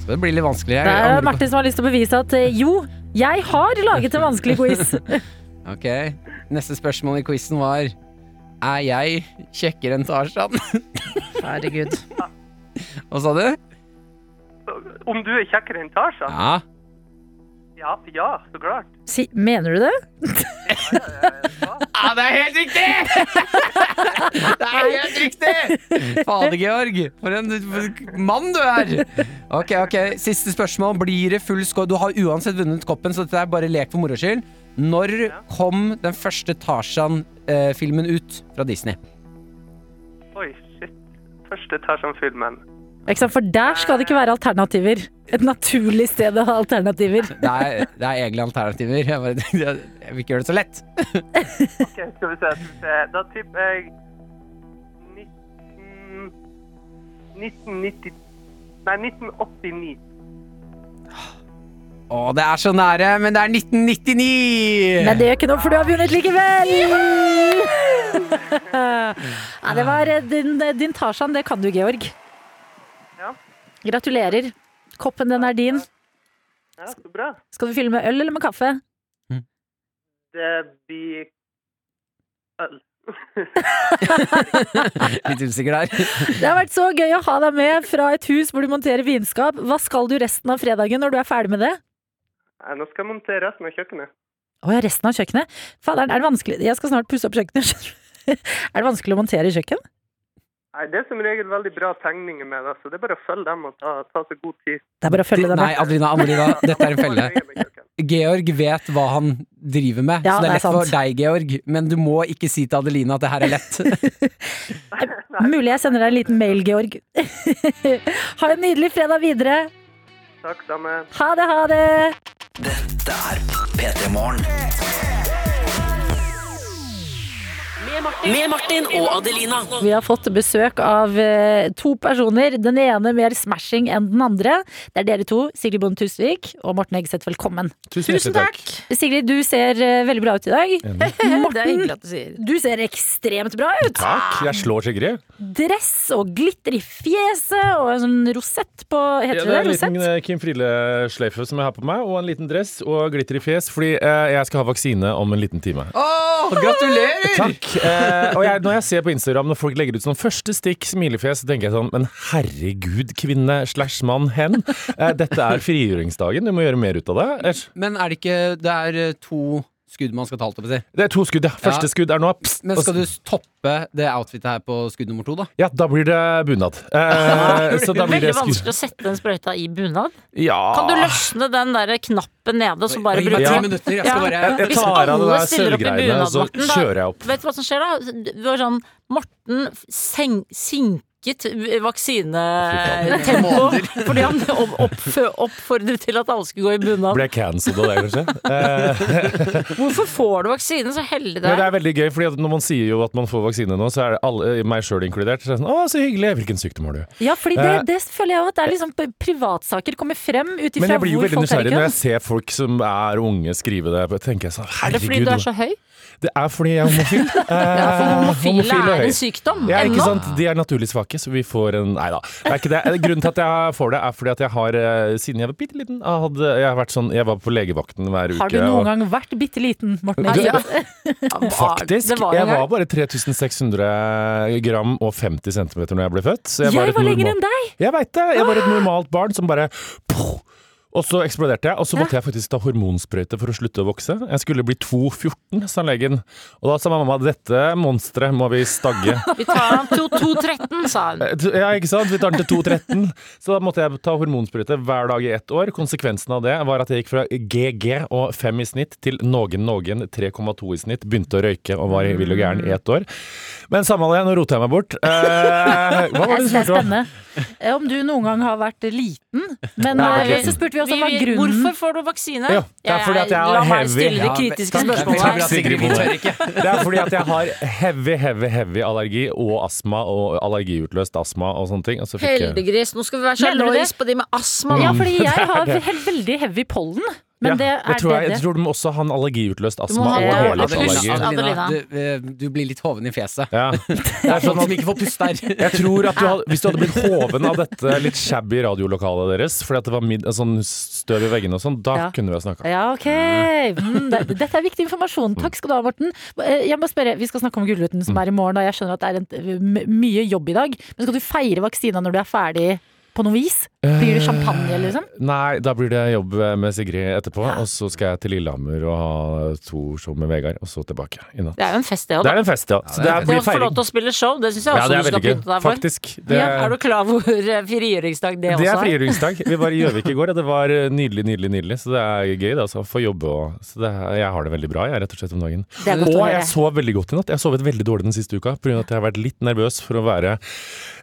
Speaker 3: Skal det bli litt vanskelig her.
Speaker 2: det er
Speaker 3: jeg angrer på-
Speaker 2: Martin som har lyst til å bevise at eh, jo, jeg har laget en vanskelig quiz.
Speaker 3: Ok, Neste spørsmål i quizen var Er jeg kjekkere enn Tarzan? (laughs)
Speaker 2: Herregud.
Speaker 3: Hva sa du?
Speaker 7: Om du er kjekkere enn Tarzan?
Speaker 3: Ja.
Speaker 7: Ja, ja, så klart.
Speaker 2: Si, mener du det?
Speaker 3: Ja, det er helt riktig! (laughs) Det er helt riktig! Fader, Georg. For en mann du er. Ok, ok, Siste spørsmål. Blir det full score? Du har uansett vunnet koppen, så dette er bare lek for moro skyld. Når kom den første Tarzan-filmen ut fra Disney?
Speaker 7: Oi, shit. Første Tarzan-filmen.
Speaker 2: Ikke sant? For der skal det ikke være alternativer. Et naturlig sted å ha alternativer.
Speaker 3: Det er, det er egentlig alternativer. Jeg, bare, tenkte, jeg vil ikke gjøre det så lett.
Speaker 7: Ok, skal vi se. Skal vi se. Da tipper jeg 19... 1990... Nei, 1989.
Speaker 3: Å, det er så nære, men det er 1999!
Speaker 2: Men det gjør ikke noe, for du har vunnet likevel! ja, det var eh, din, din Tarzan. Det kan du, Georg.
Speaker 7: Ja.
Speaker 2: Gratulerer. Koppen, den er din.
Speaker 7: Ja, så bra.
Speaker 2: Skal du fylle med øl eller med kaffe?
Speaker 7: Det blir øl.
Speaker 3: Litt usikker der.
Speaker 2: Det har vært så gøy å ha deg med fra et hus hvor du monterer vinskap. Hva skal du resten av fredagen når du er ferdig med det?
Speaker 7: Nei, nå skal jeg montere resten av kjøkkenet.
Speaker 2: Å ja, resten av kjøkkenet? Faderen, er det vanskelig Jeg skal snart pusse opp kjøkkenet. skjønner du. (laughs) er det vanskelig å montere kjøkken?
Speaker 7: Nei, Det er som regel veldig bra tegninger med det, så det er bare å følge dem og ta, ta seg god tid.
Speaker 2: Det er bare å følge deg
Speaker 3: Nei,
Speaker 2: med.
Speaker 3: Adelina, Adelina, dette er en felle.
Speaker 7: Bare å legge meg i kjøkkenet.
Speaker 3: Georg vet hva han driver med,
Speaker 2: Ja, det
Speaker 3: så det
Speaker 2: er
Speaker 3: er lett for
Speaker 2: sant.
Speaker 3: deg, Georg. Men du må ikke si til Adelina at det her er lett.
Speaker 2: Mulig jeg sender deg en liten mail, Georg. (laughs) ha en nydelig fredag videre.
Speaker 7: Takk, samme.
Speaker 2: Ha det, ha det!
Speaker 4: Med Martin og Adelina.
Speaker 2: Vi har fått besøk av eh, to personer. Den ene mer smashing enn den andre. Det er dere to, Sigrid Bonde Tusvik og Morten Eggeseth. Velkommen.
Speaker 8: Tusen takk.
Speaker 2: Sigrid, du ser eh, veldig bra ut i dag. (laughs)
Speaker 6: Det er hyggelig at du sier.
Speaker 2: Du ser ekstremt bra ut!
Speaker 8: Takk, jeg slår Sigrid.
Speaker 2: Dress og glitter i fjeset og en sånn rosett på Heter det
Speaker 8: Ja, det er en
Speaker 2: det?
Speaker 8: liten
Speaker 2: Rosett?
Speaker 8: eh, Kim Friele-sløyfe som jeg har på meg, og en liten dress og glitter i fjes, fordi eh, jeg skal ha vaksine om en liten time.
Speaker 3: Å, gratulerer!
Speaker 8: Takk. Eh, og jeg, når jeg ser på Instagram når folk legger ut sånn første stikk smilefjes, så tenker jeg sånn Men herregud, kvinne slash mann hen. Eh, dette er frigjøringsdagen, du må gjøre mer ut av det. Ellers-
Speaker 3: Men er det ikke Det er eh, to skudd man skal ta, holdt jeg på å si.
Speaker 8: Det er to skudd, ja. Første
Speaker 3: Ja.
Speaker 8: skudd er nå. Pst,
Speaker 3: Men
Speaker 8: og
Speaker 3: skal du
Speaker 8: s-
Speaker 3: toppe det outfitet her på skudd nummer to, da?
Speaker 8: Ja, da blir det bunad.
Speaker 6: (laughs)
Speaker 8: Eh, så da blir
Speaker 6: Veldig
Speaker 8: det skudd.
Speaker 6: vanskelig å sette den sprøyta i bunad.
Speaker 8: Ja.
Speaker 6: Kan du løsne den der knappen nede, og så
Speaker 3: Gi
Speaker 6: bare
Speaker 3: meg
Speaker 6: bruke
Speaker 8: Ja.
Speaker 3: ti
Speaker 6: den?
Speaker 3: minutter, jeg skal
Speaker 6: Ja.
Speaker 3: bare
Speaker 8: Jeg
Speaker 6: Hvis
Speaker 8: tar av det
Speaker 6: alle
Speaker 8: der
Speaker 6: stiller opp i
Speaker 8: sølvgreiene, og så
Speaker 6: bunad, Morten, da-
Speaker 8: kjører jeg opp.
Speaker 6: Vet du hva som skjer da? Du var sånn Morten seng, sinket vaksinetempo fordi han opp- oppfø- oppfordret til at alle skulle gå i bunad.
Speaker 8: Ble jeg cancelled av det,
Speaker 6: (laughs)
Speaker 8: kanskje? Eh,
Speaker 6: Hvorfor får du vaksinen? Så heldig det
Speaker 8: men det
Speaker 6: er.
Speaker 8: er veldig gøy, fordi at når man sier jo at man får vaksine nå, så er det alle, meg sjøl inkludert, så er det sånn Å, så hyggelig! Hvilken sykdom har du?
Speaker 2: Ja, fordi det,
Speaker 8: Eh,
Speaker 2: det føler jeg jo at det er liksom p- privatsaker kommer frem ut
Speaker 8: Men
Speaker 2: ifra
Speaker 8: jeg blir jo
Speaker 2: hvor
Speaker 8: veldig
Speaker 2: folk er i
Speaker 8: nysgjerrig når
Speaker 2: køen.
Speaker 8: jeg ser folk som er unge skrive det. Jeg tenker jeg sånn,
Speaker 6: Er det fordi
Speaker 8: herregud.
Speaker 6: du er så høy?
Speaker 8: Det er fordi jeg er homofil.
Speaker 6: (laughs) Ja, for
Speaker 8: Eh,
Speaker 6: homofile
Speaker 8: og
Speaker 6: er
Speaker 8: høy.
Speaker 6: en sykdom
Speaker 8: Ja, ikke
Speaker 6: ennå.
Speaker 8: sant? De er naturlig svake, så vi får en Nei da. Det er ikke det. Grunnen til at jeg får det, er fordi at jeg har eh, Siden jeg var bitte liten, jeg, hadde, jeg, har vært sånn, jeg var på legevakten hver uke.
Speaker 2: Har du
Speaker 8: og-
Speaker 2: noen gang vært bitte liten, Morten?
Speaker 8: Du-
Speaker 2: Eggeseth?
Speaker 8: Faktisk.
Speaker 6: Det var en
Speaker 8: jeg
Speaker 6: gang.
Speaker 8: var bare 3600 gram og 50 cm når jeg ble født. Så
Speaker 2: Jeg var,
Speaker 8: et normal-
Speaker 2: lenger enn deg!
Speaker 8: Jeg veit det! Jeg
Speaker 6: Ah.
Speaker 8: var et normalt barn som bare Poh! Og så eksploderte jeg, og så måtte jeg faktisk ta hormonsprøyte for å slutte å vokse. Jeg skulle bli 2,14, sa legen. Og da sa mamma dette monsteret må vi stagge.
Speaker 6: (laughs) Vi tar han til 2.13, sa hun.
Speaker 8: Eh, Ja, ikke sant? Vi tar den til 2,13. Så da måtte jeg ta hormonsprøyte hver dag i ett år. Konsekvensen av det var at jeg gikk fra GG og 5 i snitt til noen noen 3,2 i snitt. Begynte å røyke og var vill og gæren i ett år. Men samme av det, nå roter jeg meg bort. Eh, hva var det du
Speaker 2: Det er
Speaker 8: spurte om?
Speaker 2: spennende. Eh, Om du noen gang har vært liten. Men
Speaker 8: Nei,
Speaker 2: eh,
Speaker 8: ok.
Speaker 2: så spurte vi også
Speaker 6: Vi-
Speaker 2: hva
Speaker 6: vi-
Speaker 2: grunnen
Speaker 6: Hvorfor får du vaksine?
Speaker 8: Ja, det er fordi at jeg er
Speaker 6: la meg
Speaker 8: heavy.
Speaker 6: stille
Speaker 3: Ja,
Speaker 6: de kritiske
Speaker 3: men-
Speaker 6: spørsmålene her.
Speaker 8: Takk, Sigrid
Speaker 3: Vi tør
Speaker 8: Bonde.
Speaker 3: ikke.
Speaker 8: Det er fordi at jeg har heavy, heavy, heavy allergi og astma og allergiutløst astma og sånne ting. Og så fikk jeg
Speaker 6: Heldiggris, nå skal vi være
Speaker 2: Mener du
Speaker 6: sjaluis på de med astma.
Speaker 2: Ja, fordi
Speaker 6: (laughs)
Speaker 2: jeg har he- veldig heavy pollen. Men
Speaker 8: Ja,
Speaker 2: det
Speaker 8: jeg
Speaker 2: er
Speaker 8: tror jeg,
Speaker 2: det
Speaker 8: jeg
Speaker 2: det.
Speaker 8: tror du må også ha en allergiutløst astma
Speaker 6: ha
Speaker 8: og
Speaker 6: det.
Speaker 8: helhetsallergi.
Speaker 3: Adelina, Adelina,
Speaker 6: Adelina.
Speaker 3: du, eh, du blir litt hoven i fjeset.
Speaker 8: Ja.
Speaker 3: Det (laughs) er sånn at vi ikke får puste her.
Speaker 8: Jeg tror at du hadde, Hvis du hadde blitt hoven av dette litt shabby radiolokalet deres, fordi at det var mid, sånn støv i veggene og sånn, da
Speaker 2: Ja.
Speaker 8: kunne vi ha snakka.
Speaker 2: Ja, ok. Mm, det, dette er viktig informasjon. Takk skal du ha, Morten. Eh, Jeg må spørre, Vi skal snakke om Gullruten
Speaker 8: Mm.
Speaker 2: som er i morgen, og jeg skjønner at det er en, eh, m- mye jobb i dag. Men skal du feire vaksina når du er ferdig på noe vis?
Speaker 8: Eh,
Speaker 2: Blir det champagne, eller liksom?
Speaker 8: Nei, da blir det jobb med Sigrid etterpå, og så skal jeg til Lillehammer og ha to show med Vegard, og så tilbake i natt.
Speaker 6: Det er jo en fest, det òg.
Speaker 8: Det er en fest, ja. Så det
Speaker 6: Det
Speaker 8: blir
Speaker 6: å få lov
Speaker 8: feiring.
Speaker 6: til å spille show, det syns jeg
Speaker 8: Ja,
Speaker 6: også
Speaker 8: det er
Speaker 6: du skal
Speaker 8: veldig
Speaker 6: pynte
Speaker 8: gøy.
Speaker 6: deg for.
Speaker 8: Faktisk. Det
Speaker 6: Ja, er du klar over eh, frigjøringsdag det,
Speaker 8: Det er
Speaker 6: også er?
Speaker 8: frigjøringsdag. Vi
Speaker 6: (laughs)
Speaker 8: var i Gjøvik i går, og det var eh, nydelig, nydelig, nydelig. Så det er gøy, det. Altså, få jobbe og så det er, Jeg har det veldig bra, jeg, rett og slett, om dagen.
Speaker 2: Det er godt å
Speaker 8: Og
Speaker 2: høre.
Speaker 8: jeg sov veldig godt i natt. Jeg har sovet veldig dårlig den siste uka pga. at jeg har vært litt nervøs for å være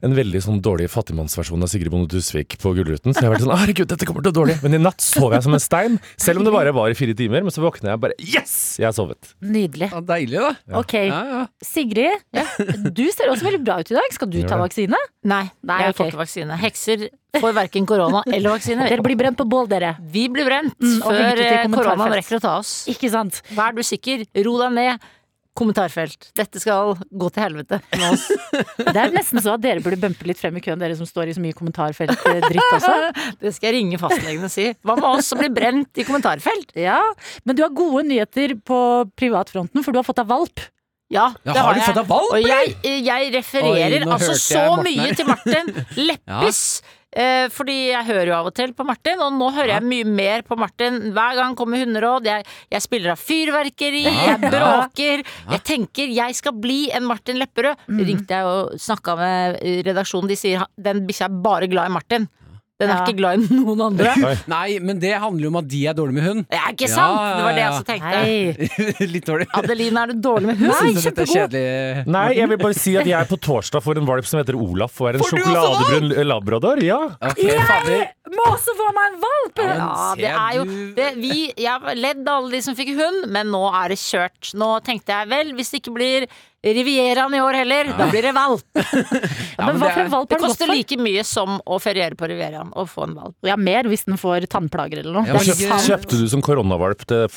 Speaker 8: en veldig sånn dårlig fattigmannsversjon av Sigrid Bonde Tone Tusvik på Gullruten. Så jeg har vært sånn herregud, dette kommer til å gå dårlig. Men i natt sov jeg som en stein, selv om det bare var i fire timer. Men så våkna jeg bare yes! Jeg har sovet.
Speaker 2: Nydelig.
Speaker 3: Ja, deilig, da.
Speaker 2: Ok,
Speaker 3: Ja, ja.
Speaker 2: Sigrid, (laughs) du ser også veldig bra ut i dag. Skal du
Speaker 8: Gjør
Speaker 2: ta
Speaker 8: det.
Speaker 2: vaksine?
Speaker 1: Nei,
Speaker 6: Nei,
Speaker 1: jeg
Speaker 6: jeg får
Speaker 1: ok.
Speaker 6: ikke vaksine. Hekser får
Speaker 2: (laughs)
Speaker 6: verken korona eller vaksine.
Speaker 2: Dere blir brent på bål, dere.
Speaker 6: Vi blir brent
Speaker 2: Mm, og lykke
Speaker 6: før
Speaker 2: til i
Speaker 6: eh, koronaen
Speaker 2: kommentarfelt.
Speaker 6: rekker å ta oss.
Speaker 2: Ikke sant?
Speaker 6: Vær du sikker, ro deg ned. Kommentarfelt. Dette skal gå til helvete med oss.
Speaker 2: Det er nesten så at dere burde bumpe litt frem i køen, dere som står i så mye kommentarfelt-dritt også.
Speaker 6: (laughs) Det skal jeg ringe fastlegen og si. Hva med oss som blir brent i kommentarfelt?
Speaker 2: Ja, Men du har gode nyheter på privatfronten, for du har fått deg valp.
Speaker 6: Ja,
Speaker 3: Ja, har du
Speaker 6: jeg.
Speaker 3: fått deg valp,
Speaker 6: Og jeg, jeg
Speaker 3: Oi,
Speaker 6: refererer
Speaker 3: nå
Speaker 6: altså
Speaker 3: hørte
Speaker 6: så
Speaker 3: jeg Morten her.
Speaker 6: mye til
Speaker 3: (laughs)
Speaker 6: Martin Leppes. eh, Fordi jeg hører jo av og til på Martin, og nå hører jeg mye mer på Martin. Hver gang kommer hunderåd, jeg, jeg spiller av fyrverkeri, jeg bråker. Jeg tenker jeg skal bli en Martin Lepperød.
Speaker 3: Mm.
Speaker 6: Ringte jeg og snakka med eh, redaksjonen, de sier den bikkja er bare glad i Martin. Den er
Speaker 2: Ja.
Speaker 6: ikke glad i noen andre.
Speaker 3: Nei, men det handler jo om at de er dårlige med hund. (laughs)
Speaker 6: Det er ikke sant!
Speaker 3: Ja,
Speaker 6: Det var det jeg
Speaker 3: ja,
Speaker 6: også tenkte.
Speaker 2: Nei.
Speaker 3: Litt dårlig.
Speaker 6: Adeline, er du dårlig med
Speaker 3: Jeg
Speaker 6: hund?
Speaker 3: synes at dette er kjedelig.
Speaker 8: Nei, jeg vil bare si at jeg på torsdag får en valp som heter Olaf og er en
Speaker 3: Får du også
Speaker 8: sjokoladebrun labrador. Ja.
Speaker 3: Ok, fader.
Speaker 2: Må også få meg en valp!
Speaker 3: Ja, men
Speaker 6: Ja, det
Speaker 3: ser
Speaker 6: er jo
Speaker 3: du-
Speaker 6: det, vi, Jeg har ledd alle de som fikk hund, men nå er det kjørt. Nå tenkte jeg vel, hvis det ikke blir Rivieraen i år heller, da blir det valp.
Speaker 3: Ja,
Speaker 2: men
Speaker 3: men
Speaker 2: hva
Speaker 3: det
Speaker 2: for
Speaker 3: er-
Speaker 2: en valp
Speaker 6: Det
Speaker 2: har du gått
Speaker 6: koster
Speaker 2: for?
Speaker 6: like mye som å feriere på Rivieraen og få en valp.
Speaker 2: Ja, mer hvis den får tannplager eller noe.
Speaker 3: Ja, men
Speaker 2: Det er
Speaker 3: ikke-
Speaker 2: sant.
Speaker 8: Kjøpte du som koronavalp til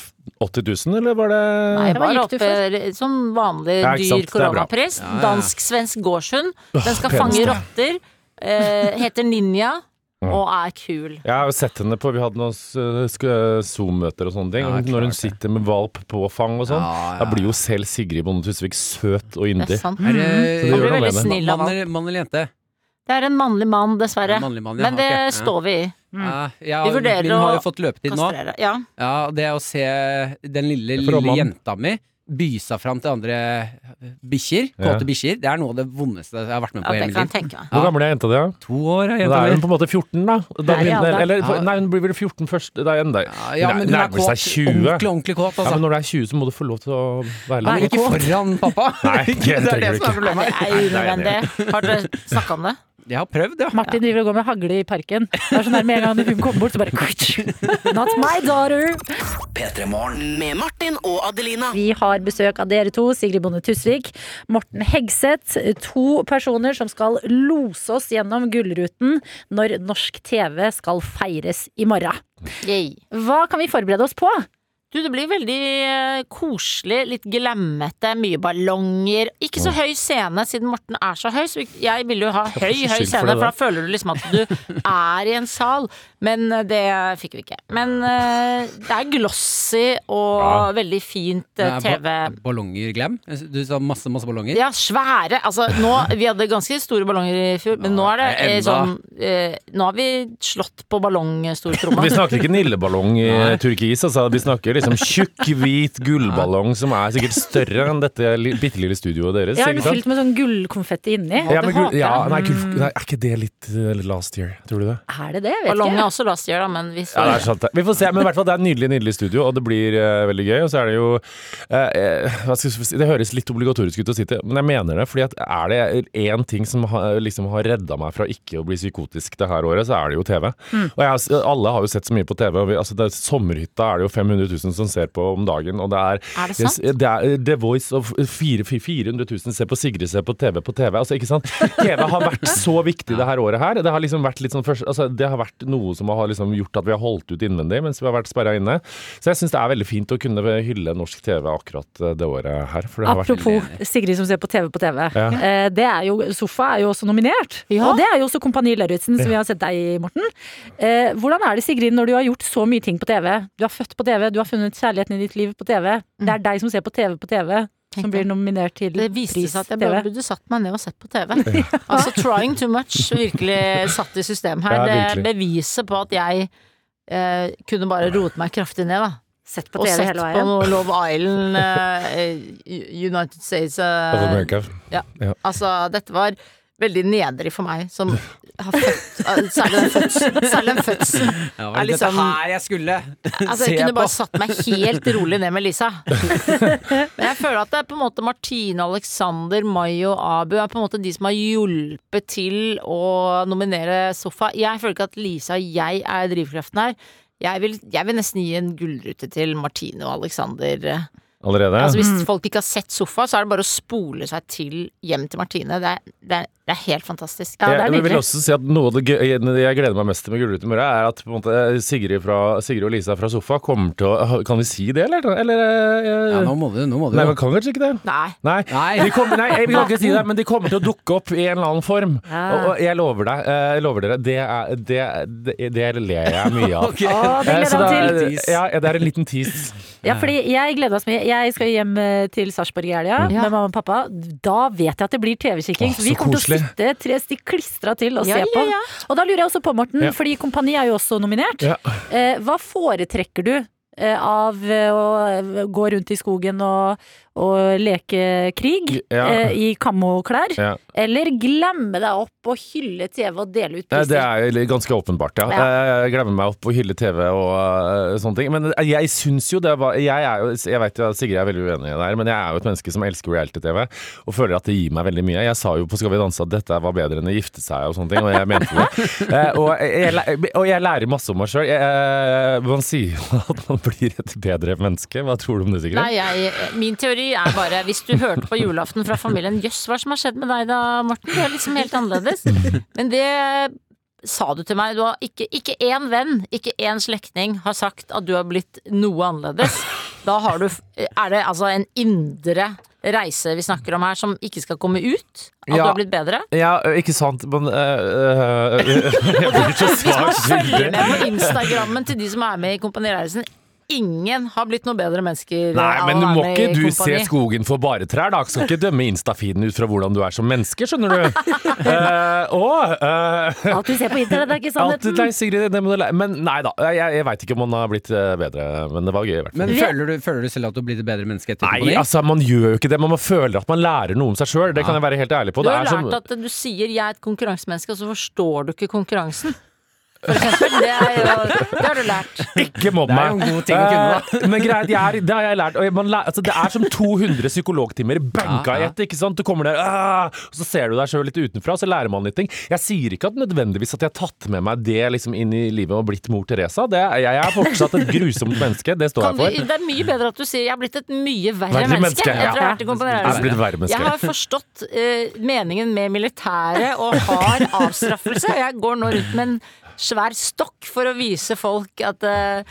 Speaker 8: 80 000, eller var det
Speaker 6: Nei,
Speaker 2: hva
Speaker 6: bare eh.
Speaker 2: gikk du
Speaker 6: oppe som vanlig
Speaker 8: Ja, ikke sant,
Speaker 6: dyr
Speaker 8: det er bra.
Speaker 6: koronapris.
Speaker 3: Ja, ja.
Speaker 6: Dansk-svensk gårdshund. Den
Speaker 8: Åh,
Speaker 6: skal fange
Speaker 8: peneste.
Speaker 6: rotter. eh, heter Ninja og er kul.
Speaker 8: Jeg har jo sett henne på Vi hadde noen s- sk- Zoom-møter og sånne ting.
Speaker 3: Ja, klart
Speaker 8: når hun
Speaker 3: det.
Speaker 8: sitter med valp på fang og sånn,
Speaker 3: Ja, ja,
Speaker 8: da blir jo selv Sigrid Bonde Tusvik søt og
Speaker 6: Det
Speaker 8: yndig.
Speaker 6: er sant.
Speaker 3: Er det,
Speaker 8: Så det gjør
Speaker 6: blir
Speaker 8: noe
Speaker 6: veldig
Speaker 8: med det.
Speaker 6: snill av
Speaker 3: mann,
Speaker 6: han.
Speaker 3: eller, mann eller jente?
Speaker 6: Det er en mannlig mann, dessverre.
Speaker 3: En mannlig mann, ja,
Speaker 6: Men det
Speaker 3: ok, ja.
Speaker 6: står vi i.
Speaker 3: Ja, jeg,
Speaker 6: Vi vurderer
Speaker 3: min har jo
Speaker 6: å
Speaker 3: fått løpetid nå.
Speaker 6: Kastrere. Ja.
Speaker 3: Ja, det å se den lille,
Speaker 8: For å
Speaker 3: lille
Speaker 8: mann.
Speaker 3: jenta mi by seg fram til andre bikkjer,
Speaker 8: Ja.
Speaker 3: kåte bikkjer, det er noe av det vondeste jeg har vært med
Speaker 6: ja,
Speaker 3: på i
Speaker 6: det
Speaker 3: hele
Speaker 6: kan
Speaker 3: mitt
Speaker 6: jeg
Speaker 3: liv.
Speaker 6: tenke meg.
Speaker 8: Hvor gammel er jenta di? da?
Speaker 3: To år har
Speaker 8: Da
Speaker 3: jenta
Speaker 8: er hun
Speaker 3: mi.
Speaker 8: på en måte 14, da. da
Speaker 2: Nei,
Speaker 8: begynner,
Speaker 2: ja, da-
Speaker 8: eller,
Speaker 3: Ja.
Speaker 8: nei, hun blir vel 14 først. Da er hun der.
Speaker 3: Ja, men hun er
Speaker 8: nærmer
Speaker 3: kåt.
Speaker 8: seg 20.
Speaker 3: Ordentlig, ordentlig kåt,
Speaker 8: Ja,
Speaker 3: altså.
Speaker 8: men når du er 20, så må du få lov til å være
Speaker 3: Ja, men
Speaker 8: litt
Speaker 3: ikke foran pappa.
Speaker 8: (laughs) Nei, det
Speaker 3: (laughs) det er
Speaker 8: trenger
Speaker 3: det som er
Speaker 8: du ikke.
Speaker 6: Nei,
Speaker 3: problemet.
Speaker 6: det er unødvendig. Har dere snakka om det?
Speaker 3: Jeg har prøvd, ja.
Speaker 2: Martin driver og går med hagle i parken. Det er sånn der Med en gang hun kommer bort, så bare (laughs) Not my daughter!
Speaker 4: Med Martin og Adelina.
Speaker 2: Vi har besøk av dere to, Sigrid Bonde Tusvik, Morten Hegseth. To personer som skal lose oss gjennom Gullruten når norsk TV skal feires i morgen.
Speaker 6: Yay.
Speaker 2: Hva kan vi forberede oss på?
Speaker 6: Du, det blir veldig eh, koselig, litt glemmete, mye ballonger. Ikke så høy scene, siden Morten er så høy. Så vi- jeg ville jo ha høy, høy
Speaker 8: skyld for
Speaker 6: scene,
Speaker 8: det
Speaker 6: for
Speaker 8: der.
Speaker 6: da føler du liksom at du er i en sal. Men eh, det fikk vi ikke. Men eh, det er glossy og veldig fint eh,
Speaker 3: Men er
Speaker 6: TV.
Speaker 3: ba- Ballonger glem? Du sa masse, masse ballonger?
Speaker 6: Ja, svære. Altså, nå, vi hadde ganske store ballonger i fjor, men nå er det eh,
Speaker 3: Enda.
Speaker 6: sånn eh, Nå har vi slått på
Speaker 8: (laughs)
Speaker 6: ballongstortromma.
Speaker 8: Vi snakker ikke nilleballong i
Speaker 3: Nei.
Speaker 8: turkis, altså. Vi snakker liksom tjukk, hvit gullballong som er sikkert større enn dette li- bitte lille studioet deres.
Speaker 2: Jeg har
Speaker 8: ikke
Speaker 2: den
Speaker 8: sant?
Speaker 2: fylt med sånn gullkonfetti inni.
Speaker 8: Ja, men gull,
Speaker 6: håper jeg.
Speaker 8: ja, nei, gull, nei, er ikke det litt eh, last year? Tror du det?
Speaker 2: Er det det? Jeg vet
Speaker 6: Ballongen
Speaker 2: ikke.
Speaker 6: er også last year, da, men vi
Speaker 8: Ja,
Speaker 6: står
Speaker 8: det er sant. det. Vi får se, men i hvert fall det er et nydelig nydelig studio, og det blir eh, veldig gøy. Og så er det jo eh, eh, hva skal jeg si, Det høres litt obligatorisk ut å si det, men jeg mener det. fordi at er det én ting som har, liksom har redda meg fra ikke å bli psykotisk det her året, så er det jo TV.
Speaker 6: Mm.
Speaker 8: Og jeg, har s- alle har jo sett så mye på TV. og vi, altså det, er- Sommerhytta er det jo 500 000 som ser på om dagen, og det er
Speaker 6: Er det sant?
Speaker 8: det er eh, The Voice og fire- fire- 400 000 ser på Sigrid ser på TV på TV. Altså, ikke sant? TV har
Speaker 6: (laughs)
Speaker 8: vært så viktig det her året her. Det har liksom vært litt sånn først, altså, det har vært noe som har liksom gjort at vi har holdt ut innvendig mens vi har vært sperra inne. Så jeg syns det er veldig fint å kunne hylle norsk TV akkurat eh, det året her. For det har vært
Speaker 2: Apropos Sigrid som ser på TV på TV.
Speaker 8: Ja.
Speaker 2: Eh, Det er jo, sofa er jo også nominert.
Speaker 6: Ja.
Speaker 2: Og det er jo også Kompani Lauritzen, som vi har sett deg i, Morten. Eh, Hvordan er det, Sigrid, når du har gjort så mye ting på TV? Du er født på TV, du har funnet kjærligheten i ditt liv på TV. Det er deg som ser på TV på TV, som
Speaker 6: Tenk
Speaker 2: blir nominert til
Speaker 6: Det viste
Speaker 2: pris
Speaker 6: seg at jeg
Speaker 2: TV.
Speaker 6: bare burde satt meg ned og sett på TV. Altså trying too much, virkelig satt i system her.
Speaker 8: Ja,
Speaker 6: Det er
Speaker 8: virkelig.
Speaker 6: beviset på at jeg eh, kunne bare rote meg kraftig ned, da.
Speaker 2: Sett på
Speaker 6: Og
Speaker 2: TV
Speaker 6: sett
Speaker 2: hele
Speaker 6: på
Speaker 2: veien.
Speaker 6: noe Love Island, eh, eh, United States eh,
Speaker 8: Apropos
Speaker 6: Altså, dette var veldig nedrig for meg som har født eh, Særlig den fødselen. Særlig den fødselen.
Speaker 3: Det
Speaker 6: Er
Speaker 3: var
Speaker 6: liksom-
Speaker 3: dette her jeg skulle
Speaker 6: Altså,
Speaker 3: se
Speaker 6: jeg kunne
Speaker 3: på.
Speaker 6: bare satt meg helt rolig ned med
Speaker 3: (laughs)
Speaker 6: Lisa. Men jeg føler at det er på en måte Martine, Alexander, Mai og Abu er på en måte de som har hjulpet til å nominere Sofa. Jeg føler ikke at Lisa og jeg er drivkraften her. Jeg vil, jeg vil nesten gi en gullrute til Martine og Alexander.
Speaker 8: allerede.
Speaker 6: Altså,
Speaker 3: Mm.
Speaker 6: hvis folk ikke har sett Sofa, så er det bare å spole seg til hjem til Martine. Det er, det er, det er helt fantastisk.
Speaker 2: Ja, det er
Speaker 8: jeg, jeg vil
Speaker 2: nydelig.
Speaker 8: også si at noe av det gøy, jeg gleder meg mest til med Gullruten i morgen, er at på en måte, eh, Sigrid, fra, Sigrid og Lisa fra Sofa kommer til å Kan vi si det, eller? eller
Speaker 3: Ja,
Speaker 8: eh,
Speaker 3: nå må du, nå må du.
Speaker 8: Nei, man kan kanskje ikke det?
Speaker 6: Nei.
Speaker 8: Nei,
Speaker 3: Nei.
Speaker 8: De kommer, nei jeg vil ikke si det, men de kommer til å dukke opp i en eller annen form.
Speaker 2: Ja.
Speaker 8: Og, og jeg lover deg, eh, jeg lover dere, det, er, det, det, det ler jeg mye
Speaker 2: (laughs)
Speaker 8: av.
Speaker 3: Ok.
Speaker 2: Å, det
Speaker 8: Eh, så
Speaker 2: gleder jeg meg til.
Speaker 8: da- Ja, det er en liten
Speaker 3: (laughs)
Speaker 8: tease.
Speaker 2: Ja, fordi jeg gleder meg så mye. Jeg skal jo hjem eh, til Sarpsborg i helga
Speaker 6: Ja.
Speaker 2: med mamma og pappa. Da vet jeg at det blir TV-kikking.
Speaker 8: Åh,
Speaker 2: Så vi
Speaker 8: så
Speaker 2: kommer til å
Speaker 8: koselig.
Speaker 2: sitte tre stikk klistra til og
Speaker 6: Ja,
Speaker 2: se
Speaker 6: ja,
Speaker 2: på.
Speaker 6: ja.
Speaker 2: Og da lurer jeg også på, Morten,
Speaker 8: Ja.
Speaker 2: fordi Kompani er jo også nominert.
Speaker 8: Ja.
Speaker 2: Eh, hva foretrekker du eh, av eh, å gå rundt i skogen og, og leke krig
Speaker 8: Ja.
Speaker 2: eh, i kammoklær?
Speaker 8: Ja.
Speaker 2: Eller glemme deg opp og hylle TV og dele ut
Speaker 8: Eh, Det
Speaker 2: priser?
Speaker 8: er jo litt- ganske åpenbart, ja. Jeg glemmer meg opp og hyller TV og eh, sånne ting. Men jeg syns jo det var Jeg, er jo, jeg vet jo at Sigrid er veldig uenig i det her, men jeg er jo et menneske som elsker reality-TV og føler at det gir meg veldig mye. Jeg sa jo på Skal vi danse at dette var bedre enn å gifte seg og sånne ting, og jeg mente det. (laughs) Eh, Og jeg, læ- og jeg lærer masse om meg sjøl. Man sier jo (laughs) at man blir et bedre menneske. Hva tror du om det, Sigrid?
Speaker 6: Nei, jeg, min teori er bare hvis du hørte på julaften fra familien Jøss, hva som har skjedd med deg da, Morten? Du er liksom helt annerledes. Men det sa du til meg. Du har ikke, ikke én venn, ikke én slektning har sagt at du har blitt noe annerledes. Da har du Er det altså en indre reise vi snakker om her, som ikke skal komme ut? At du
Speaker 8: Ja.
Speaker 6: har blitt bedre?
Speaker 8: Ja, ikke sant, men eh, eh, (laughs) Jeg blir så (laughs) svak.
Speaker 6: Følg med på Instagrammen til de som er med i Kompani Reisen. Ingen har blitt noe bedre mennesker.
Speaker 8: Nei,
Speaker 6: av
Speaker 8: men
Speaker 6: å
Speaker 8: du
Speaker 6: være
Speaker 8: må
Speaker 6: med
Speaker 8: ikke
Speaker 6: i
Speaker 8: du
Speaker 6: Kompani.
Speaker 8: se skogen for bare trær, da. Skal ikke dømme Instafeeden ut fra hvordan du er som menneske, skjønner
Speaker 6: (laughs)
Speaker 8: du. Eh, og eh,
Speaker 2: Alt vi ser på internett er ikke
Speaker 8: at,
Speaker 2: sannheten.
Speaker 8: Nei, Sigrid, det må du lære. Men nei da, jeg, jeg veit ikke om man har blitt eh, bedre, men det var gøy i hvert fall.
Speaker 3: Men føler du, føler du selv at du blir et bedre menneske etter
Speaker 8: Nei,
Speaker 3: kompani?
Speaker 8: altså, man gjør jo ikke det. men Man føler at man lærer noe om seg sjøl, det kan jeg være helt ærlig på.
Speaker 6: Du
Speaker 8: Det
Speaker 6: har
Speaker 8: er som-
Speaker 6: lært at du sier 'jeg er et konkurransemenneske', og så forstår du ikke konkurransen. For eksempel. Det, er jo, det har du lært.
Speaker 8: Ikke mobb
Speaker 3: Det er
Speaker 8: meg.
Speaker 3: jo en god ting å kunne,
Speaker 8: Eh, men greit, jeg er, det har jeg lært. Og man læ- altså, det er som 200 psykologtimer banka
Speaker 3: Ja,
Speaker 8: i
Speaker 3: ja.
Speaker 8: ett. ikke sant? Du kommer der, ah, og så ser du deg sjøl litt utenfra, og så lærer man litt ting. Jeg sier ikke at nødvendigvis at jeg har tatt med meg det liksom inn i livet og blitt mor Teresa. Det, er- jeg er fortsatt et grusomt menneske, det står
Speaker 6: Kan
Speaker 8: jeg
Speaker 6: du,
Speaker 8: for.
Speaker 6: det er mye bedre at du sier 'jeg er blitt et mye verre
Speaker 8: Verre menneske,
Speaker 6: menneske'.
Speaker 8: ja.
Speaker 6: Etter å ha vært i Kompani
Speaker 8: Jeg er
Speaker 6: Reisen.
Speaker 8: blitt verre
Speaker 6: Jeg
Speaker 8: menneske.
Speaker 6: har forstått eh, meningen med militæret og har avstraffelse. og Jeg går nå rundt med en svær stokk for å vise folk at eh,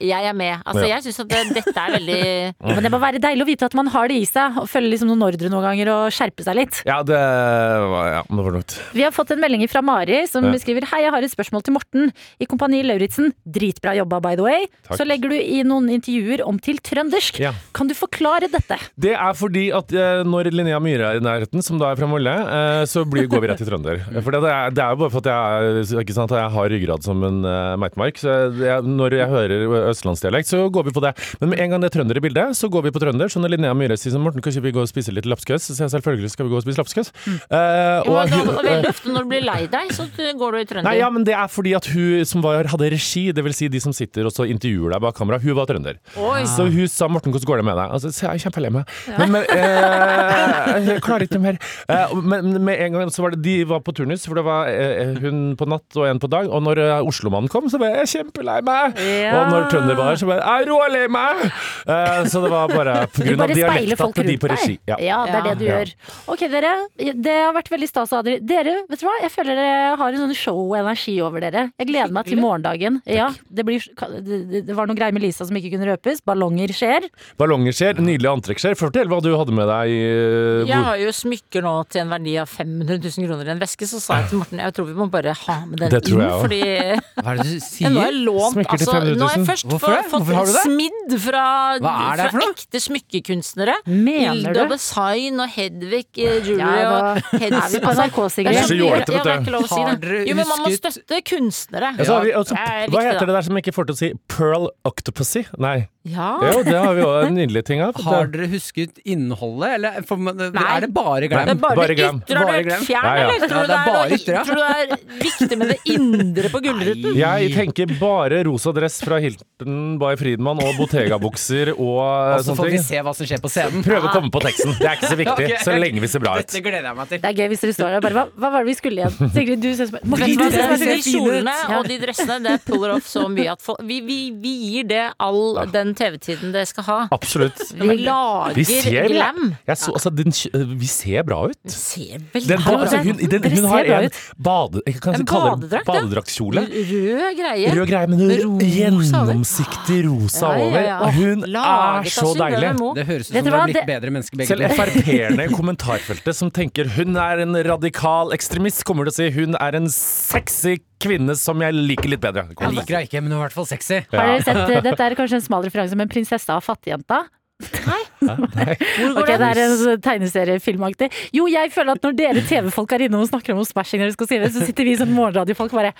Speaker 6: jeg er med. Altså,
Speaker 8: Ja.
Speaker 6: jeg syns at det, dette er veldig
Speaker 2: Men det må være deilig å vite at man har det i seg, og følge liksom noen ordre noen ganger og skjerpe seg litt.
Speaker 8: Ja, det var, ja, det var noe.
Speaker 2: Vi har fått en melding fra Mari som
Speaker 8: Ja.
Speaker 2: skriver Hei, jeg har et spørsmål til Morten i Kompani Lauritzen. Dritbra jobba, by the way.
Speaker 8: Takk.
Speaker 2: Så legger du i noen intervjuer om til trøndersk.
Speaker 8: Ja.
Speaker 2: Kan du forklare dette?
Speaker 8: Det er fordi at eh, når Linnea Myhre er i nærheten, som da er fra Molle, eh, så blir, går vi rett til trønder. For det, det, er, det er jo bare for at jeg, er- ikke sant, at jeg har ryggrad som en eh, meitemark. Så jeg, når jeg hører østlandsdialekt, så går vi på det. Men med en gang det er trønder i bildet, så går vi på trønder. Så når Linnea Myhre sier sånn Morten, kanskje vi går og spiser litt lapskaus? Så sier jeg selvfølgelig skal vi gå og spise lapskaus. Eh,
Speaker 6: Jo, og, da- og
Speaker 8: eh,
Speaker 6: veldig ofte når du blir lei deg, så går du i trønder.
Speaker 8: Nei, ja, men det er fordi at hun som var, hadde regi, det vil si de som sitter og så intervjuer deg bak kamera, hun var trønder. Så hun sa 'Morten, hvordan går det med deg?' Altså, så jeg er kjempelei meg. Men, men
Speaker 2: (laughs)
Speaker 8: eh, jeg klarer ikke mer. Eh, men men med en gang så var det de var på turnus, for det var eh, hun på natt og en på dag. Og når eh, Oslomannen kom, så var jeg kjempelei meg.
Speaker 2: Ja.
Speaker 8: Og når trønder var her, så var jeg rålei meg. Eh, så det var
Speaker 2: (laughs)
Speaker 8: bare på
Speaker 2: Du
Speaker 8: grunn av
Speaker 2: bare speiler
Speaker 8: dialekta
Speaker 2: folk
Speaker 8: til de
Speaker 2: rundt
Speaker 8: på regi.
Speaker 2: deg.
Speaker 8: Ja.
Speaker 2: det er det du
Speaker 8: Ja.
Speaker 2: gjør. Ok, dere. Det har vært veldig stas å ha dere. Dere, vet du hva? Jeg føler dere har en sånn show og energi over dere. Jeg gleder meg til morgendagen. Ja, det, blir, det det var noe greier med Lisa som ikke kunne røpes. Ballonger skjer.
Speaker 8: Ballonger skjer, nydelige antrekk skjer. Fortell hva du hadde med deg. eh,
Speaker 6: Jeg
Speaker 8: hvor-
Speaker 6: har jo smykker nå til en verdi av 500 000 kroner i en veske, så sa jeg til Morten jeg tror vi må bare ha med den
Speaker 8: Det tror
Speaker 6: inn,
Speaker 8: jeg også.
Speaker 6: fordi ja,
Speaker 3: Hva er det du
Speaker 6: nå har
Speaker 3: sier?
Speaker 6: jeg lånt
Speaker 8: Smykker til
Speaker 6: altså,
Speaker 8: 500 000.
Speaker 6: Nå har jeg først
Speaker 3: Hvorfor
Speaker 6: fått,
Speaker 3: det?
Speaker 6: fått
Speaker 3: Hvorfor har du det?
Speaker 6: smidd fra,
Speaker 3: Hva er det for
Speaker 6: fra
Speaker 3: noe?
Speaker 6: ekte smykkekunstnere.
Speaker 2: Mener
Speaker 6: Hilda
Speaker 2: du?
Speaker 6: Design og Hedvig eh, Jewelry
Speaker 2: Ja, da
Speaker 6: og Hedvig Altså,
Speaker 2: er vi på sånn NRK, Sigrid. (laughs)
Speaker 6: det er
Speaker 8: Det er så
Speaker 6: mye-
Speaker 8: jålete,
Speaker 6: ja, det
Speaker 8: vet
Speaker 6: er
Speaker 8: du.
Speaker 6: ikke lov å si
Speaker 3: Har
Speaker 6: det.
Speaker 3: dere
Speaker 6: Jo, men man må
Speaker 3: husket-
Speaker 6: støtte kunstnere.
Speaker 8: Ja, så har vi, også,
Speaker 6: Det er
Speaker 8: hva
Speaker 6: viktig,
Speaker 8: heter
Speaker 6: da.
Speaker 8: det der som ikke får til å si Pearl Octopussy? Nei.
Speaker 6: Ja.
Speaker 8: Jo, det har vi òg en nydelig ting altså. av.
Speaker 3: Har dere husket innholdet, eller for, man-
Speaker 6: Nei.
Speaker 3: er det bare
Speaker 6: Det er
Speaker 3: glem?
Speaker 8: Nei.
Speaker 6: bare,
Speaker 8: Bare
Speaker 6: det
Speaker 8: glem.
Speaker 6: ytre har
Speaker 3: Bare
Speaker 6: du
Speaker 3: glem.
Speaker 6: vært fjern,
Speaker 8: Ja, ja.
Speaker 6: eller?
Speaker 3: Ja,
Speaker 6: Tror du
Speaker 3: det er bare
Speaker 6: det
Speaker 3: ytre, ja.
Speaker 6: er, tror du det er viktig med det indre på gullruten?
Speaker 8: Jeg tenker bare rosa dress fra Hilton by Friedmann og Bottega-bukser og eh,
Speaker 3: Og så
Speaker 8: sånne
Speaker 3: får vi
Speaker 8: ting.
Speaker 3: se hva som skjer på scenen.
Speaker 8: Prøve å komme på teksten. Det er ikke så
Speaker 3: (laughs)
Speaker 8: viktig,
Speaker 3: Ok.
Speaker 8: så lenge vi ser bra ut.
Speaker 3: Dette gleder jeg meg til.
Speaker 2: Det er gøy hvis dere står der og bare Hva, hva var det vi skulle igjen? Sigrid, du ser som Morten,
Speaker 6: Vet du
Speaker 2: du ser
Speaker 6: hva,
Speaker 2: så fin
Speaker 6: de
Speaker 2: ut.
Speaker 6: kjolene og de dressene Det puller off så mye at folk, vi, vi, vi gir det all den TV-tiden det skal ha.
Speaker 8: Absolutt.
Speaker 6: Vi lager
Speaker 8: Vi ser,
Speaker 6: glam.
Speaker 8: jeg så, altså, den, kj- vi ser bra ut.
Speaker 6: Ser veldig
Speaker 8: Den, altså, hun, den,
Speaker 2: dere
Speaker 8: hun har
Speaker 2: ser bra
Speaker 8: en
Speaker 2: ut.
Speaker 8: bade, jeg kan
Speaker 6: En
Speaker 8: kalle det
Speaker 6: badedrakt, ja.
Speaker 8: badedraktkjole.
Speaker 6: Rød greie.
Speaker 8: Rød greie, men
Speaker 6: Rosa
Speaker 8: gjennomsiktig rosa
Speaker 6: Ja, ja,
Speaker 8: over.
Speaker 6: ja.
Speaker 8: Og Hun
Speaker 6: Laget av
Speaker 8: er så
Speaker 6: Synnøve
Speaker 8: deilig.
Speaker 6: Moe.
Speaker 3: Det høres
Speaker 2: Vet
Speaker 3: ut som
Speaker 2: du
Speaker 3: dere
Speaker 2: hva,
Speaker 3: har blitt
Speaker 2: det-
Speaker 3: bedre mennesker begge
Speaker 8: Selv
Speaker 3: to.
Speaker 8: Frp-erne i kommentarfeltet som tenker hun er en radikal ekstremist, kommer til å si hun er en sexy kvinne som jeg liker litt bedre.
Speaker 3: Jeg liker deg ikke, men du er i hvert fall sexy.
Speaker 2: Har dere sett, eh, Dette er kanskje en smal referanse, men 'Prinsessa og fattigjenta'?
Speaker 6: Hvor går
Speaker 2: Ok, det
Speaker 6: den?
Speaker 2: er en sånn tegneseriefilmaktig. Jo, jeg føler at når dere TV-folk er innom og snakker om smashing, når dere skal si det, så sitter vi som morgenradiofolk bare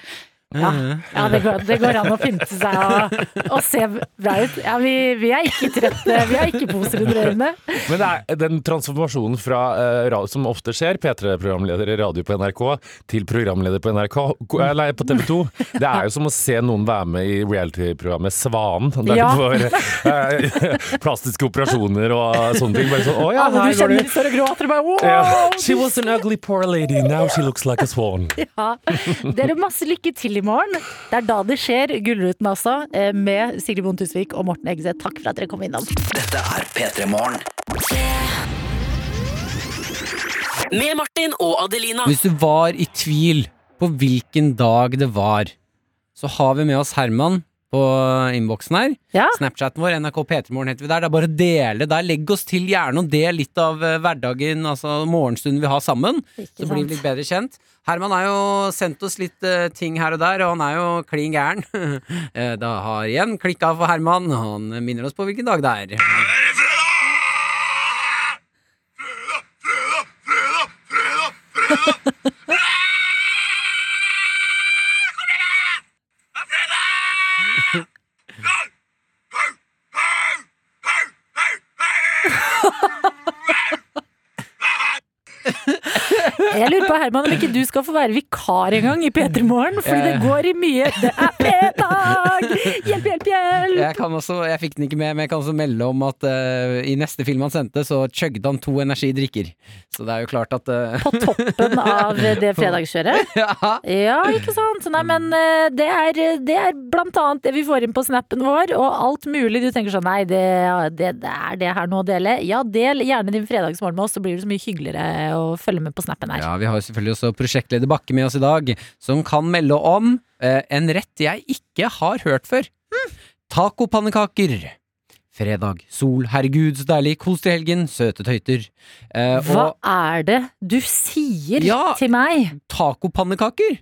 Speaker 2: ja, ja det, går, det går an å pynte seg og, og se bra ut. Ja, vi, vi er ikke trøtte, vi har ikke poser under øynene.
Speaker 8: Men det er den transformasjonen fra, eh, radio- som ofte skjer, P3-programleder i radio på NRK, til programleder på NRK, eller på TV 2, det er jo som å se noen være med i reality-programmet Svanen. Der
Speaker 2: Ja.
Speaker 8: du får eh, (laughs) plastiske operasjoner og sånne ting. Bare sånn, å ja,
Speaker 2: Alle du
Speaker 8: her går
Speaker 2: kjenner
Speaker 8: du.
Speaker 2: står og gråter og bare wow!
Speaker 8: Ja. She was an ugly poor lady, now she looks like a swan.
Speaker 2: (laughs) Ja. Dere, masse lykke til i morgen. Det er da det skjer, Gullruten altså, eh, med Sigrid Bonde Tusvik og Morten Eggeseth. Takk for at dere kom innom.
Speaker 4: Med Martin og Adelina.
Speaker 3: Hvis du var i tvil på hvilken dag det var, så har vi med oss Herman på innboksen her.
Speaker 2: Ja.
Speaker 3: Snapchaten vår, NRK P3morgen heter vi der. Det er bare å dele der. Legg oss til gjerne og del litt av eh, hverdagen, altså morgenstunden vi har sammen. Så blir vi litt bedre kjent. Herman har jo sendt oss litt eh, ting her og der, og han er jo klin gæren. (laughs) Eh, det har igjen klikka for Herman. Han minner oss på hvilken dag det er.
Speaker 2: Jeg lurer på, Herman, om ikke du skal få være vikar en gang i P3 Morgen, fordi det går i mye. Det er P-dag! Hjelp, hjelp, hjelp!
Speaker 3: Jeg, kan også, jeg fikk den ikke med, men jeg kan også melde om at eh, i neste film han sendte, så chugde han to energidrikker. Så det er jo klart at eh,
Speaker 2: På toppen av det fredagskjøret.
Speaker 3: (laughs) ja,
Speaker 2: Ja, ikke sant? Nei, men eh, det er, det er blant annet det vi får inn på snappen vår, og alt mulig. Du tenker sånn, nei, det, det, det er det her nå å dele. Ja, del gjerne din fredagsmorgen med oss, så blir det så mye hyggeligere å følge med på snappen her.
Speaker 3: ja, vi har jo selvfølgelig også prosjektleder Bakke med oss i dag, som kan melde om eh, en rett jeg ikke har hørt før. Tacopannekaker. Fredag. Sol. Herregud, så deilig. Kos til helgen. Søte tøyter. Eh,
Speaker 2: Hva
Speaker 3: og
Speaker 2: er det du sier
Speaker 3: Ja.
Speaker 2: til meg?
Speaker 3: tacopannekaker.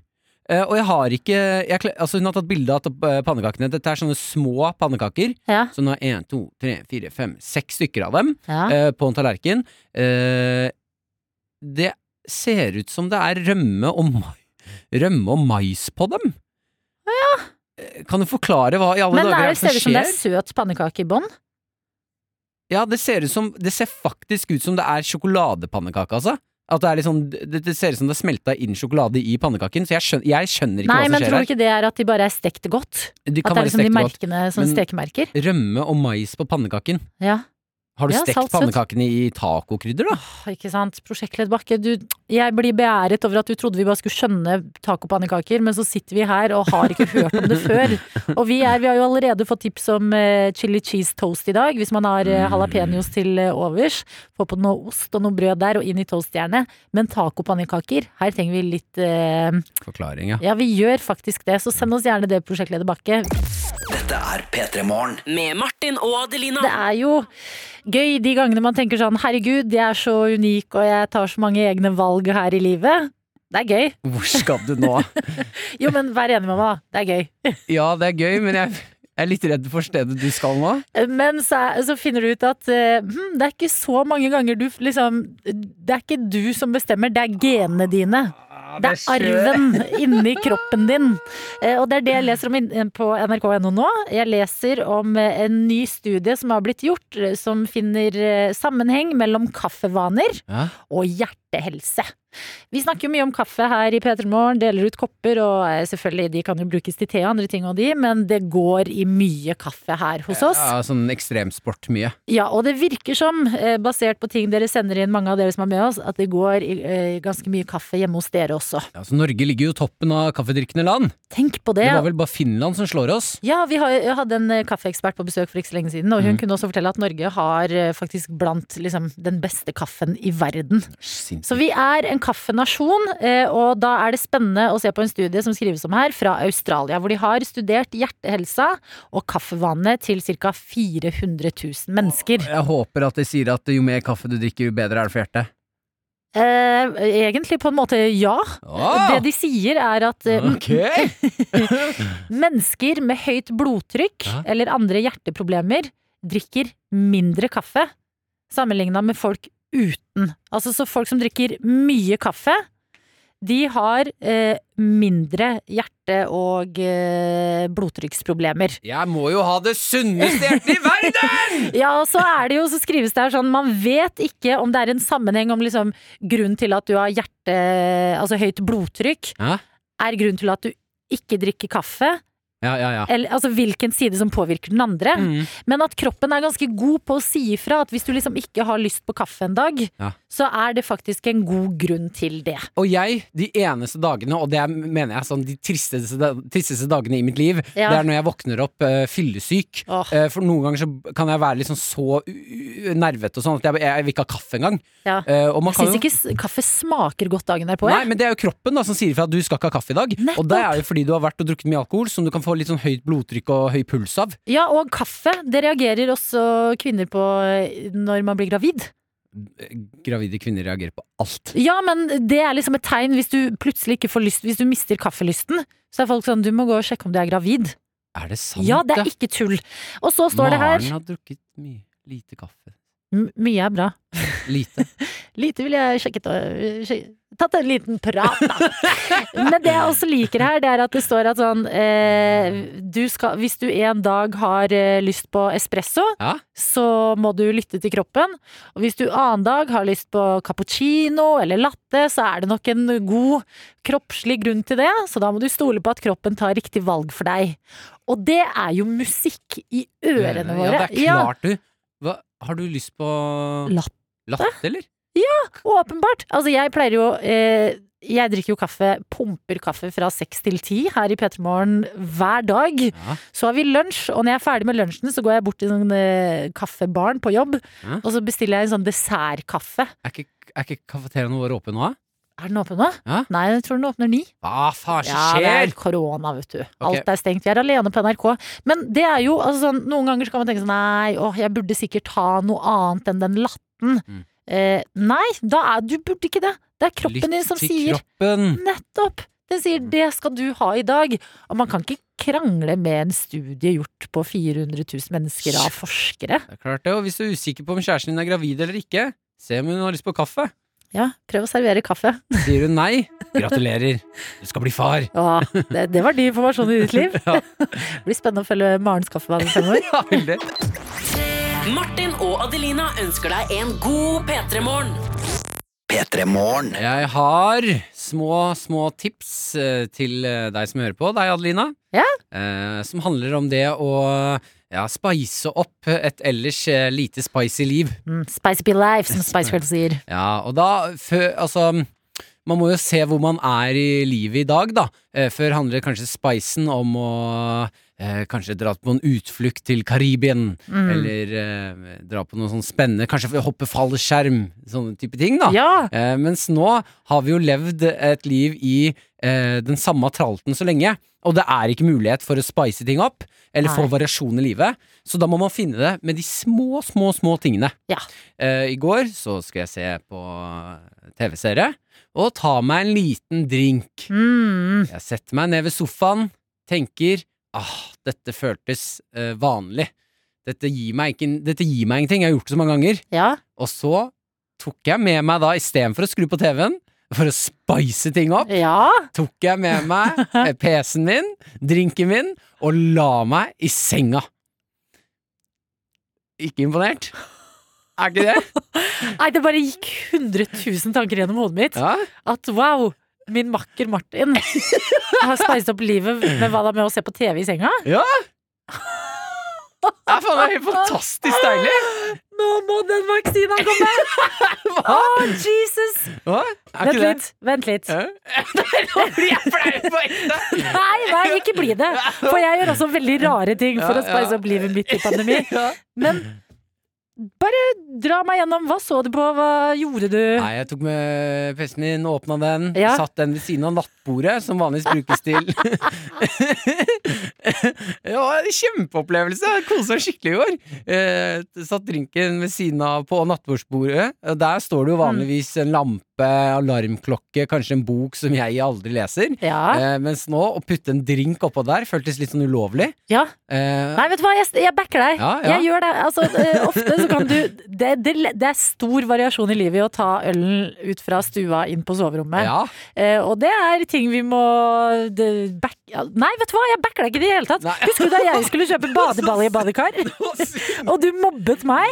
Speaker 3: Eh, og jeg har ikke jeg, kla- Altså, hun har tatt bilde av eh, pannekakene. Dette er sånne små pannekaker.
Speaker 2: Ja.
Speaker 3: Så nå er én, to, tre, fire, fem, seks stykker av dem
Speaker 2: ja.
Speaker 3: eh, på en tallerken. Eh, det ser ut som det er rømme og, ma rømme og mais på dem. Eh, Kan du forklare hva i alle
Speaker 2: Men det er,
Speaker 3: dager er det
Speaker 2: ser
Speaker 3: som
Speaker 2: ut som det
Speaker 3: skjer?
Speaker 2: er søt pannekake i bånn.
Speaker 3: Ja, det ser, ut som, det ser faktisk ut som det er sjokoladepannekake, altså. At det, er litt sånn- det, det ser ut som det er smelta inn sjokolade i pannekaken, så jeg skjønner, jeg skjønner ikke
Speaker 2: Nei,
Speaker 3: hva
Speaker 2: men
Speaker 3: som skjer
Speaker 2: tror du
Speaker 3: her.
Speaker 2: ikke det er at de bare er stekt godt?
Speaker 3: De
Speaker 2: At
Speaker 3: kan
Speaker 2: det er
Speaker 3: være
Speaker 2: liksom de
Speaker 3: stekt godt.
Speaker 2: merkene som
Speaker 3: Men-
Speaker 2: stekemerker?
Speaker 3: Rømme og mais på pannekaken.
Speaker 2: Ja,
Speaker 3: Har du
Speaker 2: Ja,
Speaker 3: stekt
Speaker 2: salt, søtt.
Speaker 3: pannekakene i tacokrydder, da?
Speaker 2: Åh, ikke sant. Prosjektledd Bakke, du, jeg blir beæret over at du trodde vi bare skulle skjønne tacopannekaker, men så sitter vi her og har ikke hørt om det før. Og vi, er, vi har jo allerede fått tips om eh, chili cheese toast i dag, hvis man har eh, jalapeños til eh, overs. Få på noe ost og noe brød der, og inn i toastjernet. Men tacopannekaker, her trenger vi litt eh,
Speaker 3: Forklaring, ja.
Speaker 2: Ja, vi gjør faktisk det, så send oss gjerne det, prosjektleder Bakke.
Speaker 4: Med Martin og Adelina.
Speaker 2: Det er jo gøy de gangene man tenker sånn Herregud, jeg er så unik og jeg tar så mange egne valg her i livet. Det er gøy.
Speaker 3: Hvor skal du nå?
Speaker 2: Jo, men vær enig med meg, da. Det er gøy.
Speaker 3: (laughs) Ja, det er gøy, men jeg jeg er litt redd for stedet du skal nå.
Speaker 2: Men så, er- så finner du ut at eh, hm, det er ikke så mange ganger du f- liksom Det er ikke du som bestemmer, det er genene dine. Det
Speaker 3: Det
Speaker 2: er arven inni kroppen din. Eh, Og det er det jeg leser om inn- på nrk.no nå. Jeg leser om eh, en ny studie som har blitt gjort, eh, som finner eh, sammenheng mellom kaffevaner
Speaker 5: Ja.
Speaker 2: og hjertehelse. Vi snakker jo mye om kaffe her i P3 Morgen, deler ut kopper, og eh, selvfølgelig de kan jo brukes til te og andre ting og de, men det går i mye kaffe her hos oss.
Speaker 3: Ja, sånn ekstremsport mye.
Speaker 2: Ja, og det virker som, eh, basert på ting dere sender inn, mange av dere som er med oss, at det går i, eh, ganske mye kaffe hjemme hos dere også.
Speaker 3: Ja, så Norge ligger jo toppen av kaffedrikkende land.
Speaker 2: Tenk på det.
Speaker 3: Det var vel bare Finland som slår oss.
Speaker 2: Ja, vi har, jeg hadde en eh, kaffeekspert på besøk for ikke så lenge siden, og hun
Speaker 3: Mhm.
Speaker 2: kunne også fortelle at Norge har eh, faktisk blant liksom, den beste kaffen i verden. Så vi er en kaffenasjon, eh, og da er det spennende å se på en studie som skrives om her, fra Australia, hvor de har studert hjertehelsa og kaffevanene til ca. 400 000 mennesker.
Speaker 9: Jeg håper at de sier at jo mer kaffe du drikker, jo bedre er det for hjertet.
Speaker 2: Eh, egentlig på en måte ja.
Speaker 3: Ah!
Speaker 2: Det de sier er at eh, Mennesker med høyt blodtrykk
Speaker 3: Ah. Ja.
Speaker 2: eller andre hjerteproblemer drikker mindre kaffe sammenligna med folk uten. Altså så folk som drikker mye kaffe, de har eh, mindre hjerte- og eh, blodtrykksproblemer.
Speaker 3: Jeg må jo ha det sunneste hjertet i verden!
Speaker 2: Ja, og så er det jo, så skrives det her sånn, man vet ikke om det er en sammenheng om liksom grunnen til at du har hjerte, altså høyt blodtrykk,
Speaker 3: Ja.
Speaker 2: er grunnen til at du ikke drikker kaffe,
Speaker 3: (laughs) Ja, ja, ja.
Speaker 2: eller altså hvilken side som påvirker den andre.
Speaker 3: Mm.
Speaker 2: Men at kroppen er ganske god på å si ifra at hvis du liksom ikke har lyst på kaffe en dag,
Speaker 3: Ja.
Speaker 2: så er det faktisk en god grunn til det.
Speaker 3: Og jeg, de eneste dagene, og det er, mener jeg sånn de tristeste, da- tristeste dagene i mitt liv,
Speaker 2: Ja.
Speaker 3: det er når jeg våkner opp eh, fyllesyk.
Speaker 2: Åh.
Speaker 3: Eh, for noen ganger så kan jeg være liksom så u- u- nervete og sånn at jeg, jeg vil ikke ha kaffe engang.
Speaker 2: Ja.
Speaker 3: Eh, og man
Speaker 2: Jeg
Speaker 3: kan
Speaker 2: syns
Speaker 3: jo-
Speaker 2: ikke s- kaffe smaker godt dagen derpå.
Speaker 3: Nei,
Speaker 2: jeg.
Speaker 3: men det er jo kroppen da som sier fra at du skal ikke ha kaffe i dag. Og det er jo fordi du har vært og drukket mye alkohol, som du kan få litt sånn høyt blodtrykk og høy puls av.
Speaker 2: Ja, og kaffe, det reagerer også kvinner på eh, når man blir gravid.
Speaker 3: Eh, Gravide kvinner reagerer på alt.
Speaker 2: Ja, men det er liksom et tegn hvis du plutselig ikke får lyst Hvis du mister kaffelysten, så er folk sånn du må gå og sjekke om du er gravid.
Speaker 3: Er det sant?
Speaker 2: ja, det er ikke tull. Og så står det her
Speaker 3: Sånn, Maren har drukket mye. Lite kaffe.
Speaker 2: M Mye er bra.
Speaker 3: Lite.
Speaker 2: Lite vil jeg sjekket og sjek- Tatt en liten prat, da. (laughs) Men det jeg også liker her, det er at det står at sånn eh, du skal, Hvis du en dag har eh, lyst på espresso,
Speaker 3: Ja.
Speaker 2: så må du lytte til kroppen. Og hvis du annen dag har lyst på cappuccino eller latte, så er det nok en god kroppslig grunn til det. Så da må du stole på at kroppen tar riktig valg for deg. Og det er jo musikk i (laughs) ørene våre.
Speaker 3: Ja, det er klart, du. Hva, har du lyst på
Speaker 2: Latte?
Speaker 3: Latte, eller?
Speaker 2: Åpenbart! Altså, jeg pleier jo eh, Jeg drikker jo kaffe, pumper kaffe fra seks til ti her i P3 Morgen hver dag.
Speaker 3: Ja.
Speaker 2: Så har vi lunsj, og når jeg er ferdig med lunsjen, så går jeg bort til sånn eh, kaffebaren på jobb,
Speaker 3: Ja.
Speaker 2: og så bestiller jeg en sånn dessertkaffe.
Speaker 3: Er ikke, er ikke kafeteriaene våre åpne nå? da?
Speaker 2: Er den åpen nå?
Speaker 3: Ja.
Speaker 2: Nei, jeg tror den åpner ni.
Speaker 3: Hva faen
Speaker 2: det
Speaker 3: skjer?
Speaker 2: er korona, vet du. Alt er stengt. Vi er alene på NRK. Men det er jo altså, sånn, noen ganger så kan man tenke sånn Nei, åh, jeg burde sikkert ha noe annet enn den latten.
Speaker 3: Mm.
Speaker 2: Eh, nei, da er, du burde ikke det. Det er kroppen din som
Speaker 3: til
Speaker 2: sier
Speaker 3: kroppen.
Speaker 2: Nettopp! Den sier 'det skal du ha i dag'. Og man kan ikke krangle med en studie gjort på 400 000 mennesker av forskere.
Speaker 3: Det er klart det, og hvis du er usikker på om kjæresten din er gravid eller ikke, se om hun har lyst på kaffe.
Speaker 2: Ja, prøv å servere kaffe.
Speaker 3: Sier hun nei, gratulerer, du skal bli
Speaker 2: (laughs)
Speaker 3: far.
Speaker 2: Ja, det, det var din informasjon i ditt liv. Det blir spennende å følge Marens kaffevalg fremover.
Speaker 3: Ja, veldig.
Speaker 4: Martin og Adelina ønsker deg en god P3-morgen.
Speaker 3: Jeg har små, små tips eh, til eh, deg som hører på, deg Adelina.
Speaker 2: Ja.
Speaker 3: Eh, som handler om det å ja, spice opp et ellers eh, lite spicy liv.
Speaker 2: Mm, spice be life, som Spice Girl sier.
Speaker 3: Ja, og da fø- Altså, man må jo se hvor man er i livet i dag, da. Eh, Før handler kanskje spicen om å eh, kanskje dra på en utflukt til Karibien, eller eh, dra på noe sånn spennende, kanskje hoppe fallskjerm, sånne type ting, da.
Speaker 2: Ja!
Speaker 3: Eh, mens nå har vi jo levd et liv i eh, den samme tralten så lenge, og det er ikke mulighet for å spice ting opp, eller få
Speaker 2: Nei.
Speaker 3: variasjon i livet, så da må man finne det med de små, små, små tingene.
Speaker 2: Ja.
Speaker 3: Eh, I går så skal jeg se på TV-serie, og ta meg en liten drink.
Speaker 2: Mm,
Speaker 3: Jeg setter meg ned ved sofaen, tenker ah, dette føltes eh, vanlig. Dette gir, meg ikke, dette gir meg ingenting, jeg har gjort det så mange ganger.
Speaker 2: ja.
Speaker 3: Og så tok jeg med meg da, istedenfor å skru på TV-en, for å spice ting opp,
Speaker 2: Ja.
Speaker 3: tok jeg med (laughs) meg eh, PC-en min, drinken min, og la meg i senga. Ikke imponert? Er ikke (laughs) det?
Speaker 2: Nei, det bare gikk 100 000 tanker gjennom hodet mitt.
Speaker 3: Ja.
Speaker 2: At wow, min makker Martin har speist opp livet med hva da med å se på TV i senga.
Speaker 3: Det er faen meg helt fantastisk deilig!
Speaker 2: Nå må den vaksina
Speaker 3: (laughs)
Speaker 2: komme! Å, Jesus!
Speaker 3: Hva?
Speaker 2: Vent
Speaker 3: Er ikke det?
Speaker 2: litt. Vent litt.
Speaker 3: Hæ? Nei, nå blir jeg flau på ekte!
Speaker 2: Nei, nei, ikke bli det. For jeg gjør også veldig rare ting for
Speaker 3: Ja,
Speaker 2: å speise
Speaker 3: ja.
Speaker 2: opp livet mitt i
Speaker 3: (laughs)
Speaker 2: pandemi. Men bare dra meg gjennom. Hva så du på? Hva gjorde du?
Speaker 3: (laughs) Nei, jeg tok med PC-en min, åpna den,
Speaker 2: Ja.
Speaker 3: satt den ved siden av nattbordet, som vanligvis brukes til
Speaker 2: (laughs)
Speaker 3: (laughs) Ja, kjempeopplevelse! Kosa meg skikkelig i går. Eh, satt drinken ved siden av på nattbordsbordet. og Der står det
Speaker 2: Mm.
Speaker 3: jo vanligvis en lampe, alarmklokke, kanskje en bok som jeg aldri leser.
Speaker 2: Ja.
Speaker 3: Eh, mens nå, å putte en drink oppå der føltes litt sånn ulovlig.
Speaker 2: ja.
Speaker 3: Eh,
Speaker 2: Nei, vet du hva, jeg, jeg backer deg.
Speaker 3: Ja, ja.
Speaker 2: Jeg gjør det. Altså, eh, ofte så kan du det, det, det er stor variasjon i livet i å ta ølen ut fra stua inn på soverommet.
Speaker 3: ja. (laughs)
Speaker 2: Eh, og det er ting vi må det, back, ja, Nei, vet du hva, jeg backer deg ikke i det hele tatt.
Speaker 3: Nei.
Speaker 2: Husker du da jeg skulle kjøpe badeball i badekar? Og du mobbet meg?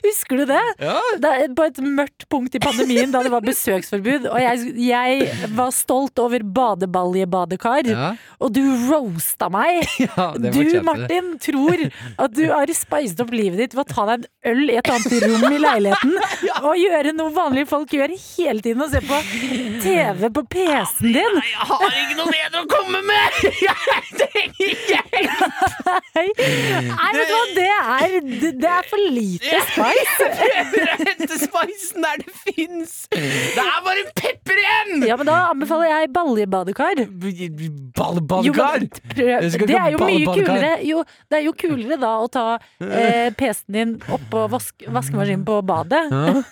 Speaker 2: (laughs) Husker du det?
Speaker 3: ja.
Speaker 2: Da, på et mørkt punkt i pandemien da det var besøksforbud, og jeg, jeg var stolt over badebaljebadekar,
Speaker 3: Ja,
Speaker 2: og du roasta meg.
Speaker 3: (laughs) ja, det
Speaker 2: Du,
Speaker 3: fortjente det.
Speaker 2: Martin, tror at du har spicet opp livet ditt ved å ta deg en øl i et annet rom i
Speaker 3: (laughs)
Speaker 2: leiligheten og gjøre noe vanlige folk gjør hele tiden, og se på TV på PC-en din.
Speaker 3: Jeg har ikke noe bedre å komme med! Jeg trenger hjelp!
Speaker 2: Nei, Nei, vet du hva, det er, det, det er for lite spice.
Speaker 3: prøver å hente spicen der det fins! Det er bare en pepper igjen!
Speaker 2: Ja, men da anbefaler jeg baljebadekar. Jo,
Speaker 3: Ballballkar!
Speaker 2: men prøv-
Speaker 3: Du skal ikke
Speaker 2: Det er jo
Speaker 3: ha
Speaker 2: mye
Speaker 3: badekar.
Speaker 2: kulere Jo, det er jo kulere da å ta
Speaker 3: (laughs)
Speaker 2: eh, PC-en din oppå vask, vaskemaskinen på badet.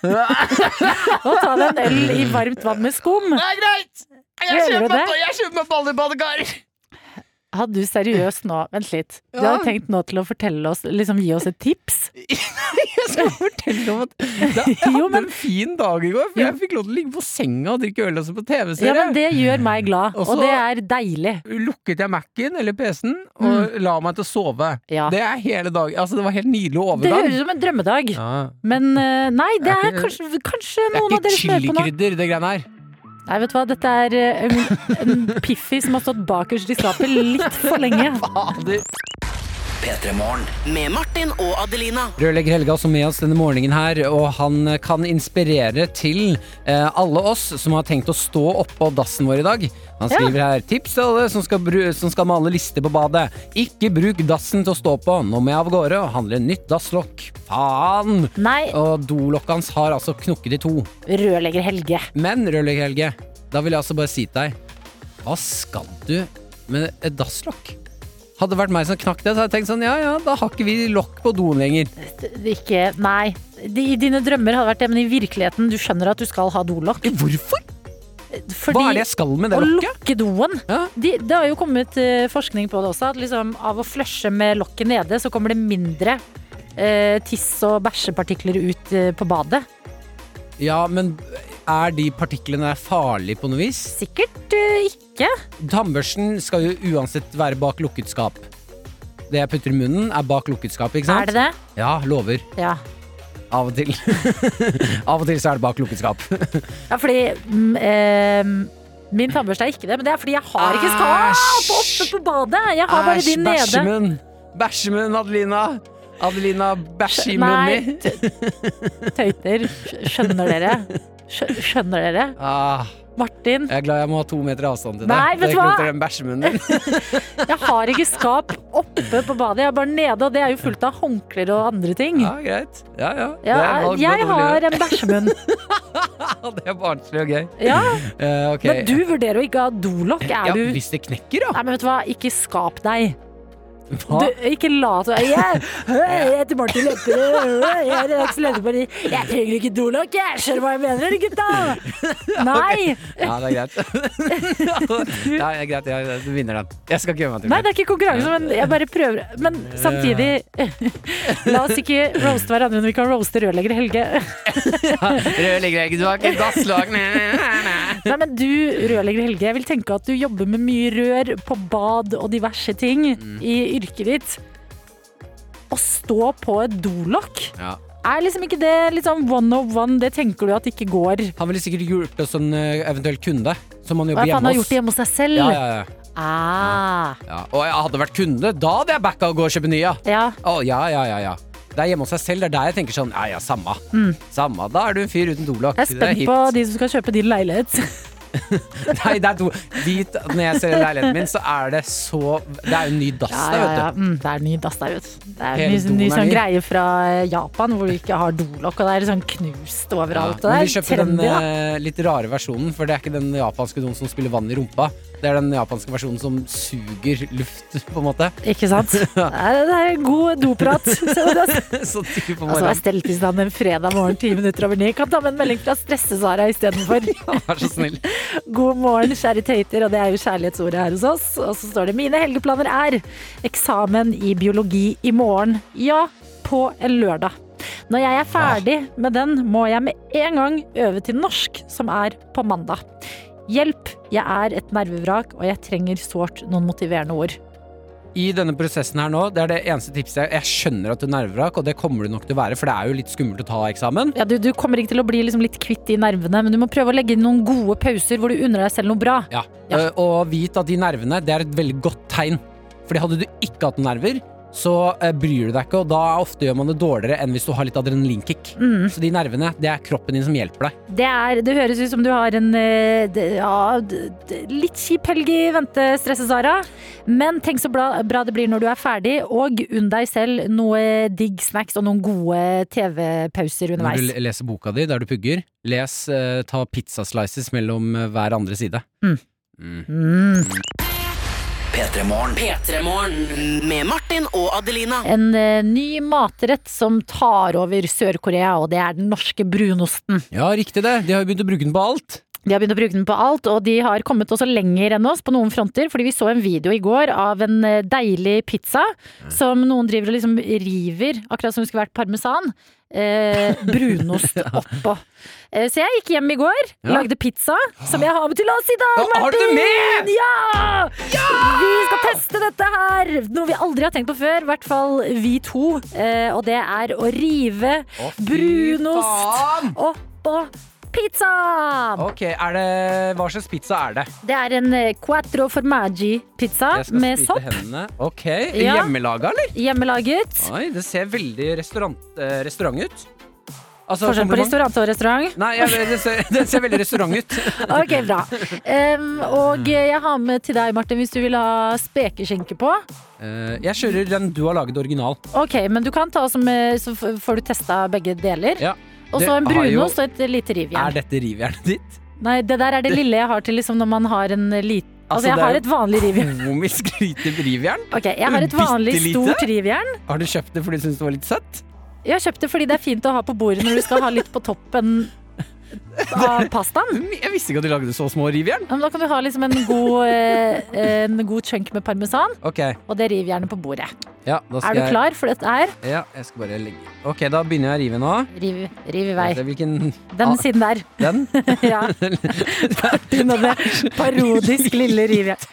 Speaker 2: (laughs) og ta deg en øl i varmt vann med skum.
Speaker 3: Det er greit!
Speaker 2: Gjør du det?
Speaker 3: jeg kjøper meg ballebadekar!
Speaker 2: Hadde du seriøst nå Vent litt. Du
Speaker 3: Ja.
Speaker 2: hadde tenkt nå til å fortelle oss Liksom gi oss et tips?
Speaker 3: (laughs) Jeg skal fortelle om at
Speaker 2: (laughs)
Speaker 3: (laughs) jeg hadde
Speaker 2: Jo, men-
Speaker 3: en fin dag i går, for jeg fikk lov til å ligge på senga og drikke øl også på
Speaker 2: Ja, men
Speaker 3: TV-serie.
Speaker 2: det gjør meg glad,
Speaker 3: Og så-
Speaker 2: og det er deilig.
Speaker 3: Lukket jeg Mac-en eller PC-en og la meg til å sove.
Speaker 2: Mm. Ja.
Speaker 3: Det er hele dagen. Altså, det var helt nydelig
Speaker 2: Det
Speaker 3: overgang.
Speaker 2: høres ut som en drømmedag,
Speaker 3: ja.
Speaker 2: men eh, nei, det
Speaker 3: Det er
Speaker 2: er
Speaker 3: ikke-
Speaker 2: kanskje, kanskje
Speaker 3: Det
Speaker 2: noen
Speaker 3: er
Speaker 2: av
Speaker 3: ikke
Speaker 2: dere som hører på nå.
Speaker 3: chilikrydder, det greiene her.
Speaker 2: Nei, vet du hva, dette er eh, en, en Piffi som har stått bakerst i skapet litt for lenge.
Speaker 3: (laughs) Fader.
Speaker 4: Med Martin og Adelina.
Speaker 3: Rørlegger Helge er også med oss denne morgenen her, og han kan inspirere til eh, alle oss som har tenkt å stå oppå dassen vår i dag. Han skriver her tips til alle som skal, bru som skal male lister på badet. Ikke bruk dassen til å stå på. Nå må jeg av gårde og handle nytt dasslokk. Faen!
Speaker 2: Nei,
Speaker 3: Og dolokket hans har altså knukket i to.
Speaker 2: rørlegger Helge.
Speaker 3: Men Rørlegger Helge, da vil jeg altså bare si til deg Hva skal du med et dasslokk? Hadde det vært meg som knakk det, så hadde jeg tenkt sånn ja ja, da har ikke vi lokk på doen lenger.
Speaker 2: Ikke Nei. De, dine drømmer hadde vært det, men i virkeligheten, du skjønner at du skal ha dolokk.
Speaker 3: Hvorfor?
Speaker 2: Fordi
Speaker 3: Hva er det jeg skal med det
Speaker 2: å
Speaker 3: lokket?
Speaker 2: lukke doen
Speaker 3: Ja.
Speaker 2: de, Det har jo kommet eh, forskning på det også, at liksom av å flushe med lokket nede, så kommer det mindre eh, tiss og bæsjepartikler ut eh, på badet.
Speaker 3: Ja, men er de partiklene der farlige på noe vis?
Speaker 2: Sikkert eh, ikke.
Speaker 3: Tannbørsten skal jo uansett være bak lukket skap. Det jeg putter i munnen, er bak lukket skap, ikke sant?
Speaker 2: Er det det?
Speaker 3: Ja, lover.
Speaker 2: Ja.
Speaker 3: Av og til. (laughs) Av og til så er det bak lukket skap.
Speaker 2: ja fordi mm, eh, Min tannbørste er ikke det, men det er fordi jeg har ikke skap oppe på badet! Jeg har bare de nede.
Speaker 3: bæsjemunn! Bæsjemunn, Adelina! Adelina bæsjer i munnen
Speaker 2: Nei,
Speaker 3: min.
Speaker 2: t- tøyter. Skjønner dere? Skjø- Skjønner dere?
Speaker 3: Ah,
Speaker 2: Martin,
Speaker 3: jeg er glad jeg må ha to meter avstand til deg.
Speaker 2: Nei, vet du
Speaker 3: Det er ikke
Speaker 2: hva?
Speaker 3: lov til den bæsjemunnen
Speaker 2: (laughs)
Speaker 3: din.
Speaker 2: jeg har ikke skap oppe på badet, jeg er bare nede, og det er jo fullt av håndklær og andre ting.
Speaker 3: Ja, greit. Ja, ja. Det
Speaker 2: Ja,
Speaker 3: er bare-
Speaker 2: jeg har en bæsjemunn.
Speaker 3: (laughs) Det er barnslig og gøy.
Speaker 2: Ja,
Speaker 3: Eh, (laughs) ok.
Speaker 2: men du vurderer å ikke ha dolokk. Er
Speaker 3: ja,
Speaker 2: du
Speaker 3: Hvis det knekker, da.
Speaker 2: Nei, men vet du hva, ikke skap deg. Du, ikke lat som. Jeg, jeg heter Martin Lepperød. Jeg er redaksjonsleder Jeg trenger ikke dolokk, jeg. Skjønner du hva jeg mener, eller, gutta? Nei.
Speaker 3: Ja,
Speaker 2: (laughs)
Speaker 3: det er greit. (laughs) ja, det er greit. Ja, du vinner den. Jeg skal ikke gjøre meg til
Speaker 2: Nei, det er ikke konkurranse, men jeg bare prøver. Men samtidig La oss ikke roaste hverandre når vi kan roaste rørlegger Helge.
Speaker 3: Rødliggreg, du har ikke
Speaker 2: (laughs)
Speaker 3: dasslag.
Speaker 2: Nei, men du, rørlegger Helge, jeg vil tenke at du jobber med mye rør på bad og diverse ting i yrket ditt. Å stå på et dolokk,
Speaker 3: Ja.
Speaker 2: er liksom ikke det litt sånn one of one? Det tenker du at ikke går.
Speaker 3: Han ville sikkert hjulpet oss en eh, eventuell kunde, som han
Speaker 2: Hva
Speaker 3: jobber
Speaker 2: faen han
Speaker 3: hjemme
Speaker 2: har
Speaker 3: hos.
Speaker 2: gjort det hjemme hos seg selv?
Speaker 3: Ja, ja, ja.
Speaker 2: Ah,
Speaker 3: Ja. Og jeg hadde vært kunde, da hadde jeg backa og gå og kjøpe nye.
Speaker 2: ja.
Speaker 3: Å, ja, ja, ja, ja. Det er hjemme hos seg selv, det er der jeg tenker sånn, ja, ja, samme. Samme, da er du en fyr uten dolokk.
Speaker 2: Mm. Jeg er spent på de som skal kjøpe din leilighet.
Speaker 3: Nei, det er do... Dit, når jeg ser leiligheten min, så er det så Det er jo en ny dass
Speaker 2: (laughs) Ja,
Speaker 3: der,
Speaker 2: ja,
Speaker 3: vet
Speaker 2: ja.
Speaker 3: du.
Speaker 2: Mm, det er ny dass der ute. Det er
Speaker 3: Hele
Speaker 2: ny,
Speaker 3: doen
Speaker 2: ny
Speaker 3: er
Speaker 2: sånn
Speaker 3: ny.
Speaker 2: greie fra Japan hvor du ikke har dolokk, og det er sånn knust overalt. og
Speaker 3: Ja,
Speaker 2: det
Speaker 3: men vi
Speaker 2: er
Speaker 3: kjøper den
Speaker 2: trendy, da.
Speaker 3: eh, litt rare versjonen, for det er ikke den japanske doen som spiller vann i rumpa. Det er den japanske versjonen som suger luft, på en måte. (laughs)
Speaker 2: Ikke sant? Det er, det er god doprat. Så det er-
Speaker 3: Så tidlig
Speaker 2: Altså, det
Speaker 3: på
Speaker 2: er
Speaker 3: morgenen.
Speaker 2: steltilstand en fredag morgen ti minutter over ni. Kan ta med en melding fra Stresse-Sara
Speaker 3: (laughs)
Speaker 2: istedenfor.
Speaker 3: Vær så snill.
Speaker 2: God morgen, kjære tøyter, og det er jo kjærlighetsordet her hos oss. Og så står det mine helgeplaner er eksamen i biologi i morgen. Ja, på en lørdag. Når jeg er ferdig med den, må jeg med en gang øve til norsk, som er på mandag. Hjelp, jeg er et nervevrak, og jeg trenger sårt noen motiverende ord.
Speaker 3: I denne prosessen her nå, det er det eneste tipset jeg Jeg skjønner at du er nervevrak, og det kommer du nok til å være, for det er jo litt skummelt å ta eksamen.
Speaker 2: Ja, du, du kommer ikke til å bli liksom litt kvitt de nervene, men du må prøve å legge inn noen gode pauser hvor du unner deg selv noe bra.
Speaker 3: Ja.
Speaker 2: Ja.
Speaker 3: Eh, Og vit at de nervene, det er et veldig godt tegn. Fordi hadde du ikke hatt nerver, så eh, bryr du deg ikke, og da ofte gjør man det dårligere enn hvis du har litt adrenalinkick.
Speaker 2: Mm.
Speaker 3: Så de nervene, det er kroppen din som hjelper deg.
Speaker 2: Det, er, det høres ut som du har en eh, d- ja, d- d- litt kjip helg i vente, Stresse-Sara. Men tenk så bra, bra det blir når du er ferdig, og unn deg selv noe digg snacks og noen gode TV-pauser
Speaker 3: Når du
Speaker 2: underveis.
Speaker 3: le- leser boka di der du pugger, les eh, ta pizzaslices mellom eh, hver andre side.
Speaker 4: P3-morgen med Martin og Adelina.
Speaker 2: En eh, ny matrett som tar over Sør-Korea, og det er den norske brunosten.
Speaker 3: Ja, riktig det. De har jo begynt å bruke den på alt.
Speaker 2: De har begynt å bruke den på alt, og de har kommet også lenger enn oss på noen fronter. Fordi vi så en video i går av en eh, deilig pizza som noen driver og liksom river, akkurat som det skulle vært parmesan. Eh,
Speaker 3: (laughs)
Speaker 2: brunost oppå. Eh, så jeg gikk hjem i går, lagde pizza, som jeg har med til oss i dag,
Speaker 3: Ja, har du det med?
Speaker 2: Ja! Vi skal teste dette her! Noe vi aldri har tenkt på før, i hvert fall vi to. Eh, og det er å rive brunost oppå pizzaen!
Speaker 3: Ok, er det Hva slags pizza er det?
Speaker 2: Det er en eh, quattro formaggi-pizza
Speaker 3: Jeg skal
Speaker 2: med
Speaker 3: sprite
Speaker 2: sopp.
Speaker 3: hendene. Ok.
Speaker 2: Ja.
Speaker 3: Hjemmelaga, eller?
Speaker 2: Hjemmelaget.
Speaker 3: Oi, det ser veldig restaurant, eh, restaurant ut. Altså,
Speaker 2: Forskjell på
Speaker 3: kompliment.
Speaker 2: restaurant og restaurant.
Speaker 3: Nei, jeg, det, ser, (laughs) det ser veldig restaurant ut.
Speaker 2: Ok, bra. Em, og eh, jeg har med til deg, Martin, hvis du vil ha spekeskinke på.
Speaker 3: Eh, jeg kjører den du har laget original.
Speaker 2: Ok, men du kan ta som eh, Så f- får du testa begge deler.
Speaker 3: Ja.
Speaker 2: Og
Speaker 3: Det
Speaker 2: så en
Speaker 3: har jo-
Speaker 2: brunost og et lite
Speaker 3: Er
Speaker 2: rivjern.
Speaker 3: dette rivjernet ditt?
Speaker 2: Nei, det der er det lille jeg har til liksom når man har en liten Altså,
Speaker 3: Altså, det
Speaker 2: jeg
Speaker 3: er
Speaker 2: har
Speaker 3: jo-
Speaker 2: et vanlig
Speaker 3: (laughs)
Speaker 2: rivjern.
Speaker 3: Komisk lite rivjern.
Speaker 2: Ok, Jeg har et vanlig
Speaker 3: Bittelite?
Speaker 2: stort rivjern.
Speaker 3: Har du kjøpt det fordi du syns det var litt søtt?
Speaker 2: Jeg har kjøpt det fordi det er fint å ha på bordet når du skal ha litt på toppen
Speaker 3: (laughs)
Speaker 2: av pastaen.
Speaker 3: Jeg visste ikke at de lagde så små rivjern.
Speaker 2: Ja, Men da kan du ha liksom en god, (laughs) eh, en god chunk med parmesan,
Speaker 3: Ok,
Speaker 2: og det river gjerne på bordet.
Speaker 3: ja, da
Speaker 2: Er
Speaker 3: skal
Speaker 2: du klar for dette her?
Speaker 3: Jeg, ja, jeg skal bare legge Ok, da begynner jeg å rive nå.
Speaker 2: Riv, riv i vei.
Speaker 3: Skal vi se Hvilken
Speaker 2: Den
Speaker 3: Ah.
Speaker 2: siden der.
Speaker 3: (laughs) den?
Speaker 2: Ja. Martin og det parodisk lille rivet.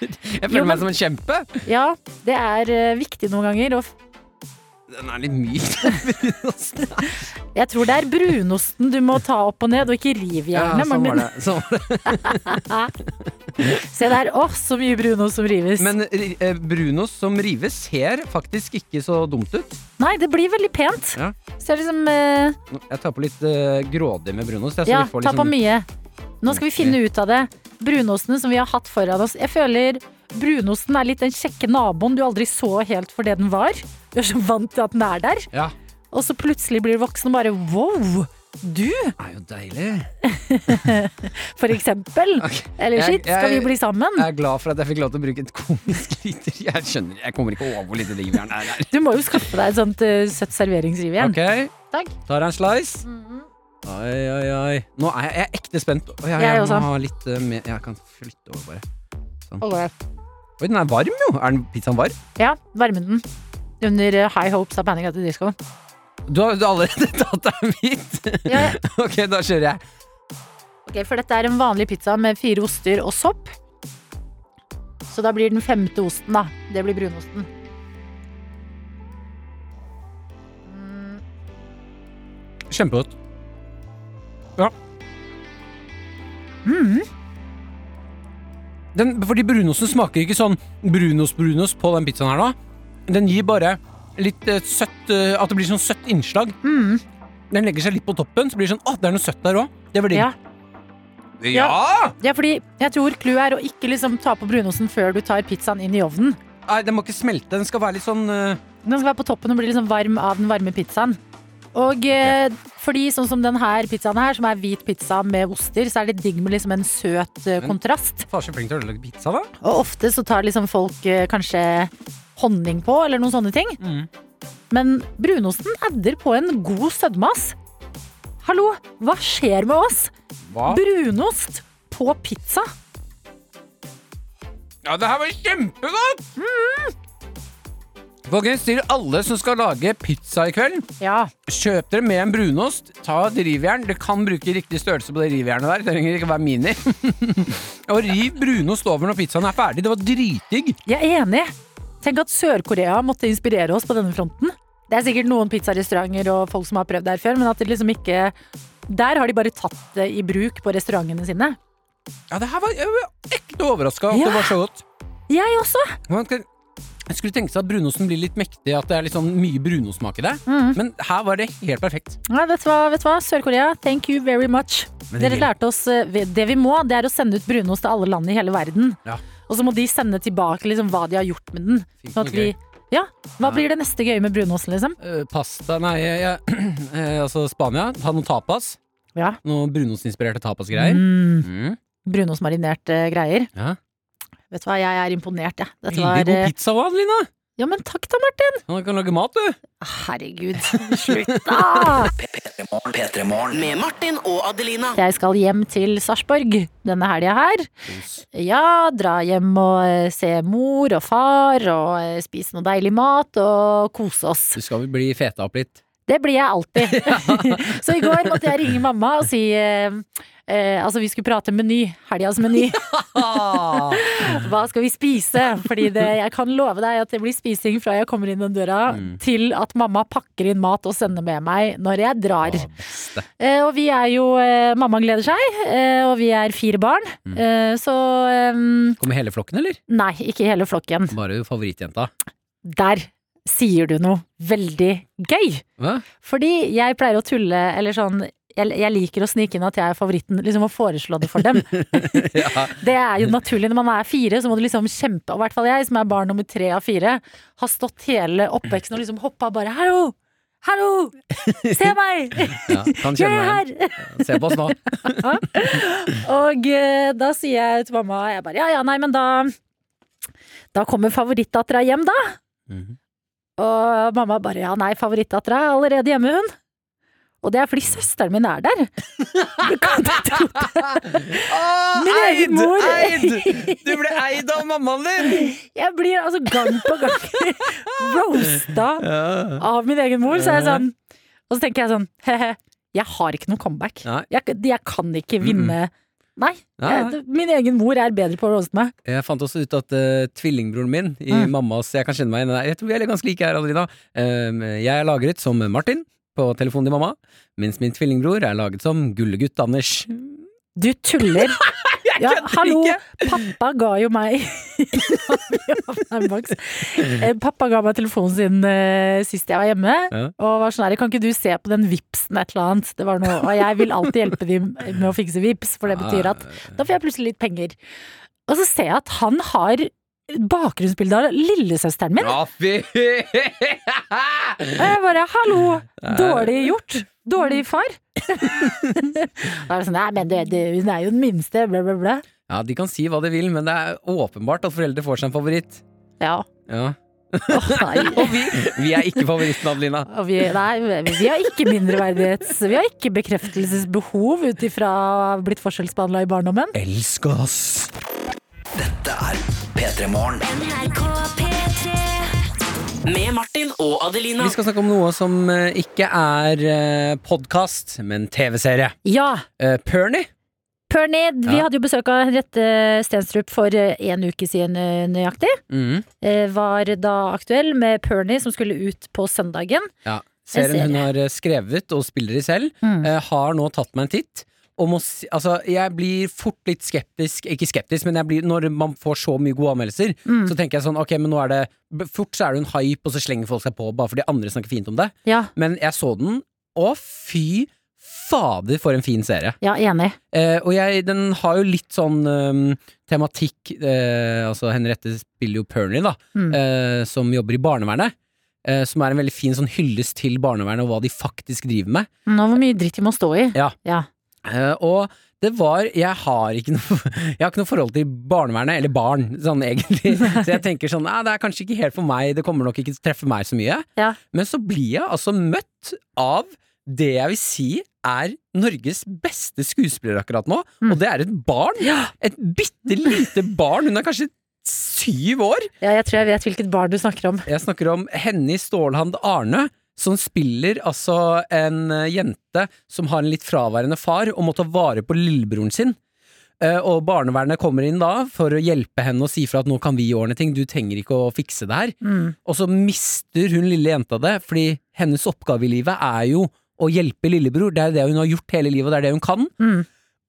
Speaker 2: Jo,
Speaker 3: Jeg føler
Speaker 2: men-
Speaker 3: meg som en kjempe.
Speaker 2: Ja, det er eh, viktig noen ganger. Og f-
Speaker 3: Den er litt myk.
Speaker 2: jeg tror det er brunosten du må ta opp og ned, og ikke rivjernet.
Speaker 3: sånn var
Speaker 2: Martin.
Speaker 3: det. Sånn var det.
Speaker 2: Se der, åh, så mye brunost som rives.
Speaker 3: Men ri- eh, brunost som rives ser faktisk ikke så dumt ut.
Speaker 2: Nei, det blir veldig pent.
Speaker 3: Ja.
Speaker 2: Så det er liksom eh,
Speaker 3: Jeg tar på litt eh, grådig med brunost. jeg, så
Speaker 2: Ja,
Speaker 3: vi får
Speaker 2: ta på
Speaker 3: liksom-
Speaker 2: mye. Nå skal vi finne ut av det. Brunostene som vi har hatt foran oss. Jeg føler brunosten er litt den kjekke naboen du aldri så helt for det den var. Du er så vant til at den er der.
Speaker 3: Ja.
Speaker 2: Og så plutselig blir du voksen og bare wow, Du,
Speaker 9: Det er jo deilig.
Speaker 2: for eksempel.
Speaker 3: (laughs)
Speaker 2: Eller
Speaker 9: Jeg-
Speaker 2: shit, skal vi
Speaker 9: jeg-
Speaker 2: bli sammen?
Speaker 9: Jeg er glad for at jeg fikk lov til å bruke et komisk (laughs) kriter. Jeg skjønner, jeg kommer ikke over hvor lite rivjern det er her.
Speaker 2: Du må jo skaffe deg et sånt eh, søtt serveringsrivjern.
Speaker 9: Ok,
Speaker 2: Takk. Mhm.
Speaker 9: tar jeg en slice. Oi, oi, oi. Nå er jeg, jeg er ekte spent. Oi, jeg,
Speaker 2: Jeg sånn.
Speaker 9: jeg
Speaker 2: også.
Speaker 9: må ha litt eh, mer Jeg kan flytte over, bare. Sånn. Oi, den er varm, jo. Er den pizzaen varm?
Speaker 2: Ja, varme den. Under eh, High Hopes av Panic at the Disco.
Speaker 9: Du har, du har allerede (laughs) tatt deg hvitt.
Speaker 2: Ja,
Speaker 9: ok, da kjører jeg.
Speaker 2: ok, for dette er en vanlig pizza med fire oster og sopp. Så da blir den femte osten, da. Det blir brunosten.
Speaker 9: Kjempegodt.
Speaker 3: Den, fordi brunosten smaker ikke sånn brunost-brunost på den pizzaen her nå. Den gir bare litt eh, søtt eh, At det blir sånn søtt innslag. Den legger seg litt på toppen, så blir det sånn Å, det er noe søtt der òg. Det var digg.
Speaker 2: Ja. Ja, fordi jeg tror clouet er å ikke liksom ta på brunosten før du tar pizzaen inn i ovnen.
Speaker 9: Nei, den må ikke smelte. Den skal være litt sånn eh,
Speaker 2: Den skal være på toppen og bli liksom varm av den varme pizzaen. Og eh, fordi sånn som den her pizzaen her, som er hvit pizza med oster, så er det digg med liksom en søt eh, kontrast.
Speaker 9: Far så flink til å lage pizza, da.
Speaker 2: Og ofte så tar liksom folk eh, kanskje honning på, eller noen sånne ting. Men brunosten adder på en god sødmas. Hallo, hva skjer med oss?
Speaker 3: Hva?
Speaker 2: Brunost på pizza?
Speaker 3: Ja, det her var kjempegodt! Folkens, til alle som skal lage pizza i kveld,
Speaker 2: Ja.
Speaker 3: kjøp dere med en brunost. Ta et rivjern. Dere kan bruke riktig størrelse på det rivjernet der. Det trenger ikke være mini. (laughs) og riv brunost over når pizzaen er ferdig. Det var dritdigg.
Speaker 2: Jeg er enig. Tenk at Sør-Korea måtte inspirere oss på denne fronten. Det er sikkert noen pizzarestauranter og folk som har prøvd der før, men at det liksom ikke Der har de bare tatt det i bruk på restaurantene sine.
Speaker 3: Ja, det her var jeg var ekte overraska at
Speaker 2: Ja.
Speaker 3: det var så godt.
Speaker 2: Jeg også!
Speaker 3: Man kan- Jeg skulle tenke seg at brunosten blir litt mektig, at det er litt sånn mye brunostsmak i det.
Speaker 2: Mm.
Speaker 3: Men her var det helt perfekt.
Speaker 2: Nei, vet du hva, vet du hva? Sør-Korea, thank you very much. Dere lærte oss eh, Det vi må, det er å sende ut brunost til alle land i hele verden.
Speaker 9: Ja.
Speaker 2: Og så må de sende tilbake liksom, hva de har gjort med den.
Speaker 9: Fint
Speaker 2: Sånn at
Speaker 9: noe
Speaker 2: vi
Speaker 9: gøy.
Speaker 2: Ja, hva blir det neste gøye med brunosten, liksom?
Speaker 3: Eh, pasta Nei, jeg, jeg, (clears throat) eh, altså Spania. Ha noen tapas.
Speaker 2: Ja.
Speaker 3: Noen brunostinspirerte tapasgreier.
Speaker 2: Mm,
Speaker 3: Mm.
Speaker 2: Brunostmarinerte greier.
Speaker 3: Ja.
Speaker 2: Vet du hva, jeg er imponert, jeg. Dette
Speaker 3: Veldig
Speaker 2: var eh,
Speaker 3: god pizza òg, Adelina.
Speaker 2: Ja, men takk da, Martin.
Speaker 3: Du kan lage mat, du.
Speaker 2: Herregud, slutt da!
Speaker 4: Med Martin og Adelina.
Speaker 2: (laughs) Jeg skal hjem til Sarpsborg denne helga her. Ja, dra hjem og eh, se mor og far og eh, spise noe deilig mat og kose oss.
Speaker 9: Du skal vel bli feta opp litt?
Speaker 2: Det blir jeg alltid. (laughs) Så i går måtte jeg ringe mamma og si eh, eh, Altså, vi skulle prate meny. Helgas meny. Ah. Hva skal vi spise? Fordi det, jeg kan love deg at det blir spising fra jeg kommer inn den døra, til at mamma pakker inn mat og sender med meg når jeg drar. Eh, og vi er jo eh, Mamma gleder seg, eh, og vi er fire barn. Eh, så eh,
Speaker 9: Kommer hele flokken, eller?
Speaker 2: Nei, ikke hele flokken.
Speaker 9: Bare favorittjenta.
Speaker 2: Der sier du noe veldig gøy.
Speaker 9: Hva?
Speaker 2: Fordi jeg pleier å tulle, eller sånn jeg, jeg liker å snike inn at jeg er favoritten, liksom å foreslå det for
Speaker 9: (laughs)
Speaker 2: dem. (laughs) Det er jo naturlig. Når man er fire, så må du liksom kjempe. Og i hvert fall jeg, som er barn nummer tre av fire, har stått hele oppveksten og liksom hoppa bare 'hallo, hallo,
Speaker 9: (laughs)
Speaker 2: se meg,
Speaker 9: Ja, kan
Speaker 2: jeg
Speaker 9: kjenne
Speaker 2: er
Speaker 9: meg
Speaker 2: her'.
Speaker 9: igjen. Se på oss nå.
Speaker 2: (laughs) Og eh, da sier jeg til mamma jeg bare, Ja ja, nei, men da Da kommer favorittdattera hjem, da.
Speaker 9: Mhm.
Speaker 2: Og mamma bare Ja, nei, favorittdattera er allerede hjemme, hun. Og det er fordi søsteren min er der. Du kan ikke tro det. Min egen mor.
Speaker 9: Du ble eid av mammaen din!
Speaker 2: Jeg blir altså gang på
Speaker 9: (laughs)
Speaker 2: gang roasta av min egen mor, så er jeg sånn Og så tenker jeg sånn he-he, jeg har ikke noe comeback.
Speaker 9: Nei. Mm.
Speaker 2: Jeg, jeg kan ikke vinne. Nei.
Speaker 9: Nei.
Speaker 2: Jeg, min egen mor er bedre på å roaste meg.
Speaker 9: Jeg fant også ut at eh, tvillingbroren min i
Speaker 2: Mm.
Speaker 9: mammas Jeg kan kjenne meg igjen i det. Jeg tror vi er litt ganske like her, Adelina. Um, jeg er lagret som Martin på telefonen til mamma, mens min tvillingbror er laget som gullegutt Anders.
Speaker 2: Du tuller. ja, hallo, pappa ga jo meg (laughs) Nei, Max. Eh, Pappa ga meg telefonen sin eh, sist jeg var hjemme,
Speaker 9: Ja.
Speaker 2: og var sånn her Kan ikke du se på den vipsen et eller annet? Det var noe, og jeg vil alltid hjelpe dem med å fikse vips, for det betyr at da får jeg plutselig litt penger. Og så ser jeg at han har bakgrunnsbilde av lillesøsteren min.
Speaker 10: Ja, fy!
Speaker 2: Og jeg bare hallo! Dårlig gjort. Dårlig far. (laughs) da er det sånn nei, men du, du, hun er jo den minste, bla, bla, bla.
Speaker 3: Ja, De kan si hva de vil, men det er åpenbart at foreldre får seg en favoritt.
Speaker 2: Ja.
Speaker 3: Ja.
Speaker 2: Åh, nei.
Speaker 3: Og vi, vi er ikke favoritten, Adelina.
Speaker 2: Og vi, nei, vi har ikke mindreverdighets... Vi har ikke bekreftelsesbehov ut ifra å ha blitt forskjellsbehandla i barndommen.
Speaker 3: Elsk oss!
Speaker 4: Med Martin og Adelina.
Speaker 3: Vi skal snakke om noe som eh, ikke er eh, podkast, men TV-serie.
Speaker 2: Ja,
Speaker 3: Eh, Perny.
Speaker 2: Perny, vi
Speaker 3: Ja.
Speaker 2: hadde jo besøk av Henriette Stenstrup for eh, en uke siden eh, nøyaktig.
Speaker 3: Mm.
Speaker 2: Eh, Var da aktuell med Perny som skulle ut på søndagen.
Speaker 3: Ja.
Speaker 2: En
Speaker 3: Serien hun
Speaker 2: serie. Mm.
Speaker 3: har eh, skrevet og spiller i selv, eh, har nå tatt meg en titt. Og må, si- altså, jeg blir fort litt skeptisk, ikke skeptisk, men jeg blir, når man får så mye gode anmeldelser,
Speaker 2: Mm.
Speaker 3: så tenker jeg sånn, ok, men nå er det b- Fort så er det en hype, og så slenger folk seg på bare fordi andre snakker fint om det.
Speaker 2: Ja,
Speaker 3: Men jeg så den, og fy fader, for en fin serie.
Speaker 2: ja enig.
Speaker 3: Eh, og jeg, den har jo litt sånn ehm, tematikk eh, Altså Henriette spiller jo Perny, da,
Speaker 2: Mm.
Speaker 3: eh, som jobber i barnevernet. eh, som er en veldig fin sånn hyllest til barnevernet og hva de faktisk driver med.
Speaker 2: Nå hvor mye dritt vi må stå i.
Speaker 3: Ja.
Speaker 2: Ja.
Speaker 3: Eh, og det var Jeg har ikke noe (laughs) Jeg har ikke noe forhold til barnevernet, eller barn, sånn egentlig. Så jeg tenker sånn Nei, det er kanskje ikke helt for meg, det kommer nok ikke til å treffe meg så mye.
Speaker 2: Ja.
Speaker 3: Men så blir jeg altså møtt av det jeg vil si er Norges beste skuespiller akkurat nå, og det er et barn. Et bitte lite barn. Hun er kanskje syv år.
Speaker 2: ja, jeg tror jeg vet hvilket barn du snakker om.
Speaker 3: Jeg snakker om Henny Stålhand Arne, som spiller altså en eh, jente som har en litt fraværende far og må ta vare på lillebroren sin. Eh, Og barnevernet kommer inn da for å hjelpe henne og si fra at nå kan vi ordne ting, du trenger ikke å fikse det her.
Speaker 2: Mm.
Speaker 3: Og så mister hun lille jenta det, fordi hennes oppgave i livet er jo å hjelpe lillebror. Det er det hun har gjort hele livet, og det er det hun kan.
Speaker 2: Mm.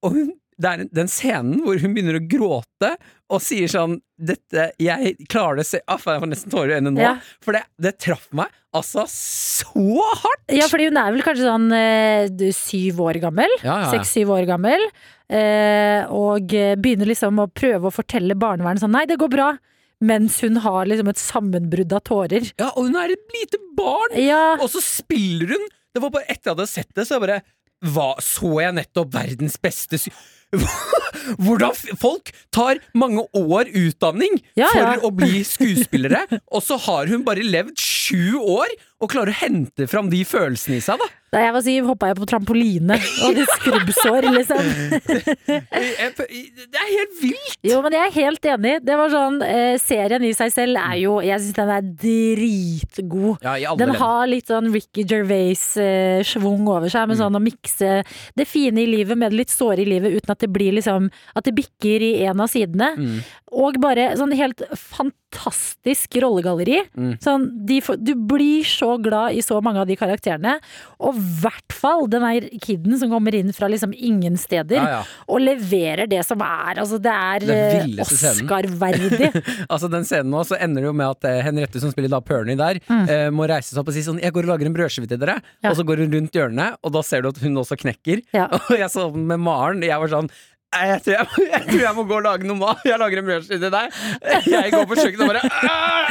Speaker 3: Og hun, det er den scenen hvor hun begynner å gråte og sier sånn Dette, jeg klarer det se... Ah, faen, jeg får nesten tårer i øynene nå.
Speaker 2: Ja.
Speaker 3: For det, det traff meg altså så hardt!
Speaker 2: Ja, fordi hun er vel kanskje sånn eh, du, syv år gammel.
Speaker 3: Ah, Ja,
Speaker 2: Seks-syv år gammel. eh, Og eh, begynner liksom å prøve å fortelle barnevernet sånn nei, det går bra. Mens hun har liksom et sammenbrudd av tårer.
Speaker 3: ja, og hun er et lite barn!
Speaker 2: Ja,
Speaker 3: Og så spiller hun! Det var bare etter jeg hadde sett det, så jeg bare hva, Så jeg nettopp verdens beste sy... (laughs) Hvordan f- folk tar mange år utdanning
Speaker 2: Ja,
Speaker 3: for
Speaker 2: ja.
Speaker 3: å bli skuespillere,
Speaker 2: (laughs)
Speaker 3: og så har hun bare levd sju år og klarer å hente fram de følelsene i seg, da.
Speaker 2: Da jeg var syv, hoppa jeg på trampoline og hadde skrubbsår, liksom.
Speaker 3: Jeg- jeg fø- Det er helt vilt!
Speaker 2: Jo, men jeg er helt enig. Det var sånn, eh, Serien i seg selv er jo Jeg syns den er dritgod.
Speaker 3: Ja, i alle
Speaker 2: Den
Speaker 3: ledd.
Speaker 2: har litt sånn Ricky Gervais-schwung over seg,
Speaker 3: Mm.
Speaker 2: med sånn å mikse det fine i livet med det litt såre i livet, uten at det blir liksom At det bikker i en av sidene.
Speaker 3: Mm.
Speaker 2: Og bare sånn helt fantastisk rollegalleri.
Speaker 3: Mm.
Speaker 2: Sånn, de, får- du blir så glad i så mange av de karakterene. Og i hvert fall den der kiden som kommer inn fra liksom ingen steder
Speaker 3: Ja, ja.
Speaker 2: og leverer det som er. Altså, det er,
Speaker 3: Den
Speaker 2: eh,
Speaker 3: villeste scenen.
Speaker 2: Oscar-verdig.
Speaker 3: Altså Den scenen nå så ender det jo med at eh, Henriette, som spiller da Perny der, eh, må reise seg opp og si sånn 'Jeg går og lager en brødskive til dere',
Speaker 2: Mm. Ja.
Speaker 3: og så går hun rundt hjørnet, og da ser du at hun også knekker.
Speaker 2: Ja.
Speaker 3: (laughs) Og jeg så den med Maren, jeg var sånn «Nei, jeg tror jeg, må- jeg tror jeg må gå og lage noe mat. Jeg lager en brødskive til deg. Jeg går på kjøkkenet og bare «Åh!»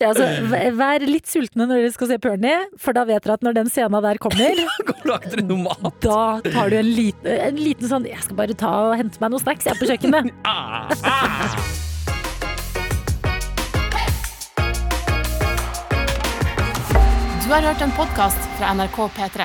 Speaker 2: ja, altså, v- vær litt sultne når dere skal se Perny, for da vet dere at når den scena der kommer,
Speaker 3: Går og lager dere noe mat.
Speaker 2: da tar du en liten, en liten sånn 'jeg skal bare ta og hente meg noen snacks, jeg er på kjøkkenet'.
Speaker 1: Du har hørt en podkast fra NRK P3.